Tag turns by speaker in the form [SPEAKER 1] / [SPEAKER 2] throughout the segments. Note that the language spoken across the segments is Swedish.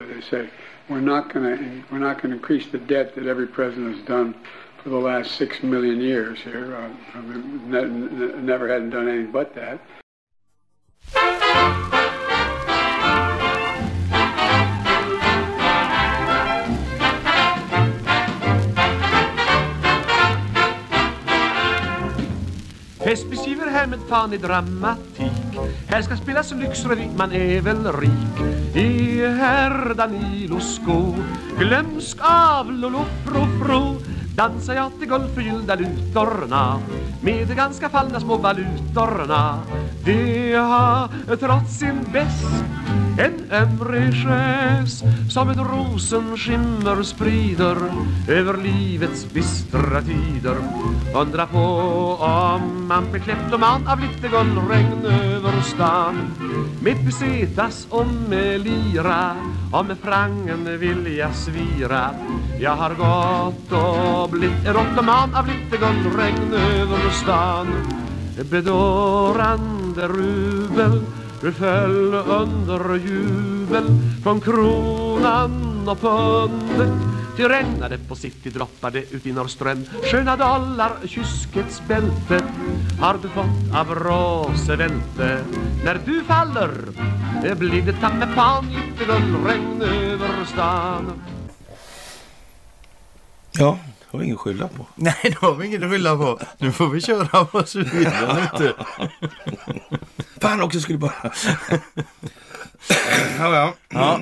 [SPEAKER 1] they say, we're not going to we're not going to increase the debt that every president has done for the last six million years here. Uh, I mean, ne- ne- never hadn't done anything but that.
[SPEAKER 2] Fest beskriver härmed fan i dramatik Här ska spelas lyxrevy, man är väl rik I herr Danilos sko Glömsk av Lolofrofro Dansar jag till guldförgyllda lutorna Med de ganska fallna små valutorna Det har trots sin bäst en öm religiös som ett rosenskimmer sprider över livets bistra tider. Undra på om man blir kleptoman av lite guldregn över stan. Med pesetas och med lira och med frangen vill jag svira. Jag har gått och blivit erotoman av lite guldregn över stan. Bedårande rubel du föll under jubel från kronan och pundet Ty regnade på city droppade ut i Norrström Sköna dollar, kyskets bälte Har du fått av rosevälte När du faller blir det ta med fan Lite guldregn över stan
[SPEAKER 3] Ja, det var ingen skillnad på.
[SPEAKER 4] Nej, det har vi inget att skylla på. Nu får vi köra vad vi vill. där ute.
[SPEAKER 3] Fan också skulle bara... ja, ja. ja.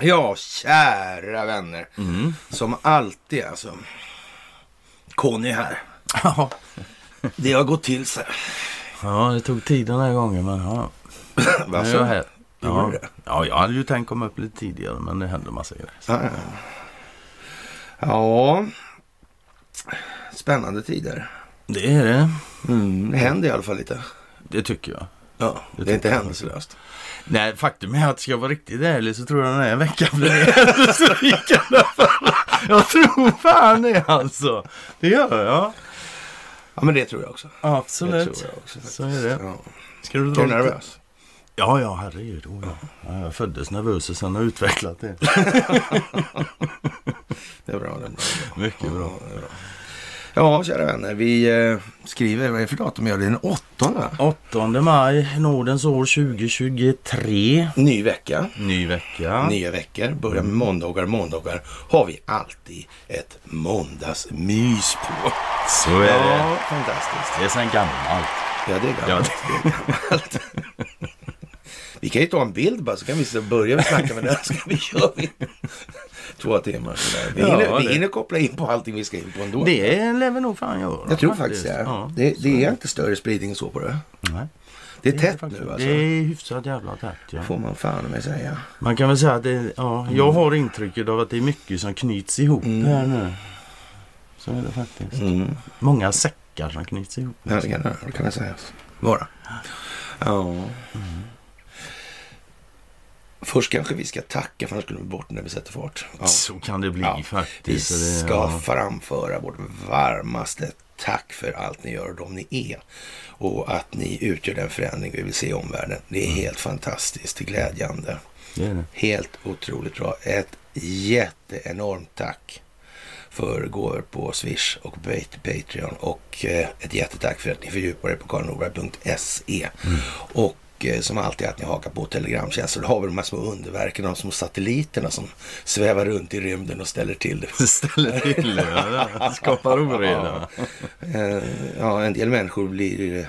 [SPEAKER 3] Ja, kära vänner. Som alltid alltså. Conny här.
[SPEAKER 4] Ja.
[SPEAKER 3] Det har gått till sig.
[SPEAKER 4] ja, det tog tid den här gången, men ja. Nu är jag här. Ja.
[SPEAKER 3] Gjorde det?
[SPEAKER 4] ja, jag hade ju tänkt komma upp lite tidigare, men det hände massa grejer.
[SPEAKER 3] Ja. ja. Spännande tider.
[SPEAKER 4] Det är det.
[SPEAKER 3] Mm, det händer i alla fall lite.
[SPEAKER 4] Det tycker jag.
[SPEAKER 3] Ja, det är inte händelselöst.
[SPEAKER 4] Nej, faktum är att ska jag vara riktigt ärlig så tror jag den här veckan blir händelserik i alla fall. Jag tror fan det alltså. Det gör jag.
[SPEAKER 3] Ja, men det tror jag också.
[SPEAKER 4] Absolut.
[SPEAKER 3] Det tror jag också faktiskt.
[SPEAKER 4] så är det.
[SPEAKER 3] Ja.
[SPEAKER 4] Ska du
[SPEAKER 3] Är
[SPEAKER 4] dra
[SPEAKER 3] du
[SPEAKER 4] lite-
[SPEAKER 3] nervös?
[SPEAKER 4] Ja, ja, herregud. Oh, ja. Ja, jag föddes nervös och sen har jag utvecklat det.
[SPEAKER 3] Det är bra. Det är bra.
[SPEAKER 4] Mycket bra.
[SPEAKER 3] Ja, kära vänner. Vi eh, skriver, vad är det för datum? Ja, det är den åttonde.
[SPEAKER 4] 8 maj, Nordens år 2023.
[SPEAKER 3] Ny vecka.
[SPEAKER 4] Ny vecka.
[SPEAKER 3] Nya veckor. Börjar med måndagar. Måndagar har vi alltid ett måndagsmys på.
[SPEAKER 4] Så är det.
[SPEAKER 3] Ja, fantastiskt.
[SPEAKER 4] Det är sen gammalt.
[SPEAKER 3] Ja, det är gammalt. Det är gammalt. vi kan ju ta en bild bara så kan vi så börja med att snacka med den. Ska vi göra vi. Två timmar sådär. Vi
[SPEAKER 4] Ja,
[SPEAKER 3] hinner, vi
[SPEAKER 4] det-
[SPEAKER 3] hinner koppla in på allting vi ska in på ändå.
[SPEAKER 4] Det lär vi nog fan göra.
[SPEAKER 3] jag tror faktiskt det.
[SPEAKER 4] Ja.
[SPEAKER 3] Det, det är inte större spridning än så på det.
[SPEAKER 4] Nej.
[SPEAKER 3] Det är tätt
[SPEAKER 4] faktiskt-
[SPEAKER 3] nu alltså.
[SPEAKER 4] Det är hyfsat jävla tätt. Ja.
[SPEAKER 3] Får man fan med säga.
[SPEAKER 4] Man kan väl säga att det, ja,
[SPEAKER 3] Mm.
[SPEAKER 4] jag har intrycket av att det är mycket som knyts ihop här nu. Så är det
[SPEAKER 3] Mm.
[SPEAKER 4] faktiskt. Många säckar som knyts ihop.
[SPEAKER 3] Ja, det kan det, det kan det sägas vara. Ja.
[SPEAKER 4] Mm.
[SPEAKER 3] Först kanske vi ska tacka för annars skulle vi bort när vi sätter fart. Ja.
[SPEAKER 4] Så kan det bli
[SPEAKER 3] Ja, Vi
[SPEAKER 4] faktiskt. Så det-
[SPEAKER 3] ska
[SPEAKER 4] ja.
[SPEAKER 3] framföra vårt varmaste tack för allt ni gör och de ni är. Och att ni utgör den förändring vi vill se i omvärlden. Det är
[SPEAKER 4] Mm.
[SPEAKER 3] helt fantastiskt glädjande.
[SPEAKER 4] Det är det.
[SPEAKER 3] Helt otroligt bra. Ett jätteenormt tack för gåvor på Swish och Pat- Patreon. Och eh, ett jättetack för att ni fördjupar er på karlnorberg.se. E.
[SPEAKER 4] Mm.
[SPEAKER 3] Och eh, som alltid att ni hakar på telegramtjänster. Då har vi de här små underverken, de små satelliterna som svävar runt i rymden och ställer till det.
[SPEAKER 4] Ställer till det. Skapar oreda.
[SPEAKER 3] Eh, ja, en del människor blir ju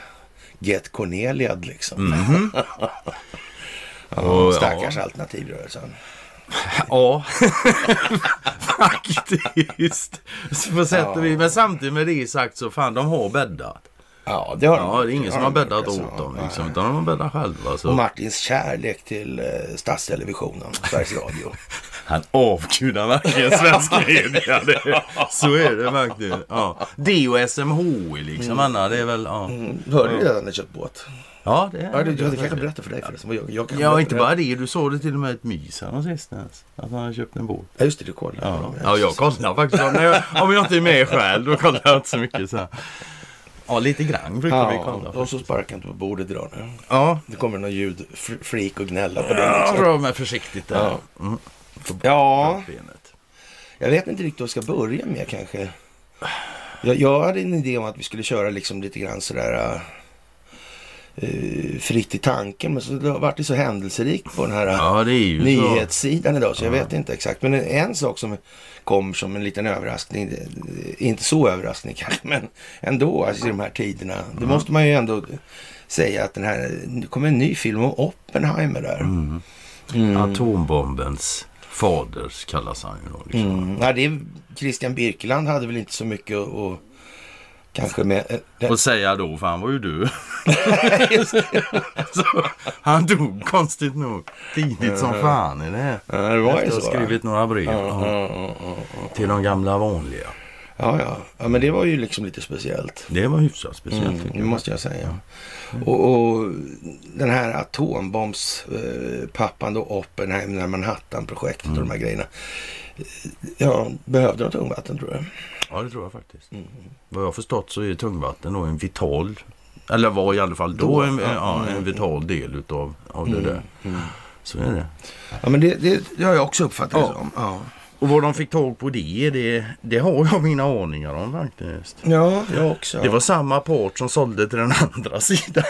[SPEAKER 3] get Corneliad liksom. ja,
[SPEAKER 4] Mhm. Och,
[SPEAKER 3] stackars
[SPEAKER 4] ja.
[SPEAKER 3] alternativrörelsen.
[SPEAKER 4] Ja, faktiskt. Så På sätt och vis. Men samtidigt med det sagt så fan de har bäddat.
[SPEAKER 3] Ja, det har de
[SPEAKER 4] Ja, det är
[SPEAKER 3] gjort.
[SPEAKER 4] ingen som har
[SPEAKER 3] de gjort,
[SPEAKER 4] bäddat
[SPEAKER 3] alltså.
[SPEAKER 4] åt dem
[SPEAKER 3] Nej.
[SPEAKER 4] liksom. Utan de har bäddat själva.
[SPEAKER 3] Och
[SPEAKER 4] Så.
[SPEAKER 3] Martins kärlek till eh, Stadstelevisionen, Sveriges Radio.
[SPEAKER 4] Han avgudar verkligen svensk media. Det, så är det verkligen. Ja. Det och SMHI
[SPEAKER 3] Mm.
[SPEAKER 4] liksom. Anna, det är väl... Ja,
[SPEAKER 3] Hörde du det när jag köpt båt?
[SPEAKER 4] ja det
[SPEAKER 3] Mm. Ja,
[SPEAKER 4] är
[SPEAKER 3] du, jag kanske berättade för dig förresten. vad Jag, jag kan
[SPEAKER 4] Ja,
[SPEAKER 3] berätta
[SPEAKER 4] inte
[SPEAKER 3] för dig.
[SPEAKER 4] bara det. Du såg det till och med ett mys sistens. alltså. Att han hade köpt en båt.
[SPEAKER 3] Ja, just det, du kollade.
[SPEAKER 4] Ja, ja jag kollar faktiskt. Om jag, om jag inte är med själv, då kollar jag inte så mycket. Så här. Ja, lite grann brukar vi
[SPEAKER 3] Ja,
[SPEAKER 4] kolla.
[SPEAKER 3] och så sparkar inte på bordet idag nu.
[SPEAKER 4] Ja,
[SPEAKER 3] Det kommer någon ljudfreak och gnälla på den.
[SPEAKER 4] ja
[SPEAKER 3] Liksom.
[SPEAKER 4] rör mig försiktigt där.
[SPEAKER 3] Ja.
[SPEAKER 4] Mm. Få bort
[SPEAKER 3] Ja.
[SPEAKER 4] benet.
[SPEAKER 3] Jag vet inte riktigt vad jag ska börja med kanske. Jag, jag hade en idé om att vi skulle köra liksom lite grann sådär eh, fritt i tanken. Men så det har varit så händelserikt på den här eh,
[SPEAKER 4] Ja, det är ju så.
[SPEAKER 3] nyhetssidan idag så jag vet inte exakt. Men en, en sak som kom som en liten överraskning, det- det- inte så överraskning kanske, men ändå alltså, i de här tiderna.
[SPEAKER 4] Mm.
[SPEAKER 3] Det måste man ju ändå säga att den här, det kommer en ny film om Oppenheimer där.
[SPEAKER 4] Mm.
[SPEAKER 3] Mm.
[SPEAKER 4] Atombombens faders kallas han ju då. Liksom.
[SPEAKER 3] Mm. Ja, det är, Christian Birkeland hade väl inte så mycket att... att kanske med... eh, den-
[SPEAKER 4] Och säga då, för han var ju död. så, han dog konstigt nog tidigt som fan. Är det?
[SPEAKER 3] Ja, det var ju
[SPEAKER 4] Efter att
[SPEAKER 3] så,
[SPEAKER 4] ha
[SPEAKER 3] va?
[SPEAKER 4] skrivit några brev
[SPEAKER 3] Ja,
[SPEAKER 4] ja,
[SPEAKER 3] ja, ja, ja.
[SPEAKER 4] till de gamla vanliga.
[SPEAKER 3] ja, ja. ja, men det var ju liksom lite speciellt.
[SPEAKER 4] Det var hyfsat speciellt.
[SPEAKER 3] Mm,
[SPEAKER 4] tycker
[SPEAKER 3] det
[SPEAKER 4] jag.
[SPEAKER 3] måste jag säga. Och, och den här atombombspappan eh, pappan då, Oppenheim, när Manhattan-projektet och de
[SPEAKER 4] Mm.
[SPEAKER 3] här grejerna. Eh, Ja, behövde de tungvatten tror jag.
[SPEAKER 4] Ja, det tror jag faktiskt. Vad jag har förstått så är tungvatten då en vital, eller var i alla fall då,
[SPEAKER 3] Då,
[SPEAKER 4] en,
[SPEAKER 3] ja.
[SPEAKER 4] ja, Mm. en vital del utav av det där. Så är det.
[SPEAKER 3] Ja, men det, det, det har jag också uppfattat
[SPEAKER 4] Ja.
[SPEAKER 3] det som. Ja.
[SPEAKER 4] Och vad de fick tag på det, det, det har jag mina aningar om faktiskt.
[SPEAKER 3] ja, jag också.
[SPEAKER 4] Det var samma part som sålde till den andra sidan.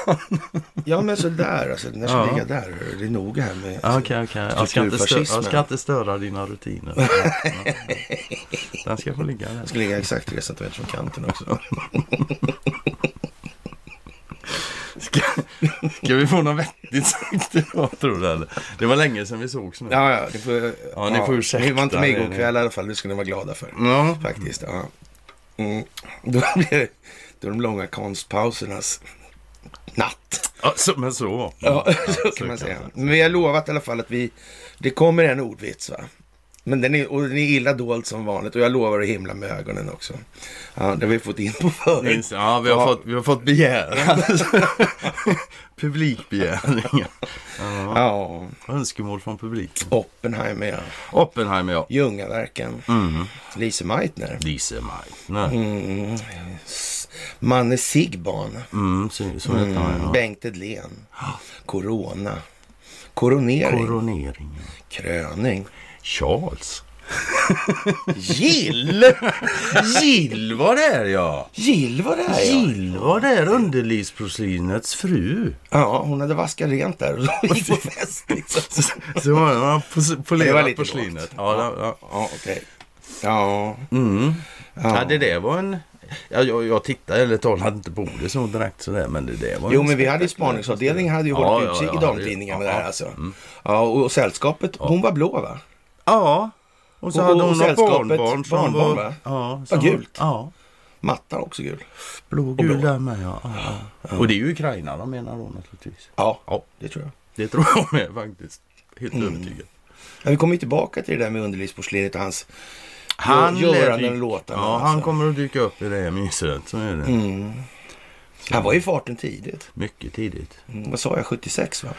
[SPEAKER 3] Ja, men sådär alltså. Den där ska
[SPEAKER 4] Ja.
[SPEAKER 3] ligga där. hörru. Det är noga här med...
[SPEAKER 4] Ja, Ah, Okej, okej. Jag ska, inte störa, jag ska inte störa dina rutiner. Ja. Den ska få ligga där.
[SPEAKER 3] ska ligga exakt 3 cm från kanten också.
[SPEAKER 4] Ska, ska vi få något vettigt sagt idag tror du? Eller? Det var länge sedan vi sågs nu.
[SPEAKER 3] Ja, ja. Det får,
[SPEAKER 4] Ja, ni får ursäkta.
[SPEAKER 3] Ni var inte med igår
[SPEAKER 4] Det-
[SPEAKER 3] kväll i alla fall. Det ska ni vara glada för.
[SPEAKER 4] Ja.
[SPEAKER 3] Faktiskt. Ja. Mm. Då blir det då är de långa konstpausernas natt.
[SPEAKER 4] Ja, så, men så var det.
[SPEAKER 3] Ja, så kan man säga. Men vi har lovat i alla fall att vi... Det kommer en ordvits, va? Men den är, och den är illa dold som vanligt och jag lovar att himla med ögonen också. Ja, det har vi fått in på förut.
[SPEAKER 4] Minst- Ja, vi har,
[SPEAKER 3] Ja.
[SPEAKER 4] Fått, vi har fått begäran. Publikbegärningar. Ja.
[SPEAKER 3] Ja,
[SPEAKER 4] Önskemål från publiken.
[SPEAKER 3] Oppenheimer, ja.
[SPEAKER 4] Oppenheimer, ja.
[SPEAKER 3] Ljungaverken.
[SPEAKER 4] Mm.
[SPEAKER 3] Lise Meitner.
[SPEAKER 4] Lise Meitner.
[SPEAKER 3] Mm. Manne Sigban.
[SPEAKER 4] Mm, så, så heter
[SPEAKER 3] Mm.
[SPEAKER 4] han ja.
[SPEAKER 3] Bengt Edlén. Corona. Koronering.
[SPEAKER 4] Koroneringen.
[SPEAKER 3] Kröning.
[SPEAKER 4] Charles.
[SPEAKER 3] Gill!
[SPEAKER 4] Jill var där ja.
[SPEAKER 3] Gill var det här ja.
[SPEAKER 4] Jill var där, underlivsporslinets fru.
[SPEAKER 3] Ja, hon hade vaskat rent där och så gick på fest liksom.
[SPEAKER 4] Så var han
[SPEAKER 3] Det var
[SPEAKER 4] polerat
[SPEAKER 3] lite
[SPEAKER 4] porslinet.
[SPEAKER 3] lågt.
[SPEAKER 4] Ja, ja, ja.
[SPEAKER 3] Ja, okej. Ja.
[SPEAKER 4] Mm.
[SPEAKER 3] Ja.
[SPEAKER 4] ja, det där var en... Ja, jag, jag tittade eller talade inte på det så direkt sådär, men det där var en
[SPEAKER 3] Jo, men vi hade ju spaningsavdelningen hade ju
[SPEAKER 4] Ja,
[SPEAKER 3] hållit
[SPEAKER 4] ja,
[SPEAKER 3] utkik i
[SPEAKER 4] ja,
[SPEAKER 3] damtidningarna med
[SPEAKER 4] ja, Mm.
[SPEAKER 3] det här
[SPEAKER 4] ja.
[SPEAKER 3] alltså. Ja, och sällskapet, hon var blå va?
[SPEAKER 4] Ja. Och så
[SPEAKER 3] Och-
[SPEAKER 4] hade
[SPEAKER 3] och
[SPEAKER 4] hon något
[SPEAKER 3] sällskapet,
[SPEAKER 4] barnbarn som
[SPEAKER 3] barnbarn,
[SPEAKER 4] var...
[SPEAKER 3] va?
[SPEAKER 4] Ja,
[SPEAKER 3] Var
[SPEAKER 4] som
[SPEAKER 3] gult.
[SPEAKER 4] Ja,
[SPEAKER 3] Mattan också gul. Och
[SPEAKER 4] blågul
[SPEAKER 3] blå.
[SPEAKER 4] där med ja. ja. Och det är ju Ukraina de menar då naturligtvis.
[SPEAKER 3] Ja,
[SPEAKER 4] Ja.
[SPEAKER 3] det tror jag.
[SPEAKER 4] Det tror jag med faktiskt. Helt övertygad.
[SPEAKER 3] Men vi kommer ju tillbaka till det där med underlivsporslinet och hans... Göran
[SPEAKER 4] lär
[SPEAKER 3] den
[SPEAKER 4] dyk-
[SPEAKER 3] låten,
[SPEAKER 4] Ja,
[SPEAKER 3] alltså. Mm.
[SPEAKER 4] han kommer att dyka upp i det här myset. Så är det.
[SPEAKER 3] Han var ju i farten tidigt.
[SPEAKER 4] Mycket tidigt.
[SPEAKER 3] Mm, Vad sa jag, 76 va?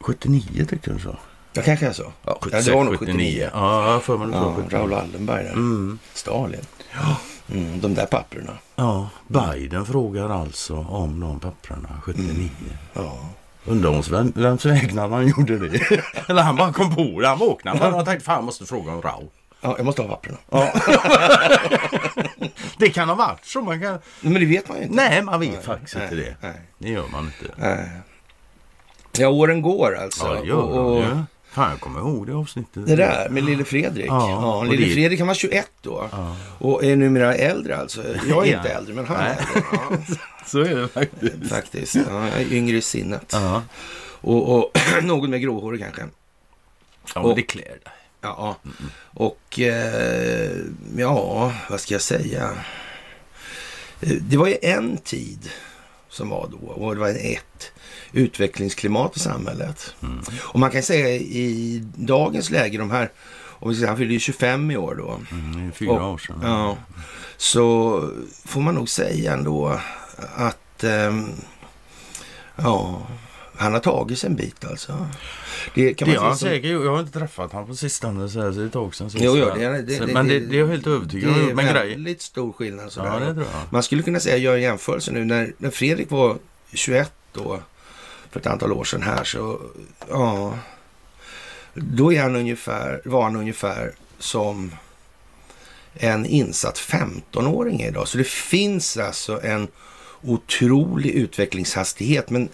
[SPEAKER 4] 79 tyckte du så.
[SPEAKER 3] Ja, kanske jag sa.
[SPEAKER 4] Ja,
[SPEAKER 3] det var nog 79.
[SPEAKER 4] Ja, jag har för mig det
[SPEAKER 3] Ja,
[SPEAKER 4] var 79.
[SPEAKER 3] Raoul Wallenberg där. Stalin. Mm, de där papperna.
[SPEAKER 4] Ja, Biden frågar alltså om de papperna 79.
[SPEAKER 3] Ja.
[SPEAKER 4] Undrar hos vem, vems vägnar han gjorde det. Eller han bara kom på det. Han vaknade bara och tänkte fan jag måste fråga om Rau.
[SPEAKER 3] ja, jag måste ha papperna.
[SPEAKER 4] Det kan ha varit så. Man kan...
[SPEAKER 3] Men det vet man ju inte.
[SPEAKER 4] Nej, man vet faktiskt
[SPEAKER 3] nej,
[SPEAKER 4] inte det.
[SPEAKER 3] nej.
[SPEAKER 4] Det gör man inte.
[SPEAKER 3] Nej. Ja, åren går alltså.
[SPEAKER 4] Ja, det gör
[SPEAKER 3] och, och
[SPEAKER 4] man ju. Fan, jag kommer ihåg det avsnittet.
[SPEAKER 3] Det där med lille Fredrik.
[SPEAKER 4] Ja,
[SPEAKER 3] Ja,
[SPEAKER 4] och
[SPEAKER 3] lille
[SPEAKER 4] det-
[SPEAKER 3] Fredrik han var 21 då. Och är numera äldre alltså. Jag är
[SPEAKER 4] Ja.
[SPEAKER 3] inte äldre, men han är
[SPEAKER 4] Nej.
[SPEAKER 3] äldre. Ja.
[SPEAKER 4] Så är det faktiskt.
[SPEAKER 3] Faktiskt. Ja, jag är yngre i sinnet.
[SPEAKER 4] Ja,
[SPEAKER 3] Och, och något mer gråhårig kanske.
[SPEAKER 4] ja
[SPEAKER 3] Och-
[SPEAKER 4] men det klär dig.
[SPEAKER 3] Ja. Och eh, ja, vad ska jag säga? Eh, Det var ju en tid som var då och det var ett utvecklingsklimat i samhället.
[SPEAKER 4] Mm.
[SPEAKER 3] Och man kan säga i dagens läge, de här, om vi säger, han fyllde ju 25 i år då.
[SPEAKER 4] Mm, det är fyra
[SPEAKER 3] Och-
[SPEAKER 4] år sedan.
[SPEAKER 3] Ja. Så får man nog säga ändå att ehm, ja, han har tagit sig en bit alltså. Det kan
[SPEAKER 4] Det
[SPEAKER 3] man
[SPEAKER 4] har han
[SPEAKER 3] säga. som-
[SPEAKER 4] säkert gjort. Jag har inte träffat honom på sistone så, här, så det är ett tag sedan. sist.
[SPEAKER 3] Jo, jo, det, det,
[SPEAKER 4] Så-
[SPEAKER 3] det,
[SPEAKER 4] men det, det är jag helt övertygad
[SPEAKER 3] Det
[SPEAKER 4] om.
[SPEAKER 3] är
[SPEAKER 4] Men grejen...
[SPEAKER 3] väldigt stor skillnad. Sådär.
[SPEAKER 4] Ja, det tror jag.
[SPEAKER 3] Man skulle kunna säga, gör en jämförelse nu, när, när Fredrik var 21 då, för ett antal år sedan här, så ja, Då är han ungefär, var han ungefär som en insatt 15-åring är idag. Så det finns alltså en otrolig utvecklingshastighet. Men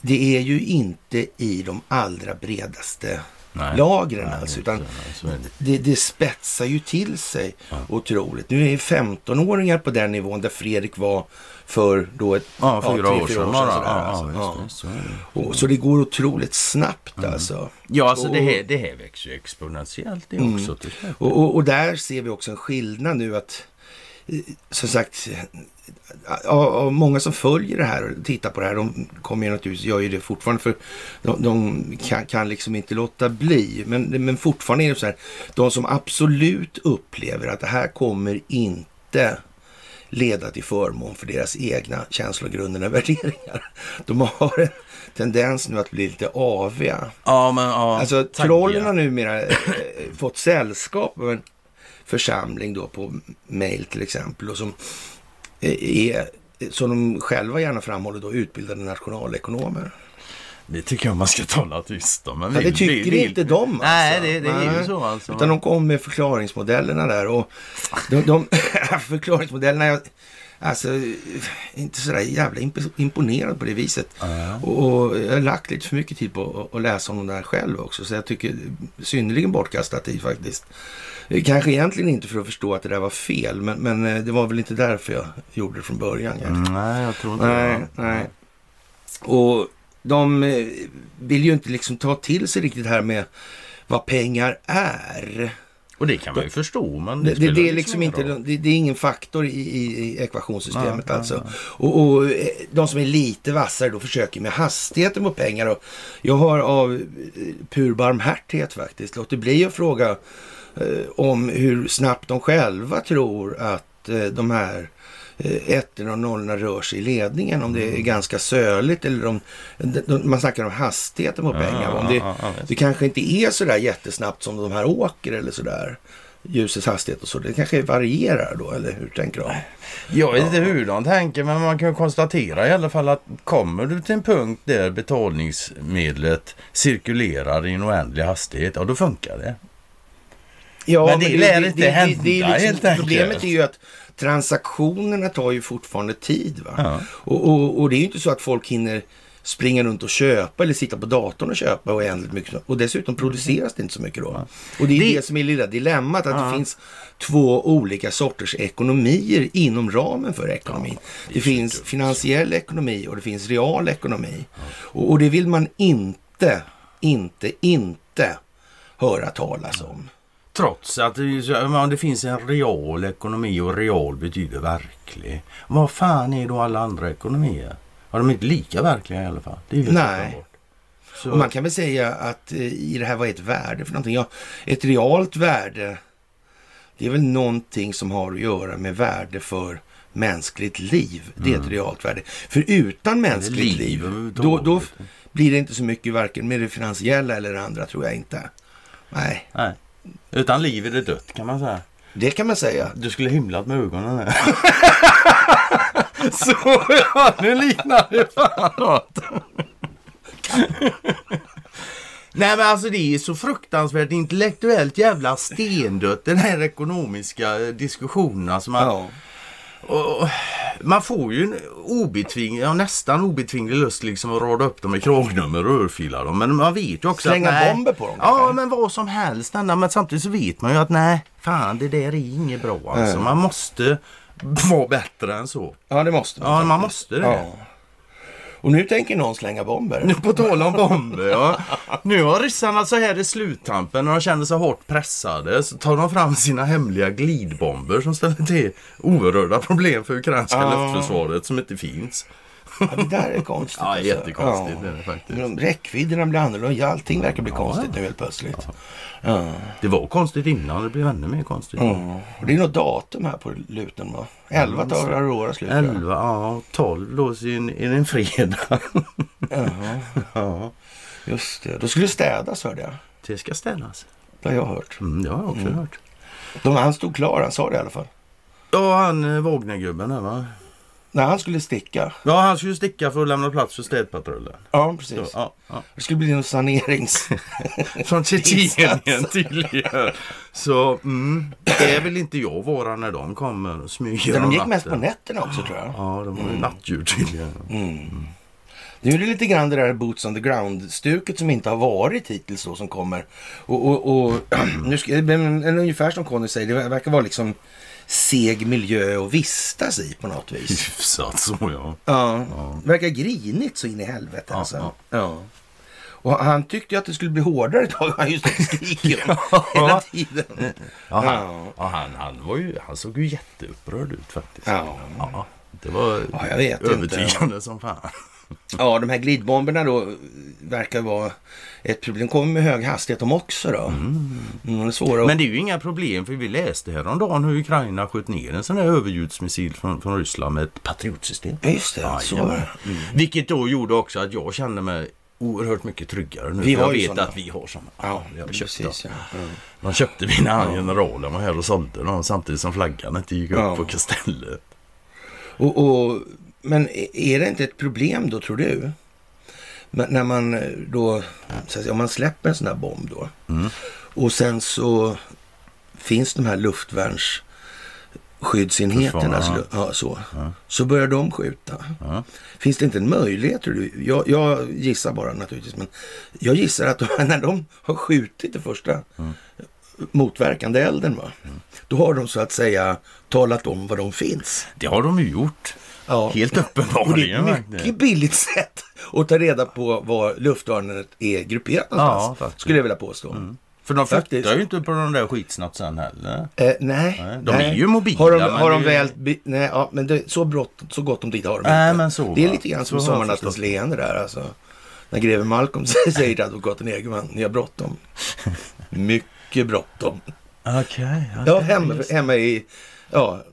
[SPEAKER 3] det är ju inte i de allra bredaste
[SPEAKER 4] Nej.
[SPEAKER 3] lagren
[SPEAKER 4] Nej,
[SPEAKER 3] alltså.
[SPEAKER 4] just
[SPEAKER 3] Utan
[SPEAKER 4] det. Så är det.
[SPEAKER 3] det, det spetsar ju till sig otroligt. Nu är 15-åringar på den nivån där Fredrik var för då ett,
[SPEAKER 4] Ja, fyra
[SPEAKER 3] tre,
[SPEAKER 4] år sedan. bara.
[SPEAKER 3] sådär,
[SPEAKER 4] Ja,
[SPEAKER 3] alltså.
[SPEAKER 4] ja,
[SPEAKER 3] Ja.
[SPEAKER 4] visst, Mm. visst, så är det.
[SPEAKER 3] Och, så det går otroligt snabbt alltså.
[SPEAKER 4] Ja, alltså det här, det här växer ju exponentiellt det också. till slut.
[SPEAKER 3] Och, och, och där ser vi också en skillnad nu att eh, som sagt, eh, av, av många som följer det här och tittar på det här, de kommer ju naturligtvis, gör ju det fortfarande för de, de kan, kan liksom inte låta bli. Men, men fortfarande är det så här, de som absolut upplever att det här kommer inte leda till förmån för deras egna känslor, grunder och värderingar. De har en tendens nu att bli lite aviga.
[SPEAKER 4] Ja, men ja.
[SPEAKER 3] Alltså
[SPEAKER 4] taggiga.
[SPEAKER 3] trollen har numera eh, fått sällskap av en församling då på mail till exempel och som eh, är, som de själva gärna framhåller då, utbildade nationalekonomer.
[SPEAKER 4] Det tycker jag man ska tala tyst om. Men
[SPEAKER 3] Ja, det
[SPEAKER 4] vill-
[SPEAKER 3] tycker
[SPEAKER 4] vill-
[SPEAKER 3] inte de alltså.
[SPEAKER 4] Nej, det, det är
[SPEAKER 3] Nej.
[SPEAKER 4] ju så alltså.
[SPEAKER 3] Utan de kommer med förklaringsmodellerna där och de, de förklaringsmodellerna, jag, alltså inte sådär jävla imp- imponerad på det viset. Och, och jag har lagt lite för mycket tid på att, att läsa om dem där själv också. Så jag tycker synnerligen bortkastad tid faktiskt. Kanske egentligen inte för att förstå att det där var fel, men, men eh, det var väl inte därför jag gjorde det från början. kanske.
[SPEAKER 4] Mm, Nej, jag tror inte
[SPEAKER 3] Nej,
[SPEAKER 4] det.
[SPEAKER 3] nej. Och de eh, vill ju inte liksom ta till sig riktigt här med vad pengar är.
[SPEAKER 4] Och det kan man ju förstå. Men
[SPEAKER 3] Det, det,
[SPEAKER 4] spelar
[SPEAKER 3] det, är liksom
[SPEAKER 4] ingen
[SPEAKER 3] inte,
[SPEAKER 4] roll.
[SPEAKER 3] det, det är ingen faktor i, i i
[SPEAKER 4] Nej,
[SPEAKER 3] ekvationssystemet
[SPEAKER 4] nej,
[SPEAKER 3] alltså. Och, och eh, de som är lite vassare då försöker med hastigheten på pengar. Och jag har av eh, pur barmhärtighet faktiskt låtit bli att fråga eh, om hur snabbt de själva tror att eh, de här eh, ettorna och nollorna rör sig i ledningen. Om
[SPEAKER 4] Mm.
[SPEAKER 3] det är ganska söligt eller om de, de, man snackar om hastigheten på
[SPEAKER 4] Ja,
[SPEAKER 3] pengar. Om det,
[SPEAKER 4] ja, ja, visst.
[SPEAKER 3] det kanske inte är så där jättesnabbt som de här åker eller så där. Ljusets hastighet och så. Det kanske varierar då, eller hur tänker de?
[SPEAKER 4] Jag vet inte hur de tänker men man kan konstatera i alla fall att kommer du till en punkt där betalningsmedlet cirkulerar i en oändlig hastighet, ja då funkar det.
[SPEAKER 3] Ja,
[SPEAKER 4] Men det lär inte
[SPEAKER 3] är liksom-
[SPEAKER 4] hända, helt enkelt.
[SPEAKER 3] Problemet är ju att transaktionerna tar ju fortfarande tid. Va?
[SPEAKER 4] Ja.
[SPEAKER 3] Och, och, och det är ju inte så att folk hinner springa runt och köpa eller sitta på datorn och köpa oändligt mycket. Och dessutom produceras det inte så mycket då. Och det är det,
[SPEAKER 4] Det-
[SPEAKER 3] som är lilla dilemmat, att det finns två olika sorters ekonomier inom ramen för ekonomin. det finns finansiell ekonomi och det finns real ekonomi. Och, och det vill man inte, inte, inte höra talas om.
[SPEAKER 4] Trots att det, är ju så- ja, men det finns en real ekonomi och real betyder verklig. Vad fan är då alla andra ekonomier? Ja, de är inte lika verkliga i alla fall. Det är ju
[SPEAKER 3] Nej.
[SPEAKER 4] uppenbart. Så,
[SPEAKER 3] Och man kan väl säga att eh, i det här, vad är ett värde för någonting? Ja, ett realt värde, det är väl någonting som har att göra med värde för mänskligt liv. Det är ett realt värde. För utan mänskligt
[SPEAKER 4] Mm. liv
[SPEAKER 3] liv, då,
[SPEAKER 4] överhuvudtaget.
[SPEAKER 3] då f- blir det inte så mycket varken med det finansiella eller det andra, tror jag inte. Nej,
[SPEAKER 4] Nej. Utan liv är det dött kan man säga.
[SPEAKER 3] det kan man säga.
[SPEAKER 4] Du skulle himlat med ögonen här. Så ja, nu liknar det fan något. Nej men alltså det är så fruktansvärt intellektuellt jävla stendött den här ekonomiska eh, diskussionen. Alltså man,
[SPEAKER 3] Ja.
[SPEAKER 4] och, och, man får ju en obetvinglig, ja, nästan obetvinglig lust liksom att rada upp dem i kragnummer och örfila dem. Men man vet ju också
[SPEAKER 3] Slänga
[SPEAKER 4] att nej,
[SPEAKER 3] bomber på dem,
[SPEAKER 4] Ja
[SPEAKER 3] kanske?
[SPEAKER 4] men vad som helst. Anna, men samtidigt så vet man ju att nej, fan det där är inget bra alltså. Man måste vara bättre än så.
[SPEAKER 3] ja, det måste man.
[SPEAKER 4] Ja man
[SPEAKER 3] faktiskt.
[SPEAKER 4] måste det.
[SPEAKER 3] Ja. Och nu tänker någon slänga bomber.
[SPEAKER 4] Nu på tal om bomber ja. Nu har ryssarna så här i sluttampen när de känner sig hårt pressade så tar de fram sina hemliga glidbomber som ställer till oerhörda problem för ukrainska luftförsvaret som inte finns.
[SPEAKER 3] Ja, det där är konstigt.
[SPEAKER 4] Ja,
[SPEAKER 3] alltså.
[SPEAKER 4] jättekonstigt är det faktiskt.
[SPEAKER 3] Men Räckvidderna blir annorlunda. Allting verkar bli konstigt nu helt plötsligt. Ja.
[SPEAKER 4] Det var konstigt innan, det blev ännu mer konstigt.
[SPEAKER 3] Och det är något datum här på luten va? 11 tar Aurora slut. tror jag.
[SPEAKER 4] 11, ja 12 då så är det är det en fredag. ja,
[SPEAKER 3] Just det. Då skulle det städas hörde jag.
[SPEAKER 4] det ska ställas.
[SPEAKER 3] Det har jag hört.
[SPEAKER 4] Mm, det har jag också hört.
[SPEAKER 3] De, han stod klar, han sa det i alla fall.
[SPEAKER 4] Ja, han eh, Wagnergubben där va?
[SPEAKER 3] när han skulle sticka.
[SPEAKER 4] Ja, han skulle ju sticka för att lämna plats för städpatrullen.
[SPEAKER 3] Ja,
[SPEAKER 4] Så,
[SPEAKER 3] precis.
[SPEAKER 4] ja, ja.
[SPEAKER 3] Det skulle bli en sanerings...
[SPEAKER 4] Från Tjetjenien tydligen. Så mm, det vill inte jag vara när de kommer och smyger om
[SPEAKER 3] De gick
[SPEAKER 4] natten.
[SPEAKER 3] mest på nätterna Mm. också tror jag.
[SPEAKER 4] Ja, de var ju nattdjur tydligen.
[SPEAKER 3] Nu är det lite grann det där boots on the ground-stuket som inte har varit hittills då som kommer. Och, och, och nu ska, det blir en, en ungefär som Conny säger, det verkar vara liksom seg miljö att vistas i på något vis.
[SPEAKER 4] Hyfsat så ja.
[SPEAKER 3] Ja, verkar grinigt så in i helvete alltså.
[SPEAKER 4] ja.
[SPEAKER 3] Ja. Och han tyckte ju att det skulle bli hårdare ett tag. Han just skriker om hela tiden.
[SPEAKER 4] Ja,
[SPEAKER 3] Ja.
[SPEAKER 4] han, ja, han, han, var ju, han såg ju jätteupprörd ut faktiskt.
[SPEAKER 3] Ja.
[SPEAKER 4] Ja, det var
[SPEAKER 3] Ja, jag vet inte.
[SPEAKER 4] övertygande som fan.
[SPEAKER 3] Ja, de här glidbomberna då verkar vara ett problem. De kommer med hög hastighet de också då. Mm. det är svåra att-
[SPEAKER 4] Men det är ju inga problem för vi läste häromdagen hur Ukraina sköt ner en sån här överljudsmissil från, från Ryssland med ett patriotsystem.
[SPEAKER 3] Ja, just det. så var
[SPEAKER 4] Jajamän.
[SPEAKER 3] det.
[SPEAKER 4] Vilket då gjorde också att jag kände mig oerhört mycket tryggare nu.
[SPEAKER 3] Vi
[SPEAKER 4] För
[SPEAKER 3] har
[SPEAKER 4] jag
[SPEAKER 3] ju
[SPEAKER 4] vet
[SPEAKER 3] sådana.
[SPEAKER 4] att vi har sådana.
[SPEAKER 3] Ja,
[SPEAKER 4] vi har köpt
[SPEAKER 3] precis. Ja.
[SPEAKER 4] dem. De köpte vi när han generalen var här och sålde dem samtidigt som flaggan inte gick upp
[SPEAKER 3] Ja.
[SPEAKER 4] på kastellet.
[SPEAKER 3] Och, och, men e-, är det inte ett problem då, tror du? Men när man eh, då, så att säga, om man släpper en sån här bomb då. Och sen så finns de här luftvärnsskyddsenheterna,
[SPEAKER 4] Försvar,
[SPEAKER 3] så, ja, så, så börjar de skjuta. Finns det inte en möjlighet tror du? Jag, jag gissar bara naturligtvis, men jag gissar att de, när de har skjutit det första motverkande elden, va? då har de så att säga talat om var de finns.
[SPEAKER 4] Det har de ju gjort.
[SPEAKER 3] Ja.
[SPEAKER 4] Helt
[SPEAKER 3] Och det är
[SPEAKER 4] uppenbarligen.
[SPEAKER 3] ett mycket
[SPEAKER 4] verkligen.
[SPEAKER 3] billigt sätt att ta reda på var luftvärnet är grupperat någonstans.
[SPEAKER 4] faktiskt. Mm.
[SPEAKER 3] skulle jag vilja påstå.
[SPEAKER 4] För de
[SPEAKER 3] Faktiskt.
[SPEAKER 4] flyttar ju inte på de där skitsnapsen heller.
[SPEAKER 3] Eh, nej,
[SPEAKER 4] Nej, de är ju mobila,
[SPEAKER 3] Har de,
[SPEAKER 4] men
[SPEAKER 3] har de
[SPEAKER 4] det är
[SPEAKER 3] väl...
[SPEAKER 4] ju-
[SPEAKER 3] bi- Nej, ja, men det, så, brott, så gott om tid har de
[SPEAKER 4] Nej,
[SPEAKER 3] inte.
[SPEAKER 4] men så,
[SPEAKER 3] det är
[SPEAKER 4] va?
[SPEAKER 3] lite grann som
[SPEAKER 4] Så har jag
[SPEAKER 3] Sommarnattens
[SPEAKER 4] förstått.
[SPEAKER 3] leende där alltså. När greve Malcolm säger till advokaten Egerman, ni har bråttom. Mycket bråttom.
[SPEAKER 4] Okej.
[SPEAKER 3] Ja, hemma, hemma i... Ja,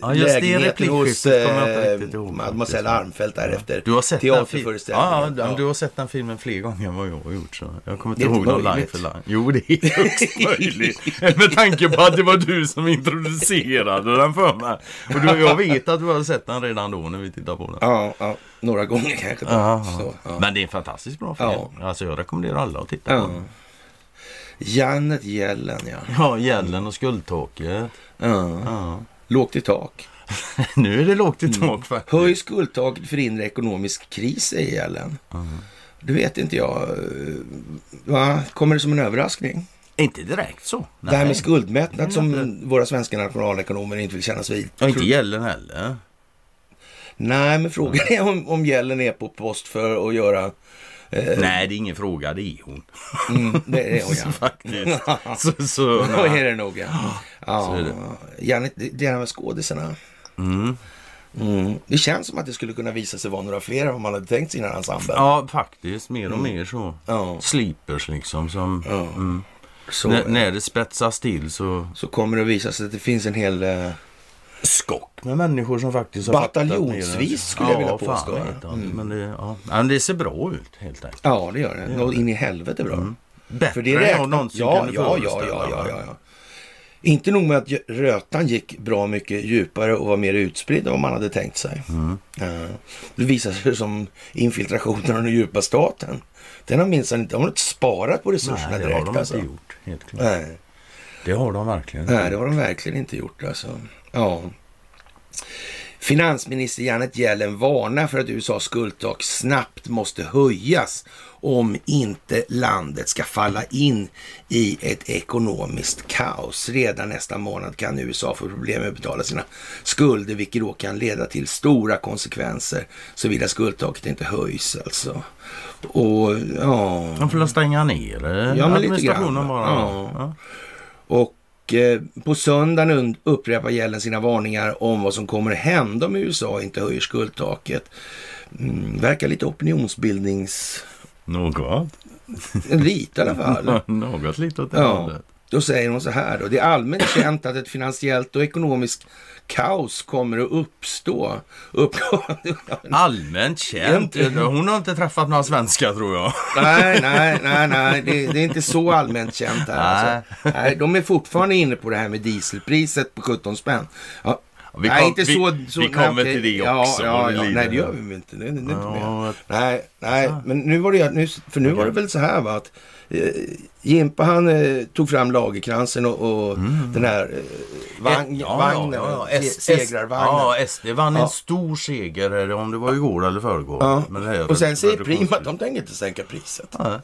[SPEAKER 4] ja,
[SPEAKER 3] lägenheten hos
[SPEAKER 4] replikskiftet kommer jag inte
[SPEAKER 3] eh,
[SPEAKER 4] riktigt ihåg
[SPEAKER 3] mademoiselle
[SPEAKER 4] faktiskt.
[SPEAKER 3] Armfelt där efter
[SPEAKER 4] Du har sett den filmen? Ja,
[SPEAKER 3] teaterföreställningen.
[SPEAKER 4] ja, du har sett den filmen fler gånger än vad jag har gjort. Så. Jag kommer
[SPEAKER 3] Det
[SPEAKER 4] inte
[SPEAKER 3] är
[SPEAKER 4] ihåg
[SPEAKER 3] inte
[SPEAKER 4] någon line
[SPEAKER 3] möjligt.
[SPEAKER 4] för line. Jo, det är högst möjligt. Med tanke på att det var du som introducerade den för mig. Och du, jag vet att du har sett den redan då när vi tittade på den.
[SPEAKER 3] Ja, ja några gånger kanske. Då.
[SPEAKER 4] Ja, ja.
[SPEAKER 3] Så, ja.
[SPEAKER 4] Men det är en fantastiskt bra film. Alltså, jag rekommenderar alla att titta på
[SPEAKER 3] Ja.
[SPEAKER 4] den.
[SPEAKER 3] Janet Yellen, ja.
[SPEAKER 4] Ja, Gällen och Skuldtaket.
[SPEAKER 3] ja.
[SPEAKER 4] Ja.
[SPEAKER 3] Lågt i tak.
[SPEAKER 4] Nu är det lågt i tak faktiskt.
[SPEAKER 3] Höj skuldtaket för inre ekonomisk kris, säger Yellen. Det vet inte jag. eh, Va? Kommer det som en överraskning?
[SPEAKER 4] Inte direkt så.
[SPEAKER 3] Det här
[SPEAKER 4] Nej.
[SPEAKER 3] med skuldmättnad som våra svenska nationalekonomer inte vill kännas vid.
[SPEAKER 4] Ja, inte Gällen heller.
[SPEAKER 3] Nej, men frågan är om, om Yellen är på post för att göra...
[SPEAKER 4] Nej, det är ingen fråga. Det är hon.
[SPEAKER 3] Mm, det är hon, ja.
[SPEAKER 4] Faktiskt. Så, så,
[SPEAKER 3] Då är det nog, ja.
[SPEAKER 4] så
[SPEAKER 3] ja
[SPEAKER 4] är det.
[SPEAKER 3] Janet, det det här med skådisarna. Mm. Det känns som att det skulle kunna visa sig vara några fler än vad man hade tänkt sig innan ensemblen.
[SPEAKER 4] Ja, faktiskt. Mer och
[SPEAKER 3] Mm.
[SPEAKER 4] mer så.
[SPEAKER 3] Ja.
[SPEAKER 4] Sleepers liksom. Som, mm.
[SPEAKER 3] Så,
[SPEAKER 4] N- när det spetsas till så...
[SPEAKER 3] så kommer det att visa sig att det finns en hel... eh,
[SPEAKER 4] Skock med människor som faktiskt har fattat mer än-
[SPEAKER 3] Bataljonsvis skulle jag vilja
[SPEAKER 4] ja,
[SPEAKER 3] påstå.
[SPEAKER 4] Fan, vet jag. Mm. men, det, ja. Ja, men det ser bra ut helt enkelt.
[SPEAKER 3] Ja, det gör det. Något in i helvete bra.
[SPEAKER 4] Mm. Bättre
[SPEAKER 3] För det
[SPEAKER 4] än jag
[SPEAKER 3] räknas.
[SPEAKER 4] någonsin
[SPEAKER 3] Ja,
[SPEAKER 4] kunde
[SPEAKER 3] ja, ja,
[SPEAKER 4] föreställa
[SPEAKER 3] ja, ja,
[SPEAKER 4] mig.
[SPEAKER 3] ja, ja. Inte nog med att gö- rötan gick bra mycket djupare och var mer utspridd än vad man hade tänkt sig.
[SPEAKER 4] Mm.
[SPEAKER 3] Ja. Det visar sig som infiltrationen av den djupa staten. Den har minsann inte, de har inte sparat på resurserna
[SPEAKER 4] Nej, det har
[SPEAKER 3] direkt.
[SPEAKER 4] de
[SPEAKER 3] alltså.
[SPEAKER 4] inte gjort. Helt klart.
[SPEAKER 3] Nej.
[SPEAKER 4] Det har de verkligen inte
[SPEAKER 3] Nej, det har de verkligen inte gjort alltså. Ja. Finansminister Janet Yellen varnar för att USAs skuldtak snabbt måste höjas om inte landet ska falla in i ett ekonomiskt kaos. Redan nästa månad kan USA få problem med att betala sina skulder, vilket då kan leda till stora konsekvenser såvida skuldtaket inte höjs alltså. Och ja...
[SPEAKER 4] De får stänga ner eh,
[SPEAKER 3] Ja, men lite
[SPEAKER 4] administrationen
[SPEAKER 3] grann.
[SPEAKER 4] bara.
[SPEAKER 3] Ja.
[SPEAKER 4] Ja.
[SPEAKER 3] Och eh, på söndagen und- upprepar Yellen sina varningar om vad som kommer hända om USA inte höjer skuldtaket. Mm, verkar lite opinionsbildnings...
[SPEAKER 4] Något.
[SPEAKER 3] Lite i alla fall.
[SPEAKER 4] Något lite åt det
[SPEAKER 3] Ja.
[SPEAKER 4] hållet.
[SPEAKER 3] Då säger hon så här då. Det är allmänt känt att ett finansiellt och ekonomiskt kaos kommer att uppstå. Uppgå...
[SPEAKER 4] Allmänt känt. Hon har inte träffat några svenskar tror jag.
[SPEAKER 3] nej, nej, nej, nej. Det, det är inte så allmänt känt här. Alltså. Nej, de är fortfarande inne på det här med dieselpriset på 17 spänn. Ja,
[SPEAKER 4] Vi
[SPEAKER 3] nej,
[SPEAKER 4] kom-
[SPEAKER 3] inte
[SPEAKER 4] vi,
[SPEAKER 3] så, så...
[SPEAKER 4] vi
[SPEAKER 3] nej,
[SPEAKER 4] kommer
[SPEAKER 3] okej.
[SPEAKER 4] till det
[SPEAKER 3] Ja,
[SPEAKER 4] också.
[SPEAKER 3] Ja,
[SPEAKER 4] vad
[SPEAKER 3] ja,
[SPEAKER 4] lider.
[SPEAKER 3] nej, det gör vi väl inte. Det, det, det är inte
[SPEAKER 4] Ja,
[SPEAKER 3] med.
[SPEAKER 4] jag-
[SPEAKER 3] Nej, nej, men nu var det, nu, för nu var det väl så här va, att eh, Jimpa han eh, tog fram lagerkransen och, och
[SPEAKER 4] Mm.
[SPEAKER 3] den här eh, vagn, vagnen, se-
[SPEAKER 4] S- S-
[SPEAKER 3] segrarvagnen.
[SPEAKER 4] Ja, SD vann
[SPEAKER 3] Ja.
[SPEAKER 4] en stor seger, här, om det var igår eller förrgår.
[SPEAKER 3] Ja.
[SPEAKER 4] Men det här-
[SPEAKER 3] och sen säger
[SPEAKER 4] reduktions-
[SPEAKER 3] Prima att de tänker inte sänka priset.
[SPEAKER 4] Nej.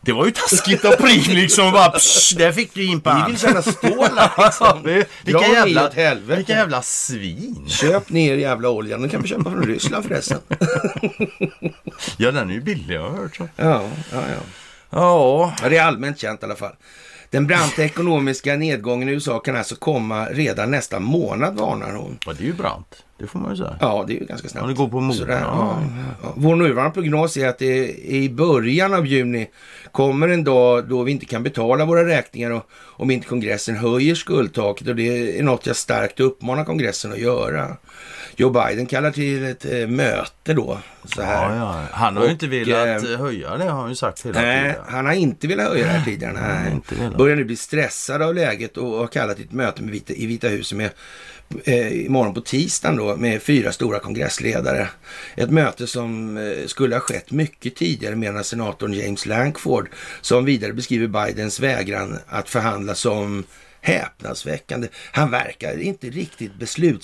[SPEAKER 4] Det var ju taskigt av Prim liksom. Bara, psch, där fick du in på
[SPEAKER 3] Vi vill känna stålar liksom. Dra
[SPEAKER 4] Vilka
[SPEAKER 3] ner
[SPEAKER 4] jävla,
[SPEAKER 3] åt helvete.
[SPEAKER 4] vilka jävla svin.
[SPEAKER 3] Köp ner jävla oljan, den kan vi köpa från Ryssland förresten.
[SPEAKER 4] Ja, den är ju billig har jag hört. Så.
[SPEAKER 3] Ja, ja, ja.
[SPEAKER 4] Ja.
[SPEAKER 3] Ja, det är allmänt känt i alla fall. Den branta ekonomiska nedgången i USA kan alltså komma redan nästa månad, varnar hon.
[SPEAKER 4] ja, det är ju brant. Det får man ju säga.
[SPEAKER 3] Ja, det är ju ganska snabbt.
[SPEAKER 4] Ja, det går på moden,
[SPEAKER 3] Sådär,
[SPEAKER 4] ja.
[SPEAKER 3] ja. Ja. Vår nuvarande prognos är att det i början av juni kommer en dag då vi inte kan betala våra räkningar och, om inte kongressen höjer skuldtaket och det är något jag starkt uppmanar kongressen att göra. Joe Biden kallar till ett eh, möte då. Så här.
[SPEAKER 4] Ja, ja. Han har ju
[SPEAKER 3] Och,
[SPEAKER 4] inte velat
[SPEAKER 3] eh,
[SPEAKER 4] eh, höja det har han ju sagt hela
[SPEAKER 3] Nej,
[SPEAKER 4] tiden.
[SPEAKER 3] han har inte velat höja det här tidigare.
[SPEAKER 4] har
[SPEAKER 3] Nej.
[SPEAKER 4] inte velat.
[SPEAKER 3] Börjar nu bli stressad av läget och har kallat till ett möte med Vita, i Vita huset med, eh, imorgon på tisdagen då, med fyra stora kongressledare. Ett möte som eh, skulle ha skett mycket tidigare menar senatorn James Lankford som vidare beskriver Bidens vägran att förhandla som häpnadsväckande. Han verkar inte riktigt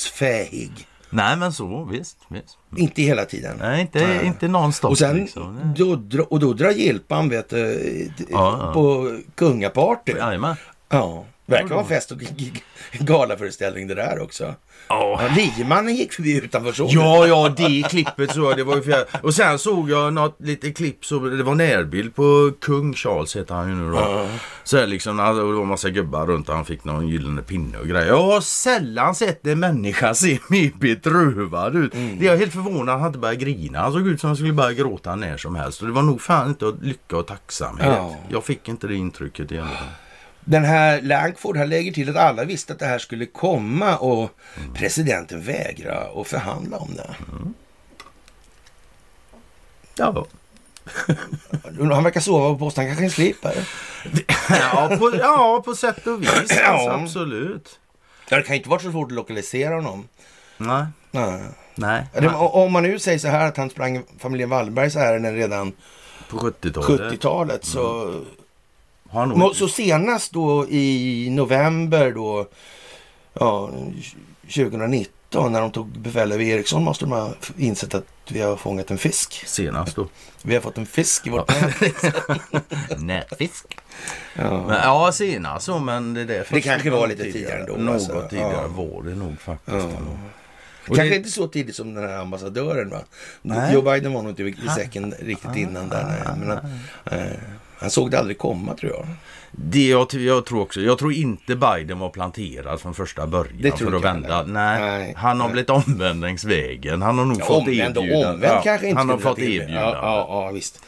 [SPEAKER 3] beslutsfähig.
[SPEAKER 4] Nej, men så visst. visst.
[SPEAKER 3] Inte hela tiden.
[SPEAKER 4] Nej, inte, inte nonstop
[SPEAKER 3] Och, sen,
[SPEAKER 4] liksom. Nej.
[SPEAKER 3] då, dra- och då drar Gilpan vet du, d-
[SPEAKER 4] ja.
[SPEAKER 3] på kungaparty. Ja.
[SPEAKER 4] Jajamän.
[SPEAKER 3] Verkar vara fest och g- g- galaföreställning det där också. Ja, Liemannen gick förbi utanför så.
[SPEAKER 4] Ja, ja, det klippet så jag. Det var ju fjär... Och sen såg jag något litet klipp, så det var närbild på kung Charles heter han ju nu då. Så här liksom, när det var en massa gubbar runt och han fick någon gyllene pinne och grejer. Jag har sällan sett en människa se mer bedrövad ut.
[SPEAKER 3] Mm.
[SPEAKER 4] Det är jag helt förvånad att han inte började grina. Han såg ut som han skulle börja gråta när som helst. Och det var nog fan inte att lycka och tacksamhet.
[SPEAKER 3] Ja.
[SPEAKER 4] Jag fick inte det intrycket i alla fall.
[SPEAKER 3] Den här Lankford han lägger till att alla visste att det här skulle komma och presidenten vägrar att förhandla om det.
[SPEAKER 4] Ja, Mm.
[SPEAKER 3] Han verkar sova på posten, han kanske är en slipper.
[SPEAKER 4] ja, på, ja på sätt och vis. Alltså,
[SPEAKER 3] Ja.
[SPEAKER 4] absolut.
[SPEAKER 3] Ja, det kan ju inte vara så svårt att lokalisera honom.
[SPEAKER 4] Nej.
[SPEAKER 3] Nej.
[SPEAKER 4] Nej.
[SPEAKER 3] Det- Om man nu säger så här att han sprang familjen Wallenbergs ärenden redan
[SPEAKER 4] På 70-talet.
[SPEAKER 3] 70-talet så
[SPEAKER 4] Mm. Har han nog
[SPEAKER 3] Nå-
[SPEAKER 4] inte-
[SPEAKER 3] Så senast då i november då, ja, 2019 när de tog befäl över Ericsson måste de ha f- insett att vi har fångat en fisk.
[SPEAKER 4] senast då.
[SPEAKER 3] Vi har fått en fisk i vårt nät.
[SPEAKER 4] Nätfisk.
[SPEAKER 3] Ja.
[SPEAKER 4] Men, ja, senast så, men det där
[SPEAKER 3] Det kanske var lite tidigare då,
[SPEAKER 4] Något
[SPEAKER 3] alltså.
[SPEAKER 4] tidigare
[SPEAKER 3] Ja.
[SPEAKER 4] var det nog faktiskt. ändå. Och
[SPEAKER 3] Kanske
[SPEAKER 4] det-
[SPEAKER 3] inte så tidigt som den här ambassadören va?
[SPEAKER 4] Nej. Ah.
[SPEAKER 3] Joe Biden var nog inte i säcken riktigt innan där. Nej. Men han, eh, han såg det aldrig komma tror jag.
[SPEAKER 4] Det jag, jag tror också, jag tror inte Biden var planterad från första början
[SPEAKER 3] Det tror
[SPEAKER 4] för att
[SPEAKER 3] inte jag
[SPEAKER 4] vända.
[SPEAKER 3] heller.
[SPEAKER 4] Nej,
[SPEAKER 3] Nej.
[SPEAKER 4] han har
[SPEAKER 3] Nej.
[SPEAKER 4] blivit omvänd längs vägen. Han har nog
[SPEAKER 3] Ja,
[SPEAKER 4] fått
[SPEAKER 3] omvänd och
[SPEAKER 4] erbjudande.
[SPEAKER 3] omvänd
[SPEAKER 4] Ja,
[SPEAKER 3] kanske inte
[SPEAKER 4] Han har
[SPEAKER 3] skulle
[SPEAKER 4] fått
[SPEAKER 3] jag till och med.
[SPEAKER 4] erbjudande.
[SPEAKER 3] Ja, ja, ja visst.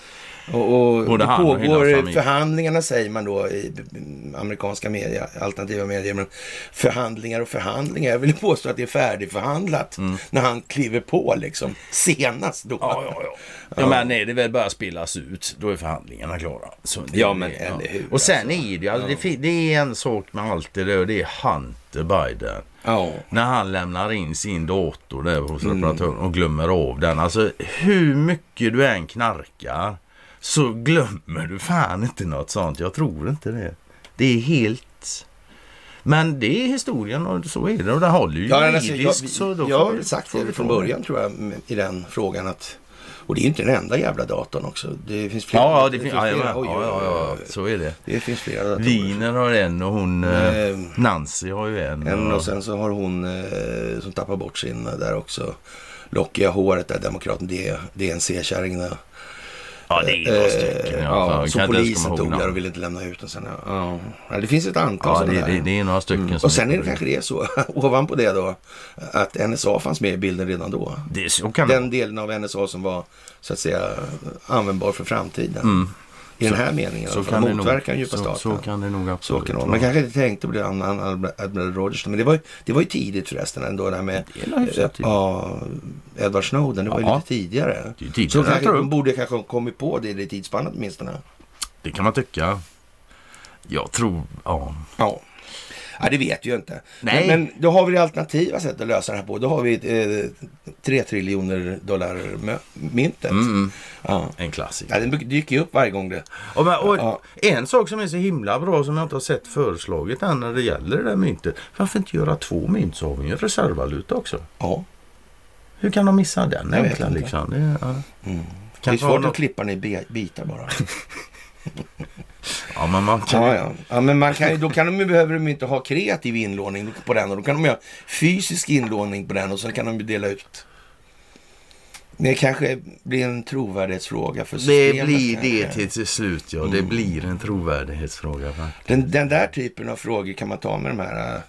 [SPEAKER 3] Och, och
[SPEAKER 4] Både
[SPEAKER 3] det
[SPEAKER 4] han och hela
[SPEAKER 3] pågår
[SPEAKER 4] familjen.
[SPEAKER 3] förhandlingarna säger man då i b- b- amerikanska media, alternativa medier. Men förhandlingar och förhandlingar. Jag vill påstå att det är färdigförhandlat när han kliver på liksom. Senast då.
[SPEAKER 4] Mm. Ja, ja, ja. ja men när det väl börjar spelas ut, då är förhandlingarna klara. Så det-
[SPEAKER 3] Ja, men eller hur,
[SPEAKER 4] Och sen är det ju, alltså, det, fin- det är en sak med allt det där och det är Hunter Biden.
[SPEAKER 3] Ja.
[SPEAKER 4] När han lämnar in sin dator där hos
[SPEAKER 3] Mm.
[SPEAKER 4] reparatören och glömmer av den. Alltså hur mycket du än knarkar så glömmer du fan inte något sånt. Jag tror inte det. Det är helt... Men det är historien och så är det och den håller ju
[SPEAKER 3] Ja, men alltså, jag,
[SPEAKER 4] juridiskt, så då
[SPEAKER 3] jag
[SPEAKER 4] får vi-
[SPEAKER 3] har sagt
[SPEAKER 4] får vi
[SPEAKER 3] det från
[SPEAKER 4] ta
[SPEAKER 3] början tror jag m- i den frågan att och det är ju inte den enda jävla datorn också. Det finns flera.
[SPEAKER 4] Ja, ja, det finns... Ja,
[SPEAKER 3] flera.
[SPEAKER 4] ja,
[SPEAKER 3] Oj, oj, oj,
[SPEAKER 4] ja, ja, så är det.
[SPEAKER 3] Det finns flera datorer.
[SPEAKER 4] Wiener har en och hon eh,
[SPEAKER 3] Ehm.
[SPEAKER 4] Nancy har ju en.
[SPEAKER 3] En
[SPEAKER 4] och-
[SPEAKER 3] Mm, och sen så har hon eh, som tappar bort sin eh, där också. Lockiga håret där, demokraten, det är DNC-kärringen. Eh,
[SPEAKER 4] ja, det är några stycken. i alla fall.
[SPEAKER 3] ja,
[SPEAKER 4] Jag
[SPEAKER 3] som
[SPEAKER 4] kan inte ens
[SPEAKER 3] polisen
[SPEAKER 4] komma ihåg
[SPEAKER 3] tog där
[SPEAKER 4] namn.
[SPEAKER 3] och ville inte lämna ut den sen. Ja, ja. Ja, det finns ett antal
[SPEAKER 4] Ja,
[SPEAKER 3] sådana
[SPEAKER 4] det,
[SPEAKER 3] där. Mm.
[SPEAKER 4] det, det är några stycken som
[SPEAKER 3] och sen är det
[SPEAKER 4] heter-
[SPEAKER 3] kanske det är så, ovanpå det då, att NSA fanns med i bilden redan då.
[SPEAKER 4] Det är så kan det
[SPEAKER 3] Den delen av NSA som var så att säga användbar för framtiden. I den här meningen.
[SPEAKER 4] Mm. så
[SPEAKER 3] Så
[SPEAKER 4] kan det nog-
[SPEAKER 3] motverkar den djupa
[SPEAKER 4] så-
[SPEAKER 3] staten.
[SPEAKER 4] så kan det nog absolut
[SPEAKER 3] Så kan det vara.
[SPEAKER 4] vara.
[SPEAKER 3] Man kanske inte tänkte på det annan Admiral Rogers. Men det var, ju, det var ju tidigt förresten ändå det här med
[SPEAKER 4] Det är nog hyfsat
[SPEAKER 3] eh,
[SPEAKER 4] tidigt.
[SPEAKER 3] ja, Edward Snowden. Det var ju
[SPEAKER 4] Ja.
[SPEAKER 3] lite tidigare.
[SPEAKER 4] Det är ju tidigare
[SPEAKER 3] så
[SPEAKER 4] än
[SPEAKER 3] kanske,
[SPEAKER 4] Trump.
[SPEAKER 3] de borde kanske ha kommit på det i det tidsspannet åtminstone.
[SPEAKER 4] Det kan man tycka. Jag tror, ja.
[SPEAKER 3] Ja. Ja, det vet vi ju inte.
[SPEAKER 4] Nej.
[SPEAKER 3] Men, men då har vi det alternativa sätt att lösa det här på. Då har vi eh, 3 triljoner dollar mö- myntet.
[SPEAKER 4] Mm,
[SPEAKER 3] Ja.
[SPEAKER 4] En
[SPEAKER 3] Ja,
[SPEAKER 4] klassiker.
[SPEAKER 3] det dyker ju upp varje gång det.
[SPEAKER 4] Ja, men, och
[SPEAKER 3] Ja.
[SPEAKER 4] En sak som är så himla bra som jag inte har sett föreslaget än när det gäller det där myntet. Varför inte göra två mynt så har vi ju en reservvaluta också.
[SPEAKER 3] Ja.
[SPEAKER 4] Hur kan de missa den
[SPEAKER 3] Jag vet
[SPEAKER 4] egentligen?
[SPEAKER 3] inte.
[SPEAKER 4] Liksom? Det, är- ja.
[SPEAKER 3] Det är
[SPEAKER 4] Kanske har
[SPEAKER 3] svårt
[SPEAKER 4] något-
[SPEAKER 3] att klippa ner be- bitar bara.
[SPEAKER 4] Ja, men man kan...
[SPEAKER 3] Ja, ja. ja men man kan, ju- då kan de ju, behöver de ju inte ha kreativ inlåning på den. Och då kan de göra fysisk inlåning på den och sen kan de ju dela ut. Det kanske blir en trovärdighetsfråga för systemet. Mm.
[SPEAKER 4] Det blir det
[SPEAKER 3] kanske.
[SPEAKER 4] till, till slut, ja. Det blir en trovärdighetsfråga. va?
[SPEAKER 3] Den, den där typen av frågor kan man ta med de här, äh,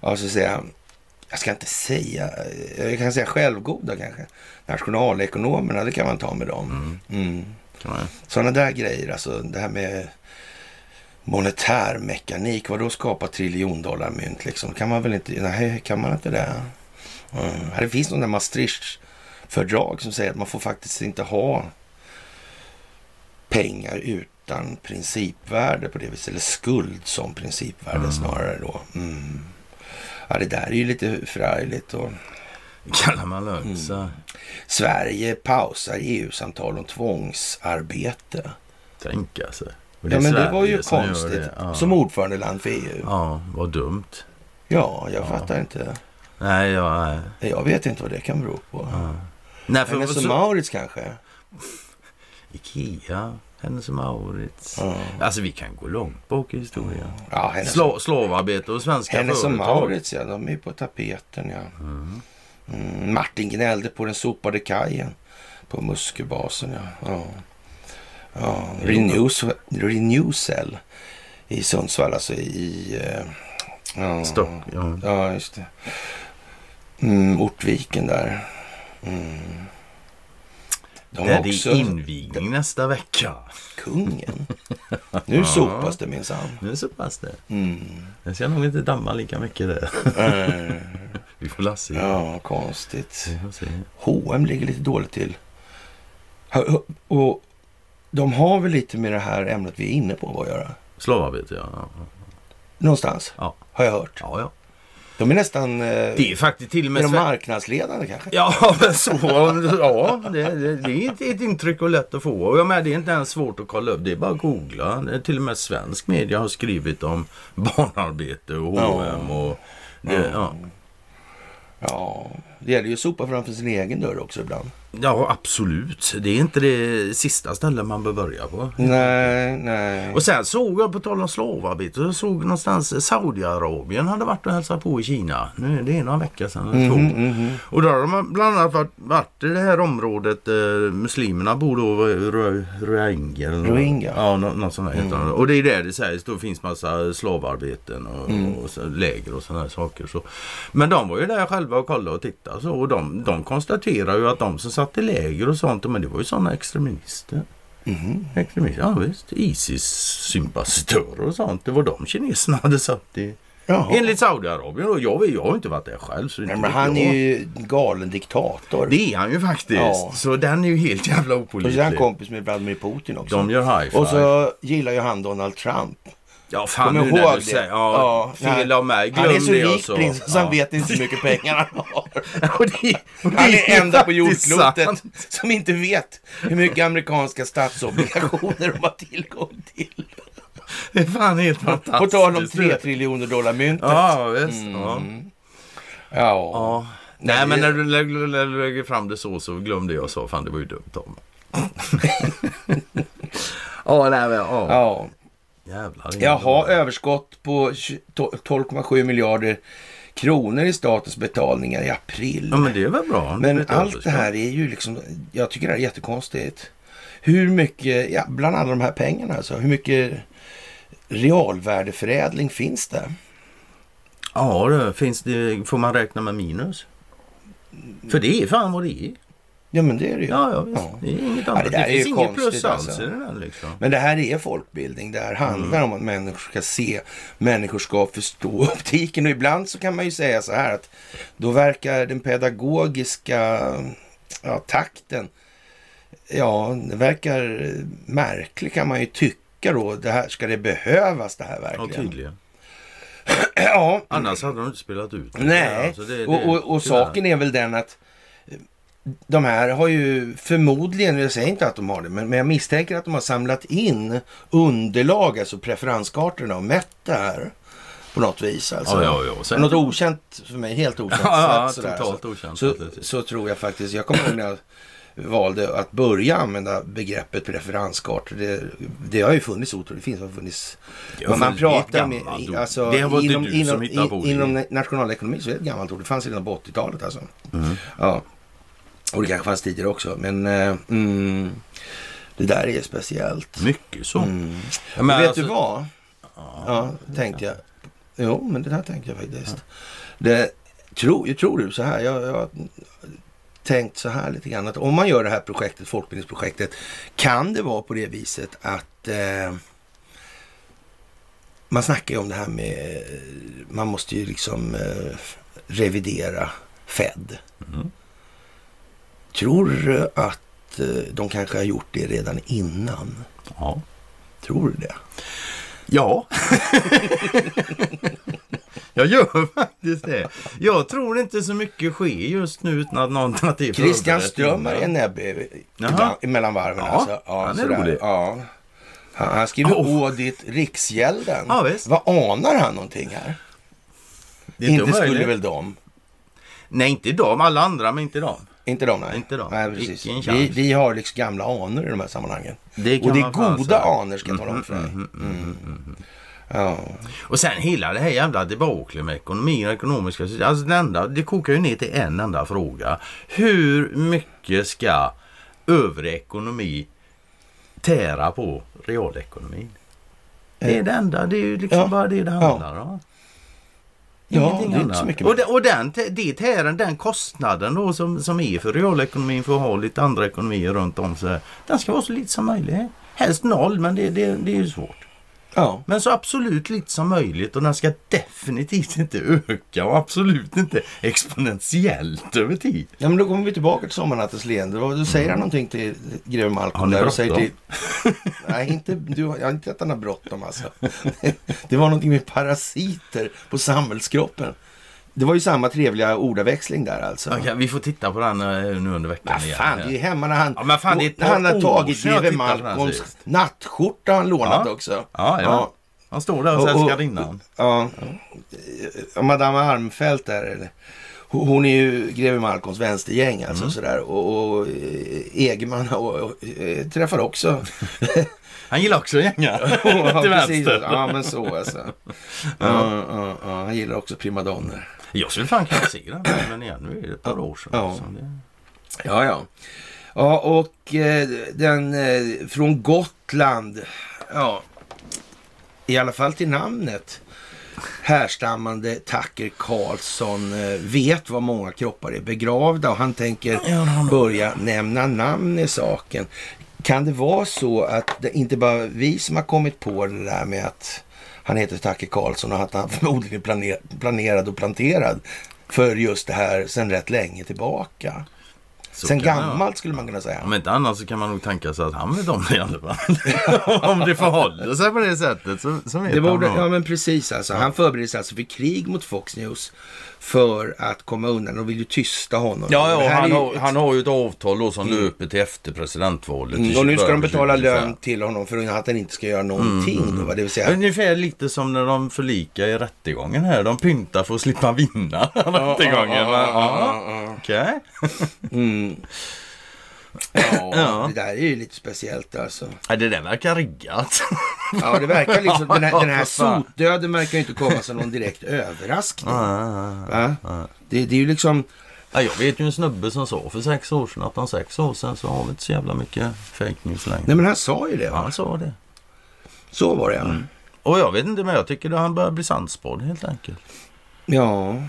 [SPEAKER 3] ja så att säga, jag ska inte säga, äh, jag kan säga självgoda kanske. Nationalekonomerna, det kan man ta med dem. Mm.
[SPEAKER 4] Kan man-
[SPEAKER 3] Sådana där grejer, alltså det här med monetär mekanik, vadå skapa triljondollarmynt liksom? Kan man väl inte, nej kan man inte det? Mm. Ja, Det finns någon där Maastricht-fördrag som säger att man får faktiskt inte ha pengar utan principvärde på det viset, eller skuld som principvärde snarare då. Mm. Ja, det där är ju lite förargligt och
[SPEAKER 4] Kallar man lönsa.
[SPEAKER 3] Mm. Sverige pausar EU-samtal om tvångsarbete.
[SPEAKER 4] Tänka sig. Och
[SPEAKER 3] Ja,
[SPEAKER 4] är
[SPEAKER 3] men det var ju
[SPEAKER 4] Sverige som gör
[SPEAKER 3] konstigt.
[SPEAKER 4] det. Ja.
[SPEAKER 3] Som ordförandeland för EU.
[SPEAKER 4] Ja, vad dumt.
[SPEAKER 3] Ja, jag fattar inte.
[SPEAKER 4] Nej, ja, nej.
[SPEAKER 3] Jag vet inte vad det kan bero på.
[SPEAKER 4] nej för,
[SPEAKER 3] Hennes och
[SPEAKER 4] så,
[SPEAKER 3] Mauritz kanske?
[SPEAKER 4] Ikea, Hennes och Mauritz.
[SPEAKER 3] Ja.
[SPEAKER 4] Alltså vi kan gå långt bak i historien.
[SPEAKER 3] Ja, Hennes,
[SPEAKER 4] Sla, slavarbete och svenska
[SPEAKER 3] Hennes och
[SPEAKER 4] företag.
[SPEAKER 3] Mauritz, ja. De är på tapeten, ja. Mm, Martin gnällde på den sopade kajen på Musköbasen, ja. ja. ja. Renewcell- Renewcell i Sundsvall, alltså i... eh, Ja,
[SPEAKER 4] Stock, ja.
[SPEAKER 3] ja just det. Mm, Ortviken där. Mm. De
[SPEAKER 4] Det är
[SPEAKER 3] har också
[SPEAKER 4] det invigning nästa vecka.
[SPEAKER 3] kungen. Nu sopas det minsann.
[SPEAKER 4] Nu så pass det.
[SPEAKER 3] Mm.
[SPEAKER 4] Den ska nog inte damma lika mycket där.
[SPEAKER 3] Eh,
[SPEAKER 4] Vi får la se.
[SPEAKER 3] Ja, konstigt.
[SPEAKER 4] Vi får se.
[SPEAKER 3] H&M ligger lite dåligt till. Ha- Och de har väl lite med det här ämnet vi är inne på att göra.
[SPEAKER 4] Slavarbete, ja. ja.
[SPEAKER 3] Någonstans,
[SPEAKER 4] Ja,
[SPEAKER 3] har jag hört.
[SPEAKER 4] ja. ja.
[SPEAKER 3] De är nästan eh,
[SPEAKER 4] Det är faktiskt till och
[SPEAKER 3] är
[SPEAKER 4] med...
[SPEAKER 3] de
[SPEAKER 4] Sven-
[SPEAKER 3] marknadsledande kanske.
[SPEAKER 4] Ja, men så. Ja, det, det, det är inte ett intryck och lätt att få. Och jag menar, det är inte ens svårt att kolla upp. Det är bara att googla. Det är till och med svensk media har skrivit om barnarbete och H&M och... Det, ja.
[SPEAKER 3] Ja, det gäller ju att sopa framför sin egen dörr också ibland.
[SPEAKER 4] ja, absolut. Det är inte det sista stället man bör börja på.
[SPEAKER 3] Nej, nej.
[SPEAKER 4] Eh, Och sen såg jag, på tal om slavarbete, jag såg någonstans eh, Saudiarabien hade varit och hälsat på i Kina. Nu är det några veckor sedan, eller två. Och där har de bland annat varit, varit i det här området, eh, muslimerna bor då, eh, Ro- Rohingya. eller något.
[SPEAKER 3] Rohingya. Mm.
[SPEAKER 4] Ja, nå- något sånt där heter det. Och det är där det sägs, då finns massa slavarbeten och,
[SPEAKER 3] Mm.
[SPEAKER 4] och så, läger och sådana här saker. Så. Men de var ju där själva och kollade och tittade så, och de, de konstaterar ju att de som satt i läger och sånt, men det var ju sådana extremister.
[SPEAKER 3] Mm-hmm.
[SPEAKER 4] Extremister, ja visst. Isis-sympatisörer och sånt. Det var de kineserna hade satt i.
[SPEAKER 3] Jaha.
[SPEAKER 4] Enligt Saudiarabien då. Jag, vet- jag har inte varit där själv. Så inte
[SPEAKER 3] Nej, men
[SPEAKER 4] vet
[SPEAKER 3] han
[SPEAKER 4] jag.
[SPEAKER 3] är ju en galen diktator.
[SPEAKER 4] Det är han ju faktiskt.
[SPEAKER 3] Ja.
[SPEAKER 4] Så den är ju helt jävla
[SPEAKER 3] Och så är han
[SPEAKER 4] opålitlig.
[SPEAKER 3] kompis med Vladimir Putin också.
[SPEAKER 4] De gör high five.
[SPEAKER 3] Och så gillar ju han Donald Trump.
[SPEAKER 4] Ja fan
[SPEAKER 3] Kom
[SPEAKER 4] nu
[SPEAKER 3] ihåg
[SPEAKER 4] när du
[SPEAKER 3] det.
[SPEAKER 4] säger. Ja, fel
[SPEAKER 3] han-
[SPEAKER 4] av mig. Glöm
[SPEAKER 3] Han är så
[SPEAKER 4] det
[SPEAKER 3] rik
[SPEAKER 4] så.
[SPEAKER 3] prins så
[SPEAKER 4] Ja.
[SPEAKER 3] han vet inte hur mycket pengar han har.
[SPEAKER 4] och det, och det
[SPEAKER 3] Han är enda på
[SPEAKER 4] faktiskt
[SPEAKER 3] jordklotet
[SPEAKER 4] sant.
[SPEAKER 3] som inte vet hur mycket amerikanska statsobligationer de har tillgång till.
[SPEAKER 4] Det är fan helt
[SPEAKER 3] På
[SPEAKER 4] fantastiskt.
[SPEAKER 3] tal om Mm. 3 triljoner dollar myntet.
[SPEAKER 4] Ja visst. Ja.
[SPEAKER 3] Ja.
[SPEAKER 4] Ja. Nej men när du, när, du, när du lägger fram det så så glöm det jag sa. Fan det var ju dumt av mig. Ja nej men ja.
[SPEAKER 3] ja.
[SPEAKER 4] Jävlar.
[SPEAKER 3] Jaha, överskott på 12,7 miljarder kronor i statens betalningar i april.
[SPEAKER 4] Ja men det är väl bra.
[SPEAKER 3] Men
[SPEAKER 4] Lite
[SPEAKER 3] allt det
[SPEAKER 4] överskott.
[SPEAKER 3] här är ju liksom, jag tycker det här är jättekonstigt. Hur mycket, ja, bland alla de här pengarna alltså, hur mycket realvärdeförädling finns det?
[SPEAKER 4] Ja det finns det. Får man räkna med minus? För det är fan vad det är.
[SPEAKER 3] Ja men det är det ju.
[SPEAKER 4] Ja ja visst.
[SPEAKER 3] Ja.
[SPEAKER 4] Det är inget
[SPEAKER 3] Ja,
[SPEAKER 4] annat.
[SPEAKER 3] det
[SPEAKER 4] det,
[SPEAKER 3] där är ju
[SPEAKER 4] finns inget
[SPEAKER 3] konstigt,
[SPEAKER 4] plus
[SPEAKER 3] alltså.
[SPEAKER 4] alls i den här liksom.
[SPEAKER 3] Men det här är folkbildning. Det här handlar om att människor ska se, människor ska förstå optiken. Och ibland så kan man ju säga så här att då verkar den pedagogiska ja, takten, ja, det verkar eh, märklig kan man ju tycka då. Det här, ska det behövas det här
[SPEAKER 4] Ja
[SPEAKER 3] verkligen? Mm.
[SPEAKER 4] tydligen.
[SPEAKER 3] ja,
[SPEAKER 4] Annars hade de inte spelat ut det.
[SPEAKER 3] nej.
[SPEAKER 4] Alltså, det- det-
[SPEAKER 3] och och, och
[SPEAKER 4] tyvärr.
[SPEAKER 3] saken är väl den att eh, de här har ju förmodligen, jag säger inte att de har det, men, men jag misstänker att de har samlat in underlag, alltså preferenskartorna och mätt det här på något vis. Alltså.
[SPEAKER 4] Ja, ja, ja. Sen-
[SPEAKER 3] Något okänt för mig, helt okänt
[SPEAKER 4] Ja,
[SPEAKER 3] sätt. sådär,
[SPEAKER 4] totalt
[SPEAKER 3] alltså.
[SPEAKER 4] okänt,
[SPEAKER 3] Så,
[SPEAKER 4] precis.
[SPEAKER 3] så tror jag faktiskt, jag kommer ihåg när jag valde att börja använda begreppet preferenskartor. Det, det har ju funnits otroligt, det finns, det har funnits
[SPEAKER 4] Det har
[SPEAKER 3] men man
[SPEAKER 4] funnits- Alltså, det är ett
[SPEAKER 3] pratar med,
[SPEAKER 4] gammalt
[SPEAKER 3] i-
[SPEAKER 4] ord.
[SPEAKER 3] alltså,
[SPEAKER 4] Det var inte
[SPEAKER 3] inom,
[SPEAKER 4] du
[SPEAKER 3] inom,
[SPEAKER 4] som hittade på
[SPEAKER 3] i,
[SPEAKER 4] det.
[SPEAKER 3] inom nationalekonomi så är det ett gammalt ord. Det fanns redan på 80-talet alltså.
[SPEAKER 4] Mm.
[SPEAKER 3] Ja. Och det kanske fanns tidigare också. Men eh, mm, det där är speciellt.
[SPEAKER 4] Mycket så.
[SPEAKER 3] Mm.
[SPEAKER 4] Ja, men
[SPEAKER 3] vet
[SPEAKER 4] alltså-
[SPEAKER 3] du vad? Ja, tänkte jag. Jo, men det där tänkte jag faktiskt. Det, tror, jag tror du så här? Jag, jag har tänkt så här lite grann. Att om man gör det här projektet, folkbildningsprojektet, kan det vara på det viset att eh, man snackar ju om det här med, eh, man måste ju liksom eh, revidera Fed.
[SPEAKER 4] Mm.
[SPEAKER 3] Tror du att eh, de kanske har gjort det redan innan?
[SPEAKER 4] Ja.
[SPEAKER 3] Tror du det?
[SPEAKER 4] Ja. jag gör faktiskt det. Jag tror inte så mycket sker just nu utan att någon tagit i
[SPEAKER 3] Christian
[SPEAKER 4] förberett
[SPEAKER 3] Strömmer
[SPEAKER 4] innan.
[SPEAKER 3] är näbbe
[SPEAKER 4] Jaha.
[SPEAKER 3] ibland- mellan varven.
[SPEAKER 4] Ja,
[SPEAKER 3] alltså.
[SPEAKER 4] han är
[SPEAKER 3] sådär.
[SPEAKER 4] rolig.
[SPEAKER 3] Ja. Han, han skriver
[SPEAKER 4] Oh.
[SPEAKER 3] Audit Riksgälden.
[SPEAKER 4] Ja, visst.
[SPEAKER 3] Vad anar han någonting här?
[SPEAKER 4] Det är
[SPEAKER 3] Inte
[SPEAKER 4] omöjligt.
[SPEAKER 3] skulle väl de?
[SPEAKER 4] Nej, inte de. Alla andra, men inte de.
[SPEAKER 3] Inte de, nej.
[SPEAKER 4] Inte de.
[SPEAKER 3] nej precis.
[SPEAKER 4] Icke en
[SPEAKER 3] Vi,
[SPEAKER 4] chans.
[SPEAKER 3] vi har liksom gamla anor i de här sammanhangen.
[SPEAKER 4] Det kan
[SPEAKER 3] Och det är
[SPEAKER 4] man fan
[SPEAKER 3] goda
[SPEAKER 4] säga. Mm-hmm,
[SPEAKER 3] anor ska jag tala om för dig. Mm. Ja.
[SPEAKER 4] Och sen hela det här jävla debaclet med ekonomin och ekonomiska system. Alltså det, enda, det kokar ju ner till en enda fråga. Hur mycket ska övrig ekonomi tära på realekonomin? Det är det enda. Det är ju liksom
[SPEAKER 3] Eh, Ja.
[SPEAKER 4] bara det det handlar om.
[SPEAKER 3] ja, det
[SPEAKER 4] Ingenting
[SPEAKER 3] är inte
[SPEAKER 4] annat.
[SPEAKER 3] så mycket
[SPEAKER 4] och, de,
[SPEAKER 3] mer.
[SPEAKER 4] och den, te- det tären, den kostnaden då som, som är för realekonomin för att ha lite andra ekonomier runt om sig. Den ska vara så lite som möjligt. Helst noll men det, det, det är ju svårt.
[SPEAKER 3] Ja.
[SPEAKER 4] Men så absolut lite som möjligt och den ska definitivt inte öka och absolut inte exponentiellt över tid.
[SPEAKER 3] ja, men då kommer vi tillbaka till Sommarnattens leende. Vad- Du säger han någonting till greve
[SPEAKER 4] Mm. Har
[SPEAKER 3] Malcolm?
[SPEAKER 4] ni
[SPEAKER 3] där och säger
[SPEAKER 4] bråttom?
[SPEAKER 3] till... Nej, inte, du, jag har inte att han har bråttom alltså. Det var någonting med parasiter på samhällskroppen. Det var ju samma trevliga ordaväxling där alltså.
[SPEAKER 4] Okej, vi får titta på den eh, nu under veckan
[SPEAKER 3] Vad fan, det är ju hemma när han,
[SPEAKER 4] Ja, men fan, det är ett par
[SPEAKER 3] han har
[SPEAKER 4] år
[SPEAKER 3] tagit
[SPEAKER 4] sedan jag
[SPEAKER 3] greve
[SPEAKER 4] tittade på den
[SPEAKER 3] Malcolms
[SPEAKER 4] sist.
[SPEAKER 3] nattskjorta han lånat
[SPEAKER 4] Ja.
[SPEAKER 3] också.
[SPEAKER 4] Ja, ja. Han står där hos älskarinnan.
[SPEAKER 3] Ja. Och Madame Armfelt där. Eller? Hon hon är ju greve Malcolms vänstergäng alltså sådär. Och, och eh, Egerman och, och, eh, träffar också.
[SPEAKER 4] Han gillar också en gänga.
[SPEAKER 3] ja,
[SPEAKER 4] till
[SPEAKER 3] precis.
[SPEAKER 4] vänster.
[SPEAKER 3] Ja, men så alltså. Ja, ja, ja. Han gillar också primadonner.
[SPEAKER 4] Jag skulle fan kunna se den filmen igen. Nu är det ett par år sedan.
[SPEAKER 3] Ja.
[SPEAKER 4] Så det-
[SPEAKER 3] Ja, ja. Ja, och eh, den eh, från Gotland. Ja, i alla fall till namnet. Härstammande Tacker Karlsson eh, vet var många kroppar är begravda och han tänker börja nämna namn i saken. Kan det vara så att det inte bara vi som har kommit på det där med att han heter Tacker Karlsson och att han förmodligen är planer- planerad och planterad för just det här sedan rätt länge tillbaka?
[SPEAKER 4] så
[SPEAKER 3] Sen
[SPEAKER 4] kan det vara.
[SPEAKER 3] gammalt skulle man kunna
[SPEAKER 4] Om
[SPEAKER 3] säga.
[SPEAKER 4] inte annars så kan man nog tänka sig att han vet om det i alla fall. om det förhåller sig på det sättet så, så vet
[SPEAKER 3] Det
[SPEAKER 4] han
[SPEAKER 3] borde,
[SPEAKER 4] nog.
[SPEAKER 3] ja men precis alltså. Han förbereder sig alltså för krig mot Fox News för att komma undan. och vill ju tysta honom.
[SPEAKER 4] Ja,
[SPEAKER 3] Det
[SPEAKER 4] ja och
[SPEAKER 3] här
[SPEAKER 4] han,
[SPEAKER 3] är ju
[SPEAKER 4] har,
[SPEAKER 3] ett-
[SPEAKER 4] han har ju ett avtal då som löper till efter presidentvalet. till
[SPEAKER 3] Mm, och nu ska de betala
[SPEAKER 4] 2025.
[SPEAKER 3] lön till honom för att han inte ska göra
[SPEAKER 4] Mm.
[SPEAKER 3] någonting. Då, va? det vill säga,
[SPEAKER 4] Ungefär lite som när de förlikar i rättegången här. De pyntar för att slippa vinna rättegången. va? Ja, Okej.
[SPEAKER 3] ja, det där är ju lite speciellt alltså.
[SPEAKER 4] Ja, Det där verkar riggat.
[SPEAKER 3] Ja, det verkar liksom, den här, den här
[SPEAKER 4] För fan.
[SPEAKER 3] sotdöden verkar ju inte komma som någon direkt överraskning. Va? Det, det är ju liksom,
[SPEAKER 4] Ja, jag vet ju en snubbe som sa för sex år sedan att om sex år sedan så har vi inte så jävla mycket fake news längre.
[SPEAKER 3] nej men han sa ju det.
[SPEAKER 4] Ja, Mm.
[SPEAKER 3] Va?
[SPEAKER 4] Han sa det.
[SPEAKER 3] Så var det ja.
[SPEAKER 4] Och jag vet inte men jag tycker att han börjar bli sannspådd helt enkelt.
[SPEAKER 3] Ja.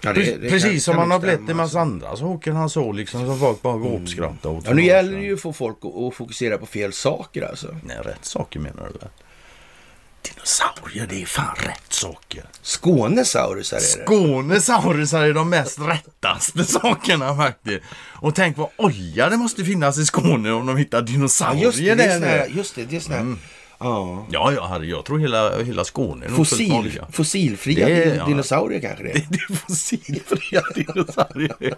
[SPEAKER 3] Ja, det- det kan-
[SPEAKER 4] Precis som
[SPEAKER 3] kan
[SPEAKER 4] han har
[SPEAKER 3] nog
[SPEAKER 4] blivit
[SPEAKER 3] stämma, alltså.
[SPEAKER 4] en massa andra saker han såg liksom som folk bara gapskrattar åt.
[SPEAKER 3] Ja, nu gäller det ju att få folk att att fokusera på fel saker alltså.
[SPEAKER 4] Nej, rätt saker menar du väl? Dinosaurier, det är fan rätt saker.
[SPEAKER 3] Skånesaurusar är det.
[SPEAKER 4] Skånesaurusar är de mest rättaste sakerna faktiskt. Och tänk vad olja det måste finnas i Skåne om de hittar
[SPEAKER 3] Ja,
[SPEAKER 4] dinosaurier
[SPEAKER 3] just det, det är
[SPEAKER 4] där
[SPEAKER 3] såna här,
[SPEAKER 4] nere.
[SPEAKER 3] just det, det är såna här Ja.
[SPEAKER 4] Ja, ja, herre, jag tror hela, hela Skåne Mm. är nog fullt med
[SPEAKER 3] Fossil,
[SPEAKER 4] olja.
[SPEAKER 3] fossilfria
[SPEAKER 4] Det är-
[SPEAKER 3] din-
[SPEAKER 4] ja.
[SPEAKER 3] dinosaurier kanske det är.
[SPEAKER 4] Det är fossilfria dinosaurier.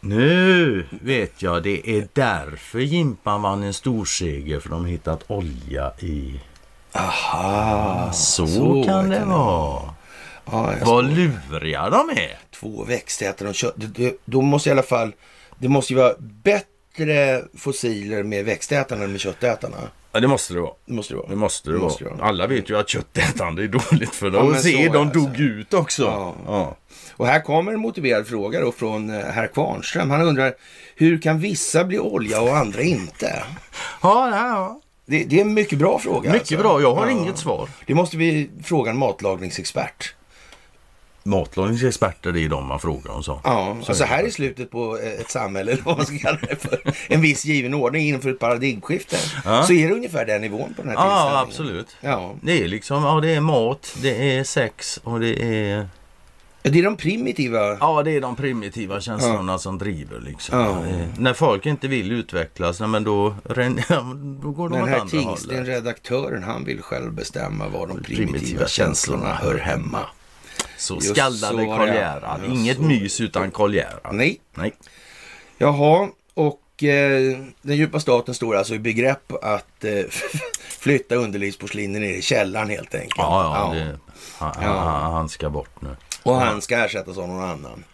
[SPEAKER 4] Nu vet jag, det är därför Jimpan vann en storseger för de har hittat olja i...
[SPEAKER 3] Aha,
[SPEAKER 4] Så, kan det vara.
[SPEAKER 3] Ja, Ah. jag
[SPEAKER 4] Vad luriga de är.
[SPEAKER 3] två växtätare. De kör, det, det, då måste i alla fall, det måste ju vara bättre fossiler med växtätarna än med köttätarna.
[SPEAKER 4] Ja, det måste det vara.
[SPEAKER 3] Det måste det vara.
[SPEAKER 4] Det måste det,
[SPEAKER 3] Det måste
[SPEAKER 4] vara.
[SPEAKER 3] det vara.
[SPEAKER 4] Alla vet ju att köttätande är dåligt för
[SPEAKER 3] Ja,
[SPEAKER 4] dem.
[SPEAKER 3] men så
[SPEAKER 4] Se,
[SPEAKER 3] är
[SPEAKER 4] de
[SPEAKER 3] det,
[SPEAKER 4] dog
[SPEAKER 3] alltså.
[SPEAKER 4] ut också.
[SPEAKER 3] Ja.
[SPEAKER 4] Ja.
[SPEAKER 3] Och här kommer en motiverad fråga då från eh, herr Kvarnström. Han undrar, hur kan vissa bli olja och andra inte?
[SPEAKER 4] Ja, ja, ja.
[SPEAKER 3] Det, det är en mycket bra fråga.
[SPEAKER 4] Mycket
[SPEAKER 3] alltså.
[SPEAKER 4] bra. Jag har
[SPEAKER 3] Ja.
[SPEAKER 4] inget svar.
[SPEAKER 3] Det måste vi fråga en matlagningsexpert.
[SPEAKER 4] Matlagningsexperter, det är de man frågar om så.
[SPEAKER 3] Ja, alltså här är slutet på eh, ett samhälle, eller vad man ska kalla det för. En viss given ordning inför ett paradigmskifte. Så är det ungefär den nivån på den här tillställningen.
[SPEAKER 4] Ja, absolut.
[SPEAKER 3] Ja.
[SPEAKER 4] Det är liksom, ja det är mat, det är sex och det är...
[SPEAKER 3] Ja, Det är de primitiva.
[SPEAKER 4] Ja, det är de primitiva känslorna som driver liksom.
[SPEAKER 3] Ja.
[SPEAKER 4] Eh, När folk inte vill utvecklas, nej, men då, ren- ja, men då går de
[SPEAKER 3] Den
[SPEAKER 4] åt
[SPEAKER 3] här
[SPEAKER 4] andra
[SPEAKER 3] Tingsten,
[SPEAKER 4] hållet.
[SPEAKER 3] redaktören, han vill själv bestämma var de primitiva,
[SPEAKER 4] Primitiva
[SPEAKER 3] känslorna
[SPEAKER 4] känslorna
[SPEAKER 3] hör hemma.
[SPEAKER 4] Så
[SPEAKER 3] Just
[SPEAKER 4] skallade
[SPEAKER 3] så,
[SPEAKER 4] Karl
[SPEAKER 3] ja.
[SPEAKER 4] Gerhard.
[SPEAKER 3] Ja,
[SPEAKER 4] Inget
[SPEAKER 3] så.
[SPEAKER 4] mys utan Karl Gerhard.
[SPEAKER 3] Nej.
[SPEAKER 4] Nej.
[SPEAKER 3] Jaha, och eh, den djupa staten står alltså i begrepp att eh, flytta underlivsporslinet ner i källaren helt enkelt.
[SPEAKER 4] Ja, ja,
[SPEAKER 3] Ja.
[SPEAKER 4] Det, han,
[SPEAKER 3] Ja.
[SPEAKER 4] han, han ska bort nu.
[SPEAKER 3] Och han ska ersättas av någon annan.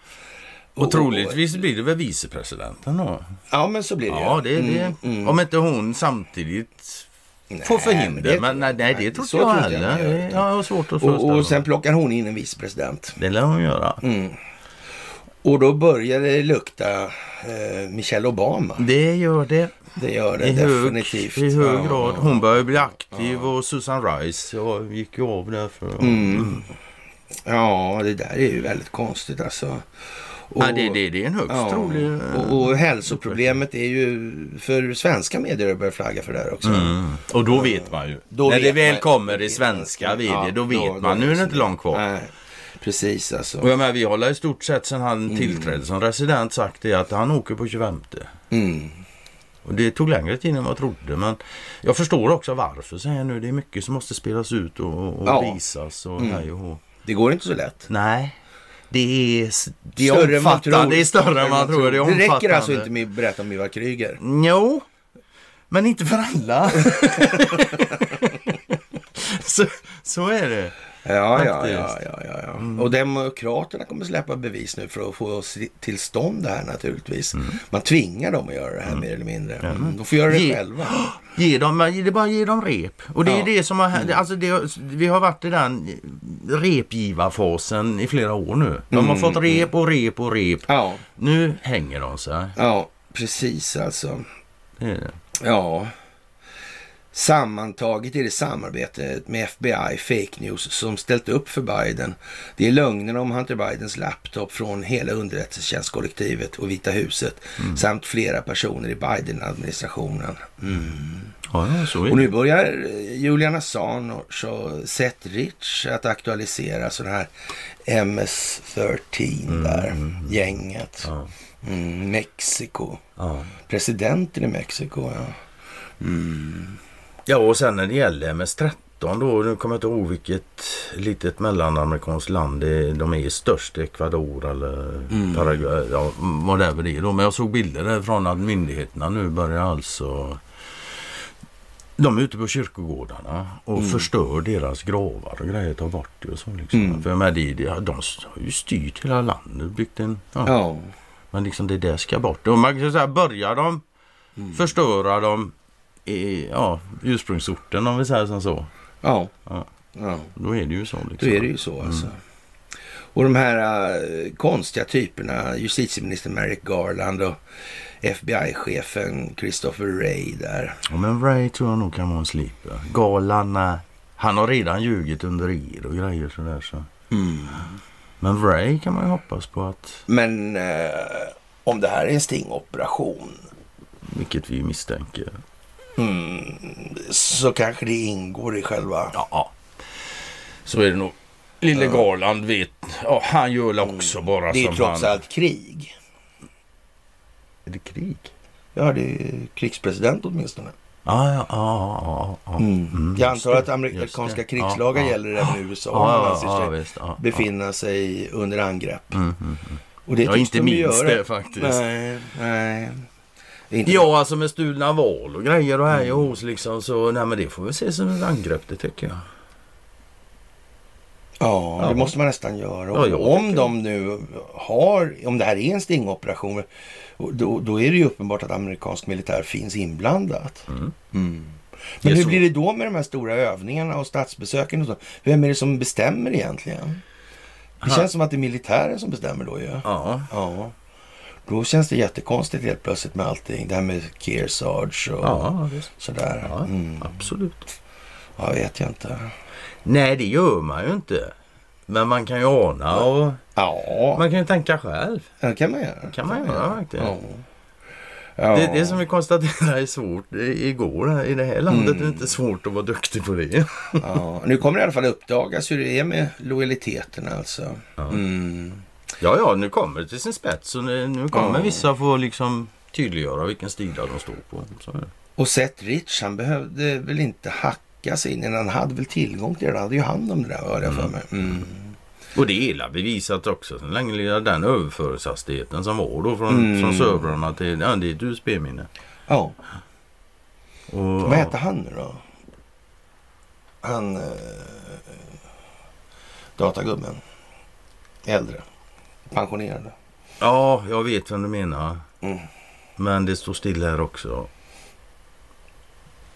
[SPEAKER 4] Och troligtvis blir det väl vicepresidenten då?
[SPEAKER 3] Ja, men så blir det Mm,
[SPEAKER 4] Ja, det är det. Om inte hon samtidigt får
[SPEAKER 3] men
[SPEAKER 4] förhinder.
[SPEAKER 3] det-
[SPEAKER 4] Men, nej, nej, det
[SPEAKER 3] nej,
[SPEAKER 4] tror
[SPEAKER 3] så
[SPEAKER 4] inte jag
[SPEAKER 3] tror inte jag man gör,
[SPEAKER 4] heller.
[SPEAKER 3] utan-
[SPEAKER 4] Jag har svårt att föreställa
[SPEAKER 3] Och,
[SPEAKER 4] mig.
[SPEAKER 3] och sen Mm. plockar hon in en vicepresident.
[SPEAKER 4] Det lär hon göra.
[SPEAKER 3] Och då börjar det lukta eh, Michelle Obama.
[SPEAKER 4] Det gör det.
[SPEAKER 3] Det gör det
[SPEAKER 4] I hög,
[SPEAKER 3] definitivt.
[SPEAKER 4] I hög
[SPEAKER 3] Ja,
[SPEAKER 4] grad.
[SPEAKER 3] ja.
[SPEAKER 4] Hon börjar bli aktiv och Susan Rice ja, gick ju av där för...
[SPEAKER 3] Mm. Ja, det där är ju väldigt konstigt alltså. Och,
[SPEAKER 4] Ja, det, det, det är en högst
[SPEAKER 3] ja,
[SPEAKER 4] trolig... eh,
[SPEAKER 3] och, och hälsoproblemet är ju för svenska medier att börja flagga för det här också.
[SPEAKER 4] Mm. Och då vet man ju.
[SPEAKER 3] Då
[SPEAKER 4] När det
[SPEAKER 3] vet
[SPEAKER 4] väl
[SPEAKER 3] man-
[SPEAKER 4] kommer i svenska medier, då vet man. Nu är det inte långt kvar.
[SPEAKER 3] Nej, precis alltså.
[SPEAKER 4] Och jag menar, vi håller i stort sett sedan han tillträdde som resident sagt det att han åker på 25.
[SPEAKER 3] Mm.
[SPEAKER 4] Och det tog längre tid än vad jag trodde. Men jag förstår också varför säger jag nu. Det är mycket som måste spelas ut och, och
[SPEAKER 3] Ja. Mm.
[SPEAKER 4] visas och hej och hå.
[SPEAKER 3] Det går inte så lätt.
[SPEAKER 4] Nej. Det är, s- det
[SPEAKER 3] Större än
[SPEAKER 4] är
[SPEAKER 3] man
[SPEAKER 4] omfattande.
[SPEAKER 3] tror.
[SPEAKER 4] Det är större än man tror. Det, är
[SPEAKER 3] Det räcker alltså
[SPEAKER 4] omfattande.
[SPEAKER 3] inte med att berätta om Ivar Kryger.
[SPEAKER 4] Jo, men inte för alla. så, så är det.
[SPEAKER 3] Ja, ja,
[SPEAKER 4] Faktiskt. Mm.
[SPEAKER 3] ja, ja, ja, ja. Och demokraterna kommer släppa bevis nu för att få oss till stånd det här naturligtvis.
[SPEAKER 4] Mm.
[SPEAKER 3] Man tvingar dem att göra det här mer eller mindre. Mm. De får göra det
[SPEAKER 4] Ge-
[SPEAKER 3] själva.
[SPEAKER 4] Ge dem, det är bara ge dem rep. Och det
[SPEAKER 3] Ja. Mm.
[SPEAKER 4] är det som har hänt. Alltså det, har- vi har varit i den repgivarfasen i flera år nu. De har fått rep och rep och rep.
[SPEAKER 3] Mm. Ja,
[SPEAKER 4] Nu hänger de sig.
[SPEAKER 3] ja, precis alltså.
[SPEAKER 4] Det är det.
[SPEAKER 3] Ja. Sammantaget är det samarbetet med FBI, fake news, som ställt upp för Biden. Det är lögnerna om Hunter Bidens laptop från hela underrättelsetjänstkollektivet och Vita huset samt flera personer i Biden-administrationen. Mm.
[SPEAKER 4] Ja, ja, så är
[SPEAKER 3] Och
[SPEAKER 4] det.
[SPEAKER 3] nu börjar eh, Julian Assange och Seth Rich att aktualisera sådana här MS-13 där, gänget.
[SPEAKER 4] Mm, Ja.
[SPEAKER 3] Mm, Mexiko.
[SPEAKER 4] Ja.
[SPEAKER 3] Presidenten i Mexiko, ja. Mm.
[SPEAKER 4] ja, och sen när det gäller MS-13 då, nu kommer jag inte ihåg vilket litet mellanamerikanskt land det, är. de är störst, Ecuador eller Paraguay, ja, whatever det är då. Men jag såg bilder därifrån att myndigheterna nu börjar alltså de är ute på kyrkogårdarna och förstör deras gravar och grejer, tar bort det och så. Liksom. För jag menar, det, det, de har ju styrt hela landet, byggt en... ja,
[SPEAKER 3] Ja,
[SPEAKER 4] Men liksom det där ska bort. Och man kan säga, börjar de Mm. förstöra de i, ja, ursprungsorten om vi säger som så.
[SPEAKER 3] ja.
[SPEAKER 4] Ja.
[SPEAKER 3] ja.
[SPEAKER 4] Då är det ju så. Liksom.
[SPEAKER 3] Då är det ju så alltså. Och de här eh, konstiga typerna, justitieminister Merrick Garland och FBI-chefen Christopher Wray där.
[SPEAKER 4] Ja, men Ray tror jag nog kan vara en sleeper. Galarna, han har redan ljugit under er och grejer sådär. Så. Mm. Men Ray kan man ju hoppas på att,
[SPEAKER 3] Men eh, om det här är en stingoperation
[SPEAKER 4] vilket vi misstänker.
[SPEAKER 3] så kanske det ingår i själva...
[SPEAKER 4] Ja, ja. Så är det nog. Lille Garland vet, ja, han gör väl också bara
[SPEAKER 3] det är
[SPEAKER 4] som
[SPEAKER 3] trots
[SPEAKER 4] han.
[SPEAKER 3] allt krig.
[SPEAKER 4] Är det krig?
[SPEAKER 3] Ja, det är krigspresident åtminstone.
[SPEAKER 4] Ja, ja, ja, ja, ja. Mm,
[SPEAKER 3] Jag
[SPEAKER 4] just
[SPEAKER 3] antar
[SPEAKER 4] det,
[SPEAKER 3] att
[SPEAKER 4] just
[SPEAKER 3] amerikanska
[SPEAKER 4] det.
[SPEAKER 3] krigslagar
[SPEAKER 4] Ja, ja.
[SPEAKER 3] gäller även i USA om
[SPEAKER 4] Ja,
[SPEAKER 3] man
[SPEAKER 4] ja,
[SPEAKER 3] anser
[SPEAKER 4] ja,
[SPEAKER 3] sig
[SPEAKER 4] visst, ja, Mm, ja.
[SPEAKER 3] befinna sig under angrepp. Och det
[SPEAKER 4] Jag
[SPEAKER 3] tycks
[SPEAKER 4] inte
[SPEAKER 3] de ju
[SPEAKER 4] minns
[SPEAKER 3] göra.
[SPEAKER 4] det faktiskt.
[SPEAKER 3] Nej, nej. Inte Mm.
[SPEAKER 4] Ja, alltså med stulna val och grejer och här och hos liksom så, nej men det får vi se som ett angrepp det tycker jag.
[SPEAKER 3] Ja, det
[SPEAKER 4] Ja.
[SPEAKER 3] måste man nästan göra.
[SPEAKER 4] Ja, jag
[SPEAKER 3] om
[SPEAKER 4] tycker
[SPEAKER 3] de nu har, om det här är en stingoperation, då, då är det ju uppenbart att amerikansk militär finns inblandat. Mm.
[SPEAKER 4] Det
[SPEAKER 3] Men
[SPEAKER 4] är
[SPEAKER 3] hur
[SPEAKER 4] så.
[SPEAKER 3] blir det då med de här stora övningarna och statsbesöken och så? Vem är det som bestämmer egentligen? Det
[SPEAKER 4] Aha.
[SPEAKER 3] känns som att det är militären som bestämmer då ju. Ja.
[SPEAKER 4] Ja,
[SPEAKER 3] Då känns det jättekonstigt helt plötsligt med allting. Det här med Kearsarge och
[SPEAKER 4] ja, visst.
[SPEAKER 3] sådär.
[SPEAKER 4] ja
[SPEAKER 3] Mm.
[SPEAKER 4] absolut.
[SPEAKER 3] Ja, vet jag inte.
[SPEAKER 4] Nej, det gör man ju inte. Men man kan ju ana och
[SPEAKER 3] Ja,
[SPEAKER 4] man kan ju tänka själv.
[SPEAKER 3] det kan man göra.
[SPEAKER 4] kan man göra faktiskt.
[SPEAKER 3] Ja. Ja.
[SPEAKER 4] Det, det som vi konstaterade är svårt i- igår här i det här landet.
[SPEAKER 3] Mm.
[SPEAKER 4] Det är inte svårt att vara duktig på det.
[SPEAKER 3] Ja, nu kommer det i alla fall uppdagas hur det är med lojaliteten alltså. Mm.
[SPEAKER 4] Ja, ja, nu kommer det till sin spets. Och nu, nu kommer
[SPEAKER 3] Ja.
[SPEAKER 4] vissa få liksom tydliggöra vilken sida de står på. Så är det.
[SPEAKER 3] Och Seth Rich, han behövde väl inte hacka sig in innan han hade väl tillgång till det. Han hade ju hand om det där hörde jag för mig. Mm.
[SPEAKER 4] Och det är illa bevisat också. Sen länge lilla den överföringshastigheten som var då från,
[SPEAKER 3] Mm.
[SPEAKER 4] från servrarna till ja, det är ett USB-minne.
[SPEAKER 3] Ja,
[SPEAKER 4] Och,
[SPEAKER 3] vad
[SPEAKER 4] ja,
[SPEAKER 3] hette han nu då? Han... Eh, datagubben. Äldre. Pensionerade.
[SPEAKER 4] ja, jag vet vem du menar.
[SPEAKER 3] Mm.
[SPEAKER 4] Men det står still här också.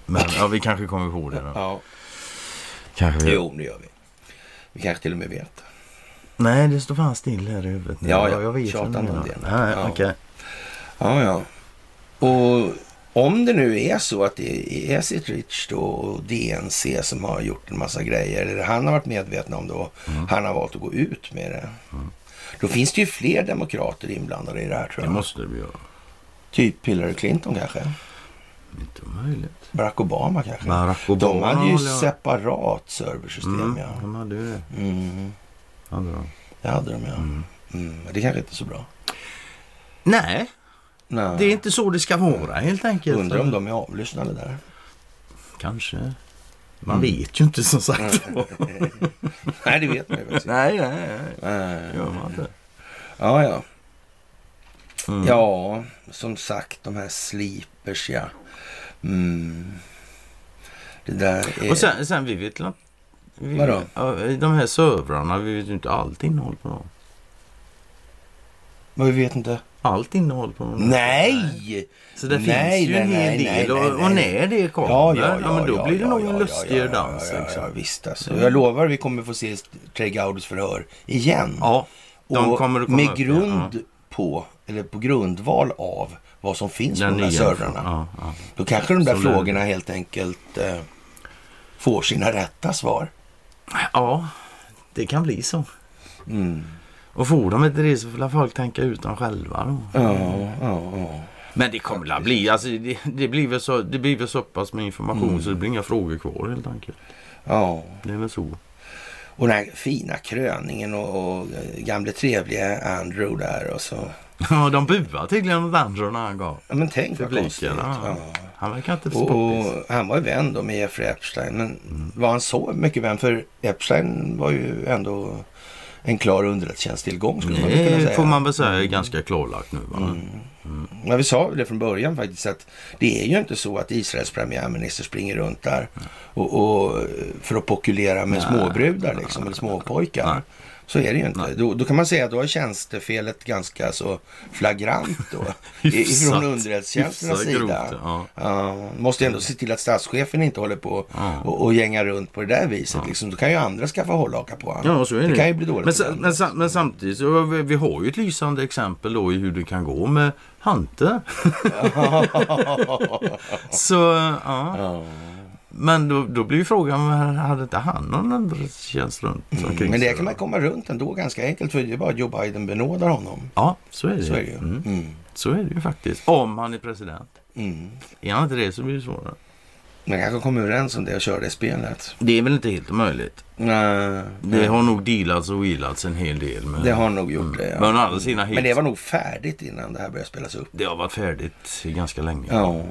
[SPEAKER 4] Men ja, vi kanske kommer på det. Då.
[SPEAKER 3] Ja,
[SPEAKER 4] Kanske vi...
[SPEAKER 3] jo det gör vi. Vi kanske till och med vet.
[SPEAKER 4] Nej, det står fan still här i huvudet. nu.
[SPEAKER 3] Ja, ja,
[SPEAKER 4] jag vet
[SPEAKER 3] tjatar
[SPEAKER 4] vem du
[SPEAKER 3] inte om
[SPEAKER 4] menar.
[SPEAKER 3] det.
[SPEAKER 4] Nej,
[SPEAKER 3] Ja.
[SPEAKER 4] okej.
[SPEAKER 3] Ja, ja. Och om det nu är så att det är Sitrich då och DNC som har gjort en massa grejer, eller han har varit medvetna om det och
[SPEAKER 4] Mm.
[SPEAKER 3] han har valt att gå ut med det. Då finns det ju fler demokrater inblandade i det här tror
[SPEAKER 4] Det
[SPEAKER 3] jag.
[SPEAKER 4] måste vi göra.
[SPEAKER 3] Typ Hillary Clinton kanske?
[SPEAKER 4] Inte omöjligt.
[SPEAKER 3] Barack Obama kanske?
[SPEAKER 4] Barack
[SPEAKER 3] De
[SPEAKER 4] Obama
[SPEAKER 3] hade ju
[SPEAKER 4] håller jag-
[SPEAKER 3] separat serversystem
[SPEAKER 4] Mm,
[SPEAKER 3] ja.
[SPEAKER 4] de hade ju det.
[SPEAKER 3] Mm.
[SPEAKER 4] Hade de.
[SPEAKER 3] Det hade de ja. Mm. men Det kanske inte är så bra.
[SPEAKER 4] Nej,
[SPEAKER 3] Nej.
[SPEAKER 4] det är inte så det ska vara helt enkelt.
[SPEAKER 3] Undrar om de är avlyssnade där.
[SPEAKER 4] Kanske. Man vet ju inte som sagt.
[SPEAKER 3] Nej, det vet man ju faktiskt
[SPEAKER 4] nej, nej, nej.
[SPEAKER 3] inte.
[SPEAKER 4] Gör man inte.
[SPEAKER 3] Ja, ja.
[SPEAKER 4] Mm.
[SPEAKER 3] Ja, som sagt, de här sleepers, ja. Mm. Det där är...
[SPEAKER 4] Och sen, sen vi vet la- vi,
[SPEAKER 3] Vadå?
[SPEAKER 4] ja, De här servrarna, vi vet ju inte allt innehåll på dem.
[SPEAKER 3] Men vi vet inte.
[SPEAKER 4] Allt innehåll på dem.
[SPEAKER 3] Nej!
[SPEAKER 4] Så det
[SPEAKER 3] Nej,
[SPEAKER 4] finns ju en
[SPEAKER 3] nej,
[SPEAKER 4] hel
[SPEAKER 3] nej, nej,
[SPEAKER 4] del. och,
[SPEAKER 3] nej,
[SPEAKER 4] och
[SPEAKER 3] nej.
[SPEAKER 4] när det kommer,
[SPEAKER 3] Ja, ja, ja.
[SPEAKER 4] men då
[SPEAKER 3] ja,
[SPEAKER 4] blir det
[SPEAKER 3] ja,
[SPEAKER 4] nog
[SPEAKER 3] ja,
[SPEAKER 4] en
[SPEAKER 3] ja,
[SPEAKER 4] lustigare
[SPEAKER 3] ja, ja,
[SPEAKER 4] dans.
[SPEAKER 3] Ja, ja,
[SPEAKER 4] liksom.
[SPEAKER 3] ja, visst alltså. Jag lovar, vi kommer få se Trey Gauders förhör igen.
[SPEAKER 4] Ja, de
[SPEAKER 3] och
[SPEAKER 4] kommer att komma
[SPEAKER 3] med
[SPEAKER 4] upp, ja.
[SPEAKER 3] grund på, eller på grundval av vad som finns på de där servrarna.
[SPEAKER 4] Ja, ja.
[SPEAKER 3] Då kanske de där
[SPEAKER 4] Så lär det.
[SPEAKER 3] frågorna helt enkelt eh, får sina rätta svar.
[SPEAKER 4] ja, det kan bli så.
[SPEAKER 3] Mm.
[SPEAKER 4] Och får de inte det så får folk tänka ut dem själva då.
[SPEAKER 3] Ja, ja, ja.
[SPEAKER 4] Men det kommer att bli, alltså, det, det, blir väl så, det blir väl så pass med information så det blir inga frågor kvar helt enkelt.
[SPEAKER 3] Ja,
[SPEAKER 4] Det är väl så.
[SPEAKER 3] och den här fina kröningen och, och gamle trevliga Andrew där och så.
[SPEAKER 4] Ja, de buar tydligen åt andra när han gav.
[SPEAKER 3] Ja, men tänk vad konstigt.
[SPEAKER 4] Publiken. Ja.
[SPEAKER 3] Ja.
[SPEAKER 4] Han verkar inte
[SPEAKER 3] Och, Mm.
[SPEAKER 4] sportis.
[SPEAKER 3] och han var ju vän då med Jeffrey Epstein. Men var han så mycket vän? För Epstein var ju ändå en klar underrättelsetjänsttillgång skulle man väl kunna
[SPEAKER 4] Det
[SPEAKER 3] säga. Mm.
[SPEAKER 4] får man väl säga är ganska klarlagt nu. Va?
[SPEAKER 3] Ja, vi sa ju det från början faktiskt att det är ju inte så att Israels premiärminister springer runt där och, och för att pokulera med småbrudar liksom, eller småpojkar.
[SPEAKER 4] Nej.
[SPEAKER 3] Så är det ju inte. Då, då kan man säga att då är tjänstefelet ganska så flagrant då. i-
[SPEAKER 4] Hyfsat.
[SPEAKER 3] Ifrån underrättelsetjänsternas
[SPEAKER 4] Hyfsat
[SPEAKER 3] sida.
[SPEAKER 4] grovt, ja.
[SPEAKER 3] Ja, måste ändå se till att statschefen inte håller på
[SPEAKER 4] Ja.
[SPEAKER 3] och, och gängar runt på det där viset. Liksom. Då kan ju andra skaffa hållhaka på honom.
[SPEAKER 4] Ja, så är det.
[SPEAKER 3] kan ju bli dåligt.
[SPEAKER 4] Men,
[SPEAKER 3] för
[SPEAKER 4] sa-
[SPEAKER 3] landet.
[SPEAKER 4] men, sa- men samtidigt, så, vi, vi har ju ett lysande exempel då i hur det kan gå med Hante. så, ja. Men då, då blir ju frågan, hade inte han någon underrättelsetjänst runt omkring
[SPEAKER 3] Mm, men det
[SPEAKER 4] sig
[SPEAKER 3] kan
[SPEAKER 4] då?
[SPEAKER 3] man komma runt ändå ganska enkelt. För det är bara att Joe Biden benådar honom.
[SPEAKER 4] Ja, så är det,
[SPEAKER 3] Så är det ju.
[SPEAKER 4] Mm.
[SPEAKER 3] Mm.
[SPEAKER 4] Så är det ju faktiskt. Om han är president.
[SPEAKER 3] Mm.
[SPEAKER 4] Är han inte det så blir det svårare.
[SPEAKER 3] Man kanske kom överens om det och körde spelet.
[SPEAKER 4] Det är väl inte helt omöjligt.
[SPEAKER 3] Nej,
[SPEAKER 4] Det har nog dealats och wheelats en hel del. Men...
[SPEAKER 3] det har nog gjort det.
[SPEAKER 4] Men å
[SPEAKER 3] Ja.
[SPEAKER 4] andra sidan hits,
[SPEAKER 3] Men det var nog färdigt innan det här började spelas upp.
[SPEAKER 4] det har varit färdigt ganska länge.
[SPEAKER 3] Ja,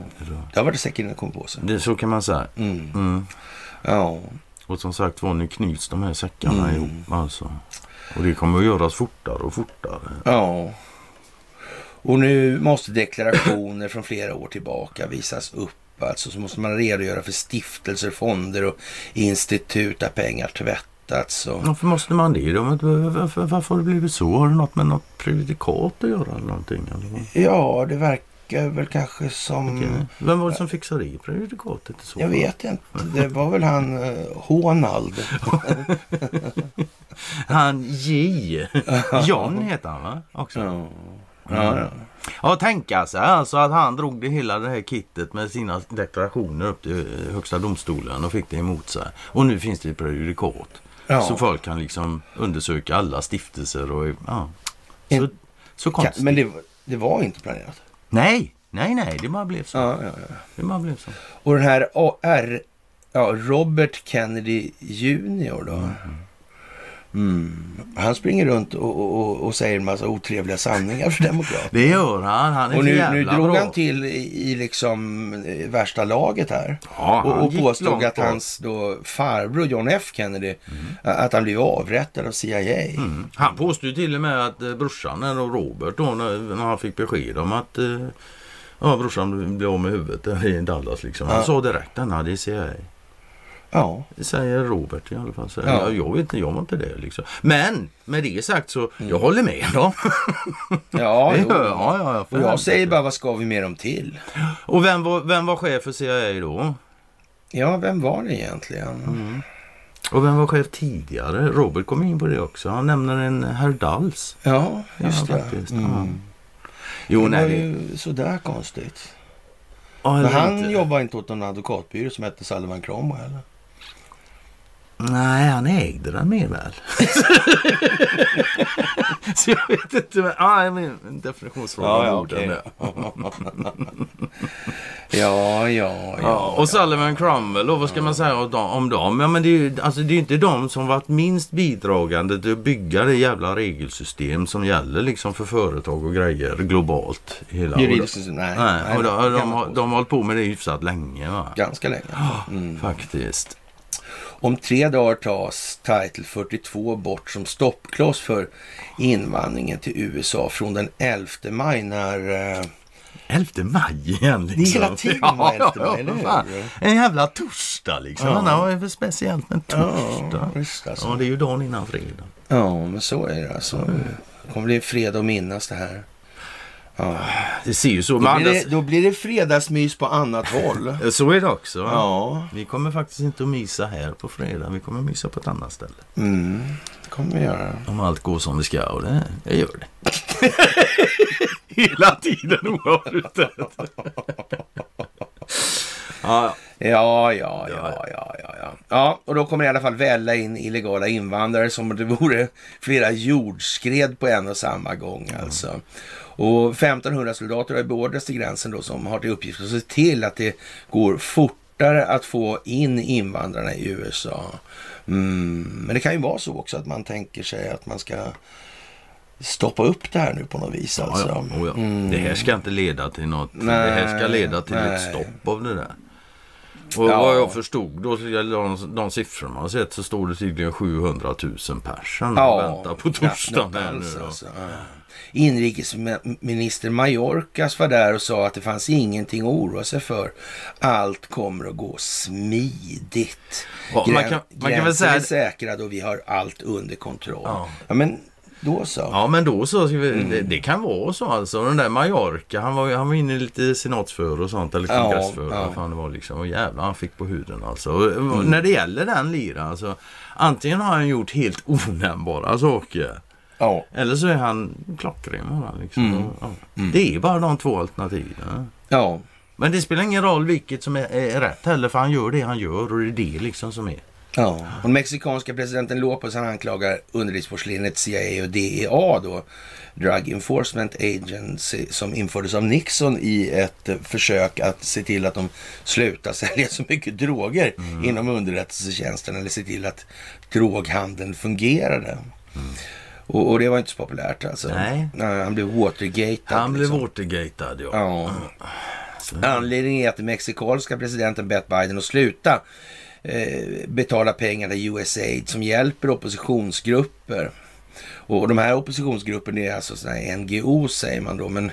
[SPEAKER 3] det har varit säkert innan det kom på sig.
[SPEAKER 4] Det, så kan man säga.
[SPEAKER 3] Mm.
[SPEAKER 4] Mm.
[SPEAKER 3] Ja,
[SPEAKER 4] Och som sagt var, nu knyts de här
[SPEAKER 3] Mm.
[SPEAKER 4] säckarna ihop alltså. Och det kommer att göras fortare och fortare.
[SPEAKER 3] ja. Och nu måste deklarationer från flera år tillbaka visas upp. Alltså så måste man redogöra för stiftelser, fonder och institut där pengar tvättats. Och...
[SPEAKER 4] Varför måste man det? De- Varför, varför har det blivit så? Har det något med något prejudikat att göra eller någonting? Eller vad?
[SPEAKER 3] Ja, det verkar väl kanske som...
[SPEAKER 4] Okej. Vem var det som fixade det prejudikatet? i så
[SPEAKER 3] Mm. Jag
[SPEAKER 4] fall?
[SPEAKER 3] vet inte. Det var väl han eh, Honald.
[SPEAKER 4] Han J. John heter han va? Också.
[SPEAKER 3] Ja. Ja, ja.
[SPEAKER 4] Ja, tänka sig alltså att han drog det hela det här kittet med sina deklarationer upp till eh, Högsta domstolen och fick det emot sig. Och nu finns det ett prejudikat.
[SPEAKER 3] Ja.
[SPEAKER 4] Så folk kan liksom undersöka alla stiftelser och ja. Så,
[SPEAKER 3] En-
[SPEAKER 4] så
[SPEAKER 3] Kan,
[SPEAKER 4] konstigt.
[SPEAKER 3] men det, det var inte planerat.
[SPEAKER 4] Nej, nej, nej, det bara blev så.
[SPEAKER 3] Ja, ja, ja.
[SPEAKER 4] Det bara blev så.
[SPEAKER 3] Och den här AR, ja, Robert Kennedy Jr då. Mm. Han springer runt och, och, och säger en massa otrevliga sanningar för demokrater.
[SPEAKER 4] Det gör han. Han är
[SPEAKER 3] Och
[SPEAKER 4] för
[SPEAKER 3] nu, nu
[SPEAKER 4] jävla
[SPEAKER 3] drog
[SPEAKER 4] bra.
[SPEAKER 3] han till i, i liksom eh, värsta laget här.
[SPEAKER 4] Ja, han
[SPEAKER 3] och och
[SPEAKER 4] gick
[SPEAKER 3] påståg
[SPEAKER 4] långt
[SPEAKER 3] att
[SPEAKER 4] bort.
[SPEAKER 3] hans då farbror John F Kennedy, eh, att han blev avrättad av CIA.
[SPEAKER 4] Mm. Han påstod ju till och med att eh, brorsan, eller Robert, då, när, när han fick besked om att eh, ja, brorsan blev av med huvudet där i Dallas. Liksom. Han
[SPEAKER 3] Ja.
[SPEAKER 4] sa direkt att han hade CIA.
[SPEAKER 3] Ja.
[SPEAKER 4] Det säger Robert i alla fall. Så,
[SPEAKER 3] Ja.
[SPEAKER 4] ja. Jag vet inte, jag var inte det. Liksom. Men med det sagt så,
[SPEAKER 3] Mm.
[SPEAKER 4] jag håller med dem.
[SPEAKER 3] Ja,
[SPEAKER 4] Det
[SPEAKER 3] jo.
[SPEAKER 4] gör jag. Ja, ja, ja, för
[SPEAKER 3] och jag
[SPEAKER 4] helvete.
[SPEAKER 3] säger bara, vad ska vi med dem till?
[SPEAKER 4] Och vem var, vem var chef för CIA då?
[SPEAKER 3] Ja, vem var det egentligen?
[SPEAKER 4] Mm. Och vem var chef tidigare? Robert kom in på det också. Han nämner en herr Dals.
[SPEAKER 3] Ja, just
[SPEAKER 4] ja,
[SPEAKER 3] det.
[SPEAKER 4] faktiskt.
[SPEAKER 3] Mm.
[SPEAKER 4] Ja. Jo,
[SPEAKER 3] Det var
[SPEAKER 4] nej. Det...
[SPEAKER 3] ju sådär konstigt.
[SPEAKER 4] Ja,
[SPEAKER 3] Men
[SPEAKER 4] eller
[SPEAKER 3] han
[SPEAKER 4] inte.
[SPEAKER 3] jobbade inte åt någon advokatbyrå som hette Sullivan Cromwell. eller?
[SPEAKER 4] Nej, han ägde den mer väl. Så jag vet inte. Men, ah, jag menar, en definitionsfråga. om orden där.
[SPEAKER 3] ja, ja,
[SPEAKER 4] Ja,
[SPEAKER 3] ja.
[SPEAKER 4] och Sullivan Cromwell, då, vad ska man säga om dem- om dem? Ja, men det är ju alltså, det är ju inte de som varit minst bidragande till att bygga det jävla regelsystem som gäller liksom för företag och grejer globalt. i Hela.
[SPEAKER 3] Juridiskt,
[SPEAKER 4] och,
[SPEAKER 3] nej.
[SPEAKER 4] då, nej, och då,
[SPEAKER 3] det kan
[SPEAKER 4] de, de,
[SPEAKER 3] man
[SPEAKER 4] har-
[SPEAKER 3] påstå.
[SPEAKER 4] de har hållit på med det hyfsat länge va?
[SPEAKER 3] Ganska länge.
[SPEAKER 4] Mm. Faktiskt.
[SPEAKER 3] Om tre dagar tas Title 42 bort som stoppkloss för invandringen till USA från den 11 maj när... eh,
[SPEAKER 4] 11 maj igen liksom.
[SPEAKER 3] Det är hela tiden var 11 maj, eller
[SPEAKER 4] för
[SPEAKER 3] hur?
[SPEAKER 4] fan. En jävla torsdag liksom.
[SPEAKER 3] Ja.
[SPEAKER 4] Ja. Vad är det för speciellt med en torsdag?
[SPEAKER 3] Ja, visst alltså.
[SPEAKER 4] Ja, det är ju dagen innan fredag.
[SPEAKER 3] Ja, men så är det alltså. Det kommer bli en fredag att minnas det här.
[SPEAKER 4] Det ser ju så.
[SPEAKER 3] Då
[SPEAKER 4] Men
[SPEAKER 3] blir det,
[SPEAKER 4] det,
[SPEAKER 3] då blir det fredagsmys på annat håll.
[SPEAKER 4] Så är det också. va?
[SPEAKER 3] Ja,
[SPEAKER 4] Vi kommer faktiskt inte att mysa här på fredag. Vi kommer att mysa på ett annat ställe.
[SPEAKER 3] mm, det kommer vi göra.
[SPEAKER 4] Om allt går som det ska och det, det gör det. Hela tiden oavbrutet. ja,
[SPEAKER 3] Ja, ja, ja, ja, ja, ja. Ja, och då kommer i alla fall välla in illegala invandrare som om det vore flera jordskred på en och samma gång
[SPEAKER 4] Mm.
[SPEAKER 3] alltså. Och 1500 soldater har beordrats till gränsen då som har till uppgift att se till att det går fortare att få in invandrarna i USA. Mm. Men det kan ju vara så också att man tänker sig att man ska stoppa upp det här nu på något vis
[SPEAKER 4] ja,
[SPEAKER 3] alltså.
[SPEAKER 4] ja, oh, ja. Det här ska inte leda till något. det här ska
[SPEAKER 3] Nej,
[SPEAKER 4] leda till ett
[SPEAKER 3] nej.
[SPEAKER 4] stopp av det där. Och
[SPEAKER 3] Ja.
[SPEAKER 4] vad jag förstod då, så gäller de, de siffror man har sett, så står det tydligen 700 000 personer och väntar Mm. på torsdagen.
[SPEAKER 3] knappt
[SPEAKER 4] här nu
[SPEAKER 3] alls
[SPEAKER 4] då.
[SPEAKER 3] alltså. Ja. Inrikesminister Mayorkas var där och sa att det fanns ingenting att oroa sig för. Allt kommer att gå smidigt.
[SPEAKER 4] Ja, man kan- man kan väl säga
[SPEAKER 3] är
[SPEAKER 4] att-
[SPEAKER 3] säkrad och vi har allt under kontroll. Ja,
[SPEAKER 4] Ja.
[SPEAKER 3] men då så. Ja.
[SPEAKER 4] Ja men då så, ska vi,
[SPEAKER 3] Mm.
[SPEAKER 4] det, det kan vara så alltså. Den där Mallorca, han var, ju- han var inne lite senatsför och sånt eller
[SPEAKER 3] Ja,
[SPEAKER 4] kongressför.
[SPEAKER 3] ja. Mm.
[SPEAKER 4] Ja, Fan, det var liksom, och jävlar han fick på huden alltså. Och, och När det gäller den liran alltså. Antingen har han gjort helt onämnbara saker.
[SPEAKER 3] Ja,
[SPEAKER 4] Eller så är han klockren bara, liksom.
[SPEAKER 3] Mm.
[SPEAKER 4] ja. Det är bara de två alternativen. Men det spelar ingen roll vilket som är, är rätt heller för han gör det han gör och det är det liksom som är
[SPEAKER 3] Ja, och den mexikanska presidenten Lopez han anklagar underlivsporslinet CIA och DEA då, Drug Enforcement Agency, som infördes av Nixon i ett eh, försök att se till att de slutar sälja så mycket droger
[SPEAKER 4] Mm.
[SPEAKER 3] inom underrättelsetjänsten eller se till att droghandeln fungerade. Och, och det var inte så populärt alltså.
[SPEAKER 4] Mm. Nej.
[SPEAKER 3] han blev Watergate.
[SPEAKER 4] Han blev watergatead liksom. ja.
[SPEAKER 3] Ja. Anledningen är att den mexikanska presidenten bett Biden att sluta eh, betala pengar till USAID som hjälper oppositionsgrupper. Och de här oppositionsgrupperna är alltså såna här NGO säger man då, men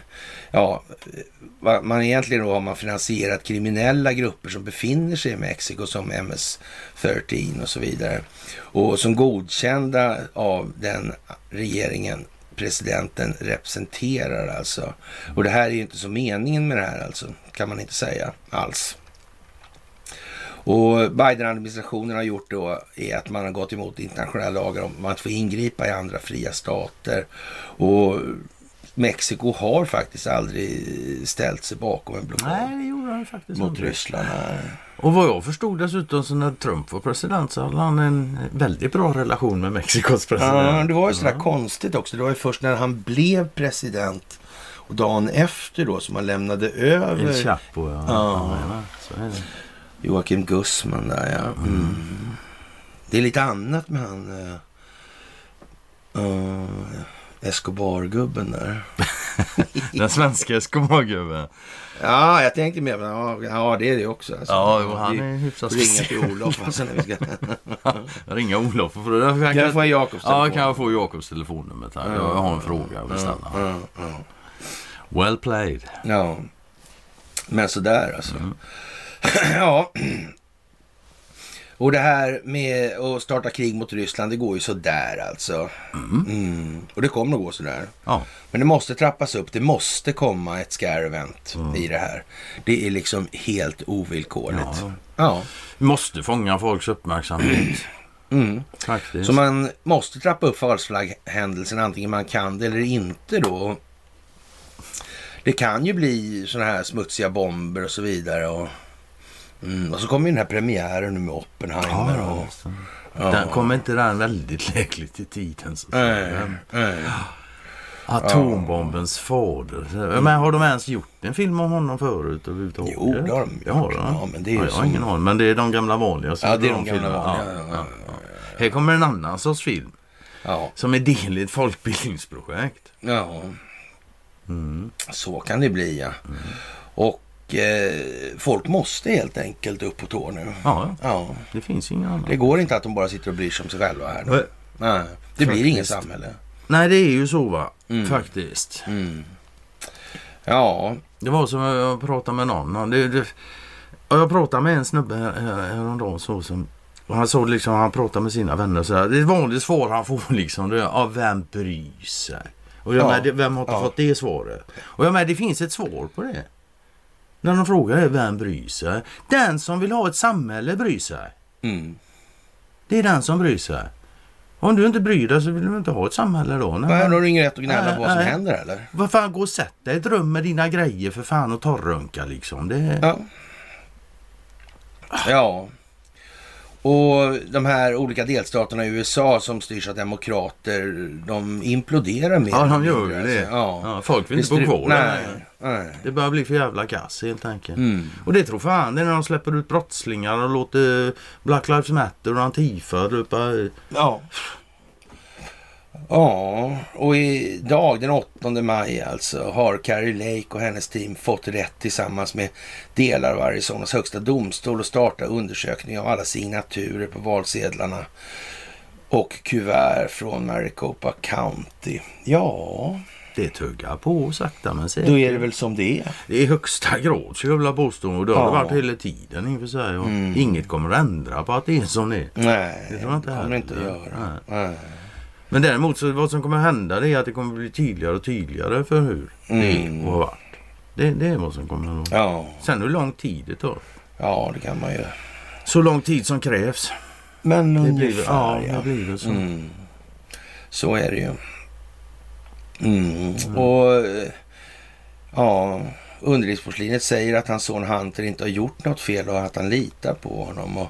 [SPEAKER 3] ja, eh, va- man egentligen då har man finansierat kriminella grupper som befinner sig i Mexiko som MS-13 och så vidare. Och som godkända av den regeringen presidenten representerar alltså. Och det här är ju inte så meningen med det här alltså, kan man inte säga alls. Och Biden-administrationen har gjort då är att man har gått emot internationella lagar om att få ingripa i andra fria stater. Och Mexiko har faktiskt aldrig ställt sig bakom en blockad
[SPEAKER 4] Nej, det gjorde han faktiskt
[SPEAKER 3] mot
[SPEAKER 4] aldrig.
[SPEAKER 3] Ryssland. Nej.
[SPEAKER 4] Och vad jag förstod dessutom så när Trump var president så hade han en väldigt bra relation med Mexikos
[SPEAKER 3] Ja,
[SPEAKER 4] president.
[SPEAKER 3] det var ju sådär konstigt också. Det var ju först när han blev president och dagen efter då som han lämnade över
[SPEAKER 4] El Chapo, ja.
[SPEAKER 3] Ja.
[SPEAKER 4] ja. Så är det.
[SPEAKER 3] Joakim Gussman där ja. Mm. Det är lite annat med han uh, Escobar-gubben där.
[SPEAKER 4] Den svenska skomaggubben.
[SPEAKER 3] Ja, jag tänkte mer, men ja, ja det är det också. Alltså.
[SPEAKER 4] Ja, jo, han
[SPEAKER 3] Vi
[SPEAKER 4] är hyfsat
[SPEAKER 3] får ringa
[SPEAKER 4] speciell.
[SPEAKER 3] till Olof alltså, när vi ska...
[SPEAKER 4] Ringa Olof. För det
[SPEAKER 3] Kan jag få en Jakobs
[SPEAKER 4] Ja,
[SPEAKER 3] telefon?
[SPEAKER 4] kan jag få Jakobs telefonnummer? Tack. Jag har en fråga att beställa.
[SPEAKER 3] ja, ja.
[SPEAKER 4] Well played.
[SPEAKER 3] Ja. Men sådär alltså.
[SPEAKER 4] Mm.
[SPEAKER 3] ja. Och det här med att starta krig mot Ryssland, det går ju sådär alltså. Mm. Och det kommer att gå sådär.
[SPEAKER 4] Ja.
[SPEAKER 3] Men det måste trappas upp. Det måste komma ett scare event
[SPEAKER 4] Mm.
[SPEAKER 3] i det här. Det är liksom helt ovillkorligt.
[SPEAKER 4] Ja.
[SPEAKER 3] ja.
[SPEAKER 4] Vi måste fånga folks uppmärksamhet.
[SPEAKER 3] Mm.
[SPEAKER 4] Faktiskt.
[SPEAKER 3] Så man måste trappa upp falskflagghändelsen antingen man kan det eller inte då. Det kan ju bli sådana här smutsiga bomber och så vidare. Och, mm, och så kommer ju den här premiären nu med Oppenheimer.
[SPEAKER 4] Ja,
[SPEAKER 3] och,
[SPEAKER 4] visst. Den kommer inte den väldigt lägligt i tiden. Så att säga.
[SPEAKER 3] nej, nej.
[SPEAKER 4] Atombombens fader. Men har de ens gjort en film om honom förut överhuvudtaget?
[SPEAKER 3] Jo, det har de gjort.
[SPEAKER 4] Ja, har de.
[SPEAKER 3] Ja, men det är ju
[SPEAKER 4] ja, jag har
[SPEAKER 3] som-
[SPEAKER 4] ingen aning. Men det är de gamla vanliga. som
[SPEAKER 3] Ja, det är
[SPEAKER 4] gör
[SPEAKER 3] de gamla
[SPEAKER 4] filmerna.
[SPEAKER 3] vanliga.
[SPEAKER 4] Ja,
[SPEAKER 3] Ja,
[SPEAKER 4] ja. Här kommer en annan sorts film.
[SPEAKER 3] Ja,
[SPEAKER 4] Som är del i ett folkbildningsprojekt.
[SPEAKER 3] ja.
[SPEAKER 4] Mm.
[SPEAKER 3] Så kan det bli ja. Och eh, folk måste helt enkelt upp på tå nu.
[SPEAKER 4] Ja, ja.
[SPEAKER 3] Ja.
[SPEAKER 4] det finns inga annat.
[SPEAKER 3] Det går inte att de bara sitter och bryr sig om sig själva här. nu.
[SPEAKER 4] Nej.
[SPEAKER 3] Nej, det blir inget
[SPEAKER 4] Faktiskt.
[SPEAKER 3] samhälle.
[SPEAKER 4] Nej, det är ju så va.
[SPEAKER 3] Mm.
[SPEAKER 4] Faktiskt.
[SPEAKER 3] Ja,
[SPEAKER 4] Det var som jag pratade med någon. Han- Det, det, och jag pratade med en snubbe här- här- häromdagen. Så, som, och han såg liksom, han pratade med sina vänner. Så här, det är ett vanligt svar han får liksom. Det är, ja, vem bryr sig? Och jag
[SPEAKER 3] Ja.
[SPEAKER 4] med, det- vem har inte
[SPEAKER 3] Ja.
[SPEAKER 4] fått det svaret? Och jag med, det finns ett svar på det. När de frågar är vem bryr sig? Den som vill ha ett samhälle bryr sig.
[SPEAKER 3] Mm.
[SPEAKER 4] Det är den som bryr sig. Om du inte bryr dig så vill du inte ha ett samhälle då. Nej,
[SPEAKER 3] Men här har du ingen rätt att gnälla på vad som
[SPEAKER 4] Nej.
[SPEAKER 3] händer eller?
[SPEAKER 4] Vad fan, gå och sätt dig i ett rum med dina grejer för fan och torrunka liksom. Det...
[SPEAKER 3] Ja. Ja. Och de här olika delstaterna i USA som styrs av demokrater, de imploderar mer.
[SPEAKER 4] Ja,
[SPEAKER 3] eller
[SPEAKER 4] de
[SPEAKER 3] mindre,
[SPEAKER 4] gör ju det.
[SPEAKER 3] alltså. Ja.
[SPEAKER 4] Ja, folk vill inte
[SPEAKER 3] Visst,
[SPEAKER 4] bo
[SPEAKER 3] det-
[SPEAKER 4] kvar
[SPEAKER 3] Nej, Mm.
[SPEAKER 4] där.
[SPEAKER 3] nej.
[SPEAKER 4] Det börjar bli för jävla kass helt enkelt. Och det tror fan det är när de släpper ut brottslingar och låter Black Lives Matter och Antifa eh, löpa...
[SPEAKER 3] Ja. Ja, och idag den 8 maj alltså har Carrie Lake och hennes team fått rätt tillsammans med delar av Arizonas högsta domstol att starta undersökning av alla signaturer på valsedlarna och kuvert från Maricopa County. Ja,
[SPEAKER 4] Det tuggar på sakta men säkert.
[SPEAKER 3] då är det väl som det är.
[SPEAKER 4] Det är i högsta grad så jag vill påstå. Och det har det
[SPEAKER 3] Ja. Mm.
[SPEAKER 4] varit hela tiden i och för sig. Och Inget kommer att ändra på att det är som det är.
[SPEAKER 3] Nej,
[SPEAKER 4] Det tror jag inte
[SPEAKER 3] kommer det inte att
[SPEAKER 4] heller.
[SPEAKER 3] göra. Nej.
[SPEAKER 4] Men däremot så vad som kommer att hända det är att det kommer att bli tydligare och tydligare för hur det är och har varit. Det, det är vad som kommer att hända.
[SPEAKER 3] Mm. Ja,
[SPEAKER 4] Sen hur lång tid det tar.
[SPEAKER 3] ja, det kan man ju.
[SPEAKER 4] Så lång tid som krävs.
[SPEAKER 3] Men
[SPEAKER 4] Det blir, ja,
[SPEAKER 3] ungefär
[SPEAKER 4] det blir väl så.
[SPEAKER 3] Mm. Så är det ju. Mm. Och eh, ja, underlivsporslinet säger att hans son Hunter inte har gjort något fel och att han litar på honom. Och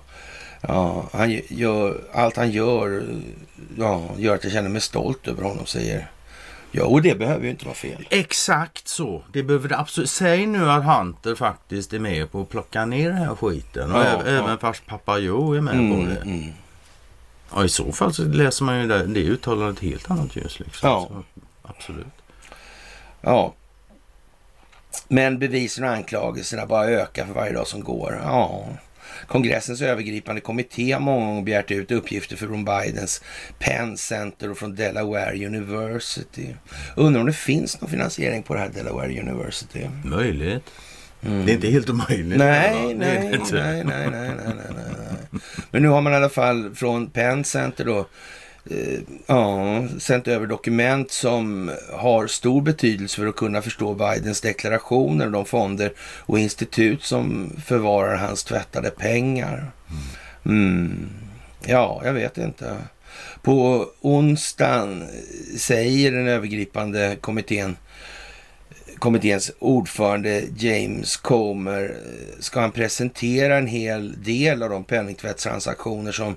[SPEAKER 3] Ja, han gör, allt han gör ja, gör att jag känner mig stolt över honom, säger Ja, och det behöver ju inte vara fel.
[SPEAKER 4] Exakt så. Det behöver det absolut. Säg nu att Hunter faktiskt är med på att plocka ner den här skiten. Och
[SPEAKER 3] Ja,
[SPEAKER 4] ä-
[SPEAKER 3] ja.
[SPEAKER 4] även fars pappa Joe är med på det.
[SPEAKER 3] mm.
[SPEAKER 4] Ja, I så fall så läser man ju det, det uttalandet i ett helt annat ljus. Liksom.
[SPEAKER 3] Ja.
[SPEAKER 4] Så, absolut.
[SPEAKER 3] Ja. Men bevisen och anklagelserna bara ökar för varje dag som går. Ja. Kongressens övergripande kommitté har många gånger begärt ut uppgifter från Bidens Penn Center och från Delaware University. Undrar om det finns någon finansiering på det här Delaware University?
[SPEAKER 4] Möjligt. Det är inte helt omöjligt. va? Det
[SPEAKER 3] Mm. Nej,
[SPEAKER 4] är
[SPEAKER 3] nej,
[SPEAKER 4] det
[SPEAKER 3] nej,
[SPEAKER 4] inte.
[SPEAKER 3] nej, nej, nej, nej, nej. Men nu har man i alla fall från Penn Center då eh, Ja, sänt över dokument som har stor betydelse för att kunna förstå Bidens deklarationer och de fonder och institut som förvarar hans tvättade pengar. Mm. Ja, jag vet inte. På onsdagen eh, säger den övergripande kommittén kommitténs ordförande James Comer eh, ska han presentera en hel del av de penningtvättstransaktioner som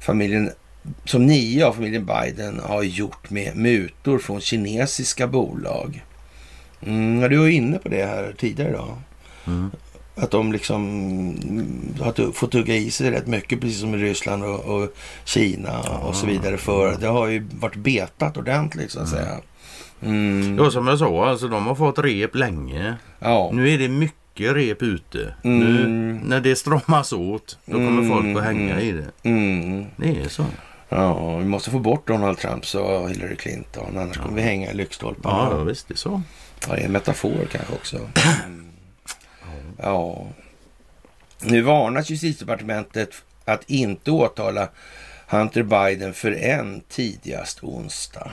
[SPEAKER 3] familjen som nio av familjen Biden har gjort med mutor från kinesiska bolag. Mm, ja, du var ju inne på det här tidigare idag. Att de liksom mm, har tu- fått tugga i sig rätt mycket, precis som i Ryssland och, och Kina och så vidare. För det har ju varit betat ordentligt så att säga. Mm,
[SPEAKER 4] Ja, som jag sa, alltså, de har fått rep länge.
[SPEAKER 3] ja. Mm.
[SPEAKER 4] Nu är det mycket rep ute. Nu när det stramas åt, då kommer folk att hänga i det.
[SPEAKER 3] Mm.
[SPEAKER 4] Det är så.
[SPEAKER 3] Ja, vi måste få bort Donald Trump så Hillary Clinton, annars kommer vi hänga i lyktstolparna.
[SPEAKER 4] Ja, ja visst det är så.
[SPEAKER 3] Ja, det är en metafor kanske också. Ja. Nu varnas justitiedepartementet att inte åtala Hunter Biden förrän tidigast onsdag.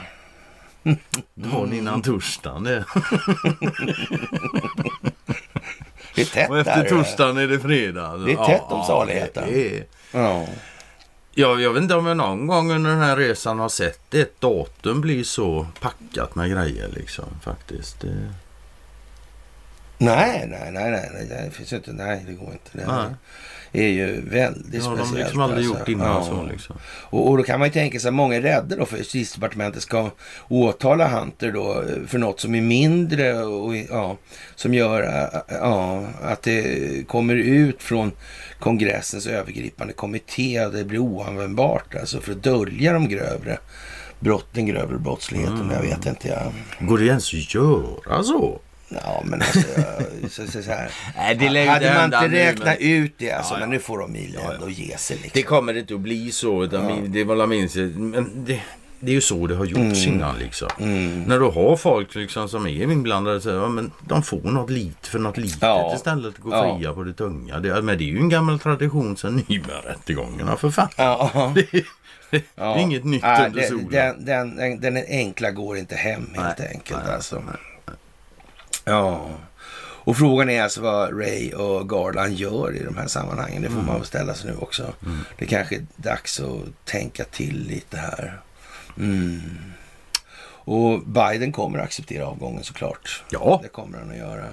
[SPEAKER 4] Dagen
[SPEAKER 3] Mm.
[SPEAKER 4] innan torsdagen. Det.
[SPEAKER 3] Det är tätt
[SPEAKER 4] Och
[SPEAKER 3] där,
[SPEAKER 4] efter
[SPEAKER 3] det.
[SPEAKER 4] torsdagen är det fredag.
[SPEAKER 3] Det är tätt om saligheten.
[SPEAKER 4] det är-
[SPEAKER 3] Ja.
[SPEAKER 4] Jag, jag vet inte om jag någon gång under den här resan har sett ett datum bli så packat med grejer liksom faktiskt. Det...
[SPEAKER 3] Nej, nej, nej, nej, nej, det finns ju inte. Nej, det går inte.
[SPEAKER 4] Nej.
[SPEAKER 3] Det är ju väldigt
[SPEAKER 4] Det har
[SPEAKER 3] speciellt.
[SPEAKER 4] de liksom aldrig
[SPEAKER 3] alltså.
[SPEAKER 4] gjort innan
[SPEAKER 3] Ja.
[SPEAKER 4] så liksom.
[SPEAKER 3] Och, och då kan man ju tänka sig att många är rädda då för att justitiedepartementet ska åtala Hunter då eh, för något som är mindre och ja, som gör ä, ä, ja, att det kommer ut från kongressens övergripande kommitté och det blir oanvändbart alltså för att dölja de grövre brotten, grövre brottsligheten. Jag vet
[SPEAKER 4] Mm.
[SPEAKER 3] inte. Jag,
[SPEAKER 4] Går det ens att göra så?
[SPEAKER 3] ja, men alltså, jag, så, så, så här.
[SPEAKER 4] Nej, det lär ju inte
[SPEAKER 3] Hade man
[SPEAKER 4] hända
[SPEAKER 3] inte
[SPEAKER 4] nu,
[SPEAKER 3] räknat
[SPEAKER 4] men-
[SPEAKER 3] ut det alltså,
[SPEAKER 4] Ja, ja.
[SPEAKER 3] men nu får de ju ändå ge sig liksom.
[SPEAKER 4] Det kommer inte att bli så. Utan min- det var la min men det, det är ju så det har gjorts
[SPEAKER 3] Mm.
[SPEAKER 4] innan liksom. När du har folk liksom som är inblandade så ja, men de får något lite för något litet
[SPEAKER 3] Ja.
[SPEAKER 4] istället att gå
[SPEAKER 3] Ja.
[SPEAKER 4] fria på det tunga. Det, men det är ju en gammal tradition sedan Nybergrättegångarna för fan.
[SPEAKER 3] Ja.
[SPEAKER 4] Det, är- det
[SPEAKER 3] Ja.
[SPEAKER 4] är inget nytt
[SPEAKER 3] Nej,
[SPEAKER 4] under
[SPEAKER 3] det-
[SPEAKER 4] solen.
[SPEAKER 3] Den, den, den, den enkla går inte hem helt
[SPEAKER 4] Nej,
[SPEAKER 3] enkelt.
[SPEAKER 4] nej,
[SPEAKER 3] alltså. Ja. Och frågan är alltså vad Ray och Garland gör i de här sammanhangen. Det får
[SPEAKER 4] Mm.
[SPEAKER 3] man väl ställa sig nu också. Det kanske är dags att tänka till lite här. Mm. Och Biden kommer att acceptera avgången såklart.
[SPEAKER 4] Ja,
[SPEAKER 3] Det kommer han att göra.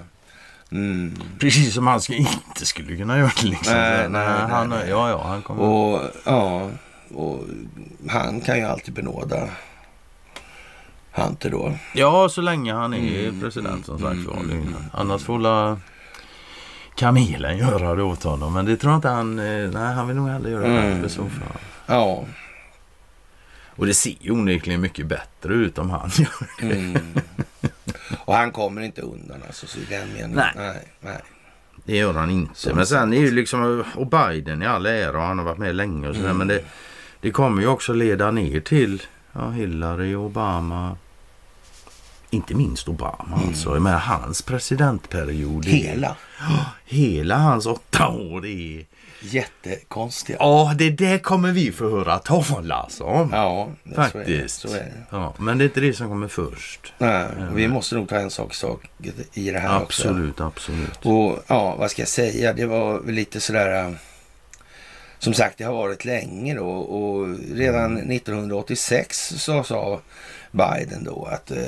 [SPEAKER 3] Mm.
[SPEAKER 4] precis som han ska, inte skulle kunna göra det liksom.
[SPEAKER 3] Nej,
[SPEAKER 4] Så,
[SPEAKER 3] nej, nej,
[SPEAKER 4] han,
[SPEAKER 3] nej.
[SPEAKER 4] Ja, ja, han kommer.
[SPEAKER 3] Och ja, och han kan ju alltid benåda Hunter då.
[SPEAKER 4] Ja, så länge han är president som sagt var. Annars får la Kamelen göra det åt honom. Men det tror jag inte han... eh, Nej, han vill nog aldrig göra det
[SPEAKER 3] Mm.
[SPEAKER 4] för så fall.
[SPEAKER 3] Ja.
[SPEAKER 4] Och det ser ju onekligen mycket bättre ut om han gör det.
[SPEAKER 3] Mm. Och han kommer inte undan alltså, så i den meningen.
[SPEAKER 4] Nej.
[SPEAKER 3] Nej, nej.
[SPEAKER 4] Det gör han inte. Men sen är ju liksom... Och Biden i all ära och han har varit med länge och sådär. Men det, det kommer ju också leda ner till ja, Hillary och Obama. Inte minst Obama alltså. Jag menar hans presidentperiod. är-
[SPEAKER 3] Hela.
[SPEAKER 4] Hela hans åtta år är...
[SPEAKER 3] Jättekonstiga.
[SPEAKER 4] Ja, det där kommer vi få höra talas om.
[SPEAKER 3] Ja, det-
[SPEAKER 4] faktiskt.
[SPEAKER 3] Så är det. Så är det.
[SPEAKER 4] Ja, men det är inte det som kommer först.
[SPEAKER 3] Nej, och vi måste nog ta en sak i taget i det här också.
[SPEAKER 4] absolut, absolut.
[SPEAKER 3] Och ja, vad ska jag säga? Det var väl lite sådär... äh, Som sagt, det har varit länge då och redan
[SPEAKER 4] Mm.
[SPEAKER 3] 1986 så sa Biden då att eh,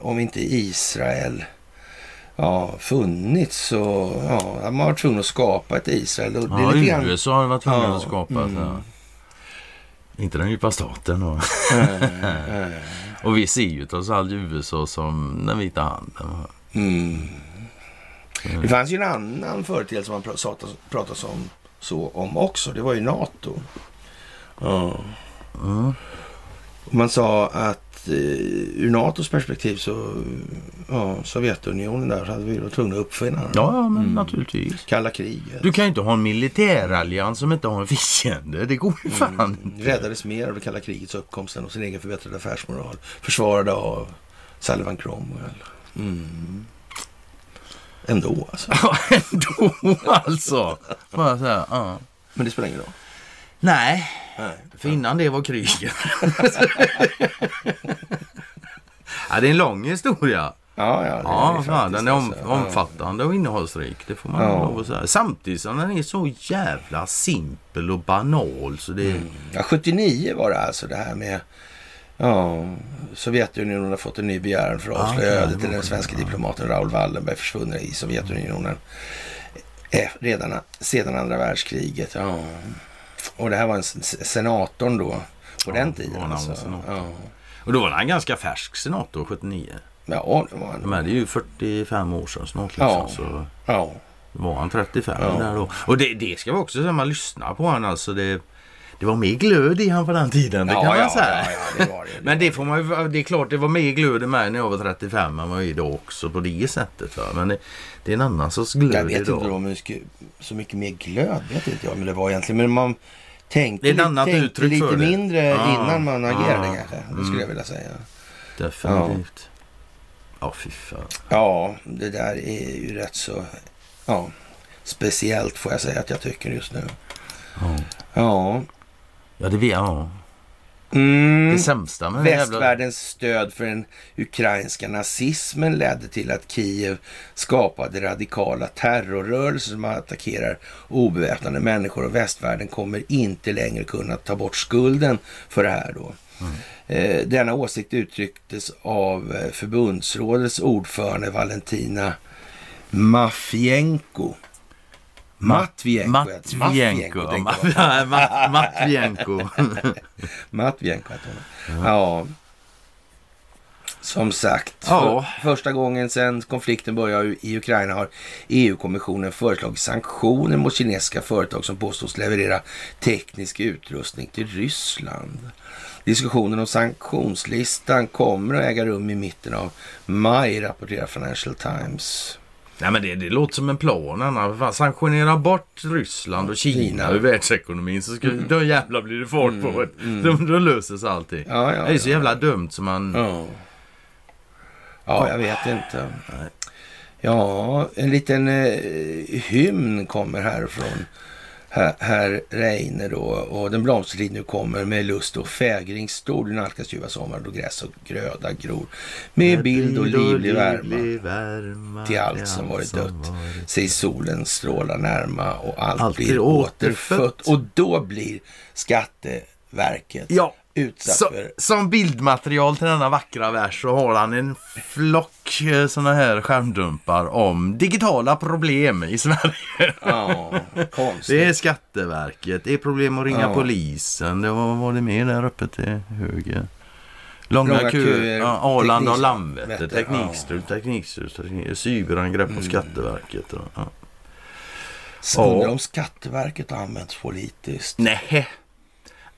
[SPEAKER 3] om inte äh, Israel ja, funnits och ja, man har varit tvungen att skapa ett Israel. Och det är
[SPEAKER 4] Ja,
[SPEAKER 3] lite grann,
[SPEAKER 4] USA har ju varit tvungna
[SPEAKER 3] Ja, mm.
[SPEAKER 4] att skapa. Ja. Inte den djupa staten. Och, och vi ser ju trots allt USA som den vita handen. va?
[SPEAKER 3] Mm. det fanns ju en annan företeelse man pra- sata- pratas om så om också. Det var ju NATO. Ja.
[SPEAKER 4] Mm.
[SPEAKER 3] Och Man sa att eh, ur NATOs perspektiv så, ja, Sovjetunionen där, så hade vi varit tvungna att uppfinna den.
[SPEAKER 4] Ja, ja men naturligtvis.
[SPEAKER 3] Kalla kriget.
[SPEAKER 4] Du kan ju inte ha en militärallians som inte har en fiende. Det går ju
[SPEAKER 3] Mm.
[SPEAKER 4] fan inte.
[SPEAKER 3] räddades mer av det kalla krigets uppkomst än av sin egen förbättrade affärsmoral. Försvarade av Sullivan Cromwell. Mm. Ändå alltså.
[SPEAKER 4] Ja, ändå alltså. Bara så här, ja.
[SPEAKER 3] Men det spelar ingen roll.
[SPEAKER 4] Nej,
[SPEAKER 3] Nej.
[SPEAKER 4] för innan det var kriget. ja, det är en lång historia.
[SPEAKER 3] Ja, ja. det är
[SPEAKER 4] Ja,
[SPEAKER 3] det
[SPEAKER 4] fan,
[SPEAKER 3] faktiskt,
[SPEAKER 4] den är om,
[SPEAKER 3] alltså.
[SPEAKER 4] omfattande och innehållsrik. Det får man
[SPEAKER 3] Ja.
[SPEAKER 4] lov att säga. Samtidigt som den är så jävla simpel och banal. Så det,
[SPEAKER 3] Ja, 79 var det alltså det här med Ja, Sovjetunionen har fått en ny begäran för att
[SPEAKER 4] Ja,
[SPEAKER 3] avslöja
[SPEAKER 4] det var
[SPEAKER 3] ödet till
[SPEAKER 4] det.
[SPEAKER 3] den svenska diplomaten Raoul Wallenberg försvunnen i Sovjetunionen eh, redan sedan andra världskriget. Ja. Och det här var en s- senatorn då på
[SPEAKER 4] Ja,
[SPEAKER 3] den
[SPEAKER 4] det var
[SPEAKER 3] tiden.
[SPEAKER 4] när han var
[SPEAKER 3] Alltså.
[SPEAKER 4] senator.
[SPEAKER 3] Ja.
[SPEAKER 4] Och då var han ganska färsk senator 79.
[SPEAKER 3] ja, det var han.
[SPEAKER 4] Men det är ju 45 år sedan snart. Liksom,
[SPEAKER 3] Ja.
[SPEAKER 4] Så
[SPEAKER 3] Ja.
[SPEAKER 4] var han 35
[SPEAKER 3] Ja.
[SPEAKER 4] där då. Och det, det ska vi också säga, man lyssnar på honom. Alltså det, det var mer glöd i han på den tiden. Det
[SPEAKER 3] ja,
[SPEAKER 4] kan man
[SPEAKER 3] ja,
[SPEAKER 4] säga.
[SPEAKER 3] Ja, ja, det var det.
[SPEAKER 4] Men det får man ju, det är klart det var mer glöd i mig när jag var 35 än vad jag är idag också på det sättet. Va? Men det, det är en annan sorts glöd
[SPEAKER 3] jag vet inte
[SPEAKER 4] idag.
[SPEAKER 3] då, om det skulle- så mycket mer glöd vet inte jag men det var egentligen. Men man tänkte,
[SPEAKER 4] Det är ett
[SPEAKER 3] lite-
[SPEAKER 4] annat
[SPEAKER 3] tänkte
[SPEAKER 4] uttryck
[SPEAKER 3] lite
[SPEAKER 4] för det. Ah. Mm.
[SPEAKER 3] mindre
[SPEAKER 4] Ja,
[SPEAKER 3] innan man agerade
[SPEAKER 4] ja,
[SPEAKER 3] kanske. Det skulle jag vilja säga.
[SPEAKER 4] Definitivt. Ja, fy fan.
[SPEAKER 3] Ja, det där är ju rätt så ja, speciellt får jag säga att jag tycker just nu.
[SPEAKER 4] Ja,
[SPEAKER 3] Ja.
[SPEAKER 4] ja det vet jag.
[SPEAKER 3] Mm.
[SPEAKER 4] Det sämsta med den jävla...
[SPEAKER 3] Västvärldens stöd för den ukrainska nazismen ledde till att Kiev skapade radikala terrorrörelser som attackerar obeväpnade människor och västvärlden kommer inte längre kunna ta bort skulden för det här då. Eh, Denna åsikt uttrycktes av eh, förbundsrådets ordförande Valentina Mafienko. Matvienko. heter-
[SPEAKER 4] Matvienko.
[SPEAKER 3] tänkte jag.
[SPEAKER 4] Ja, Mat- Matvienko.
[SPEAKER 3] Matvienko hette hon. Ja. Som sagt,
[SPEAKER 4] Ja.
[SPEAKER 3] för första gången sedan konflikten började i Ukraina har EU-kommissionen föreslagit sanktioner mot kinesiska företag som påstås leverera teknisk utrustning till Ryssland. Diskussionen om sanktionslistan kommer att äga rum i mitten av maj, rapporterar Financial Times.
[SPEAKER 4] Nej men det, det låter som en plan Anna. Fan, Sanktionera bort Ryssland och Kina,
[SPEAKER 3] Kina. Mm.
[SPEAKER 4] ur världsekonomin så ska, då jävlar blir det fart på det. Då, då löser sig allting.
[SPEAKER 3] Ja, ja,
[SPEAKER 4] det är så
[SPEAKER 3] ja.
[SPEAKER 4] jävla dumt som man...
[SPEAKER 3] Ja. Ja, jag vet inte. Ja, en liten eh, hymn kommer härifrån. Herr- Herr Reine då. Och den blomstertid nu kommer med lust och fägring stor. Du nalkas ljuva sommar då gräs och gröda gror. Med bild och livlig värma.
[SPEAKER 4] värma
[SPEAKER 3] Till allt som varit dött.
[SPEAKER 4] varit-
[SPEAKER 3] Sig solen stråla närma och allt,
[SPEAKER 4] Allt
[SPEAKER 3] blir
[SPEAKER 4] blir
[SPEAKER 3] återfött.
[SPEAKER 4] återfött.
[SPEAKER 3] Och då blir Skatteverket
[SPEAKER 4] Ja,
[SPEAKER 3] utsatt
[SPEAKER 4] Så,
[SPEAKER 3] för...
[SPEAKER 4] som bildmaterial till denna vackra vers så har han en flock eh, såna här skärmdumpar om digitala problem i Sverige.
[SPEAKER 3] Ja, konstigt.
[SPEAKER 4] Det är Skatteverket, det är problem att ringa
[SPEAKER 3] Ja.
[SPEAKER 4] polisen, det var, var det mer där uppe till höger. Långa,
[SPEAKER 3] Långa köer,
[SPEAKER 4] köer, ja, Arlanda och
[SPEAKER 3] teknik-
[SPEAKER 4] Landvetter, Mm.
[SPEAKER 3] Vätter, ja.
[SPEAKER 4] teknikstrul, teknikstrul, teknik- cyberangrepp på Skatteverket. och- Ja.
[SPEAKER 3] Så Undrar
[SPEAKER 4] Ja.
[SPEAKER 3] om Skatteverket har använts politiskt.
[SPEAKER 4] Nej,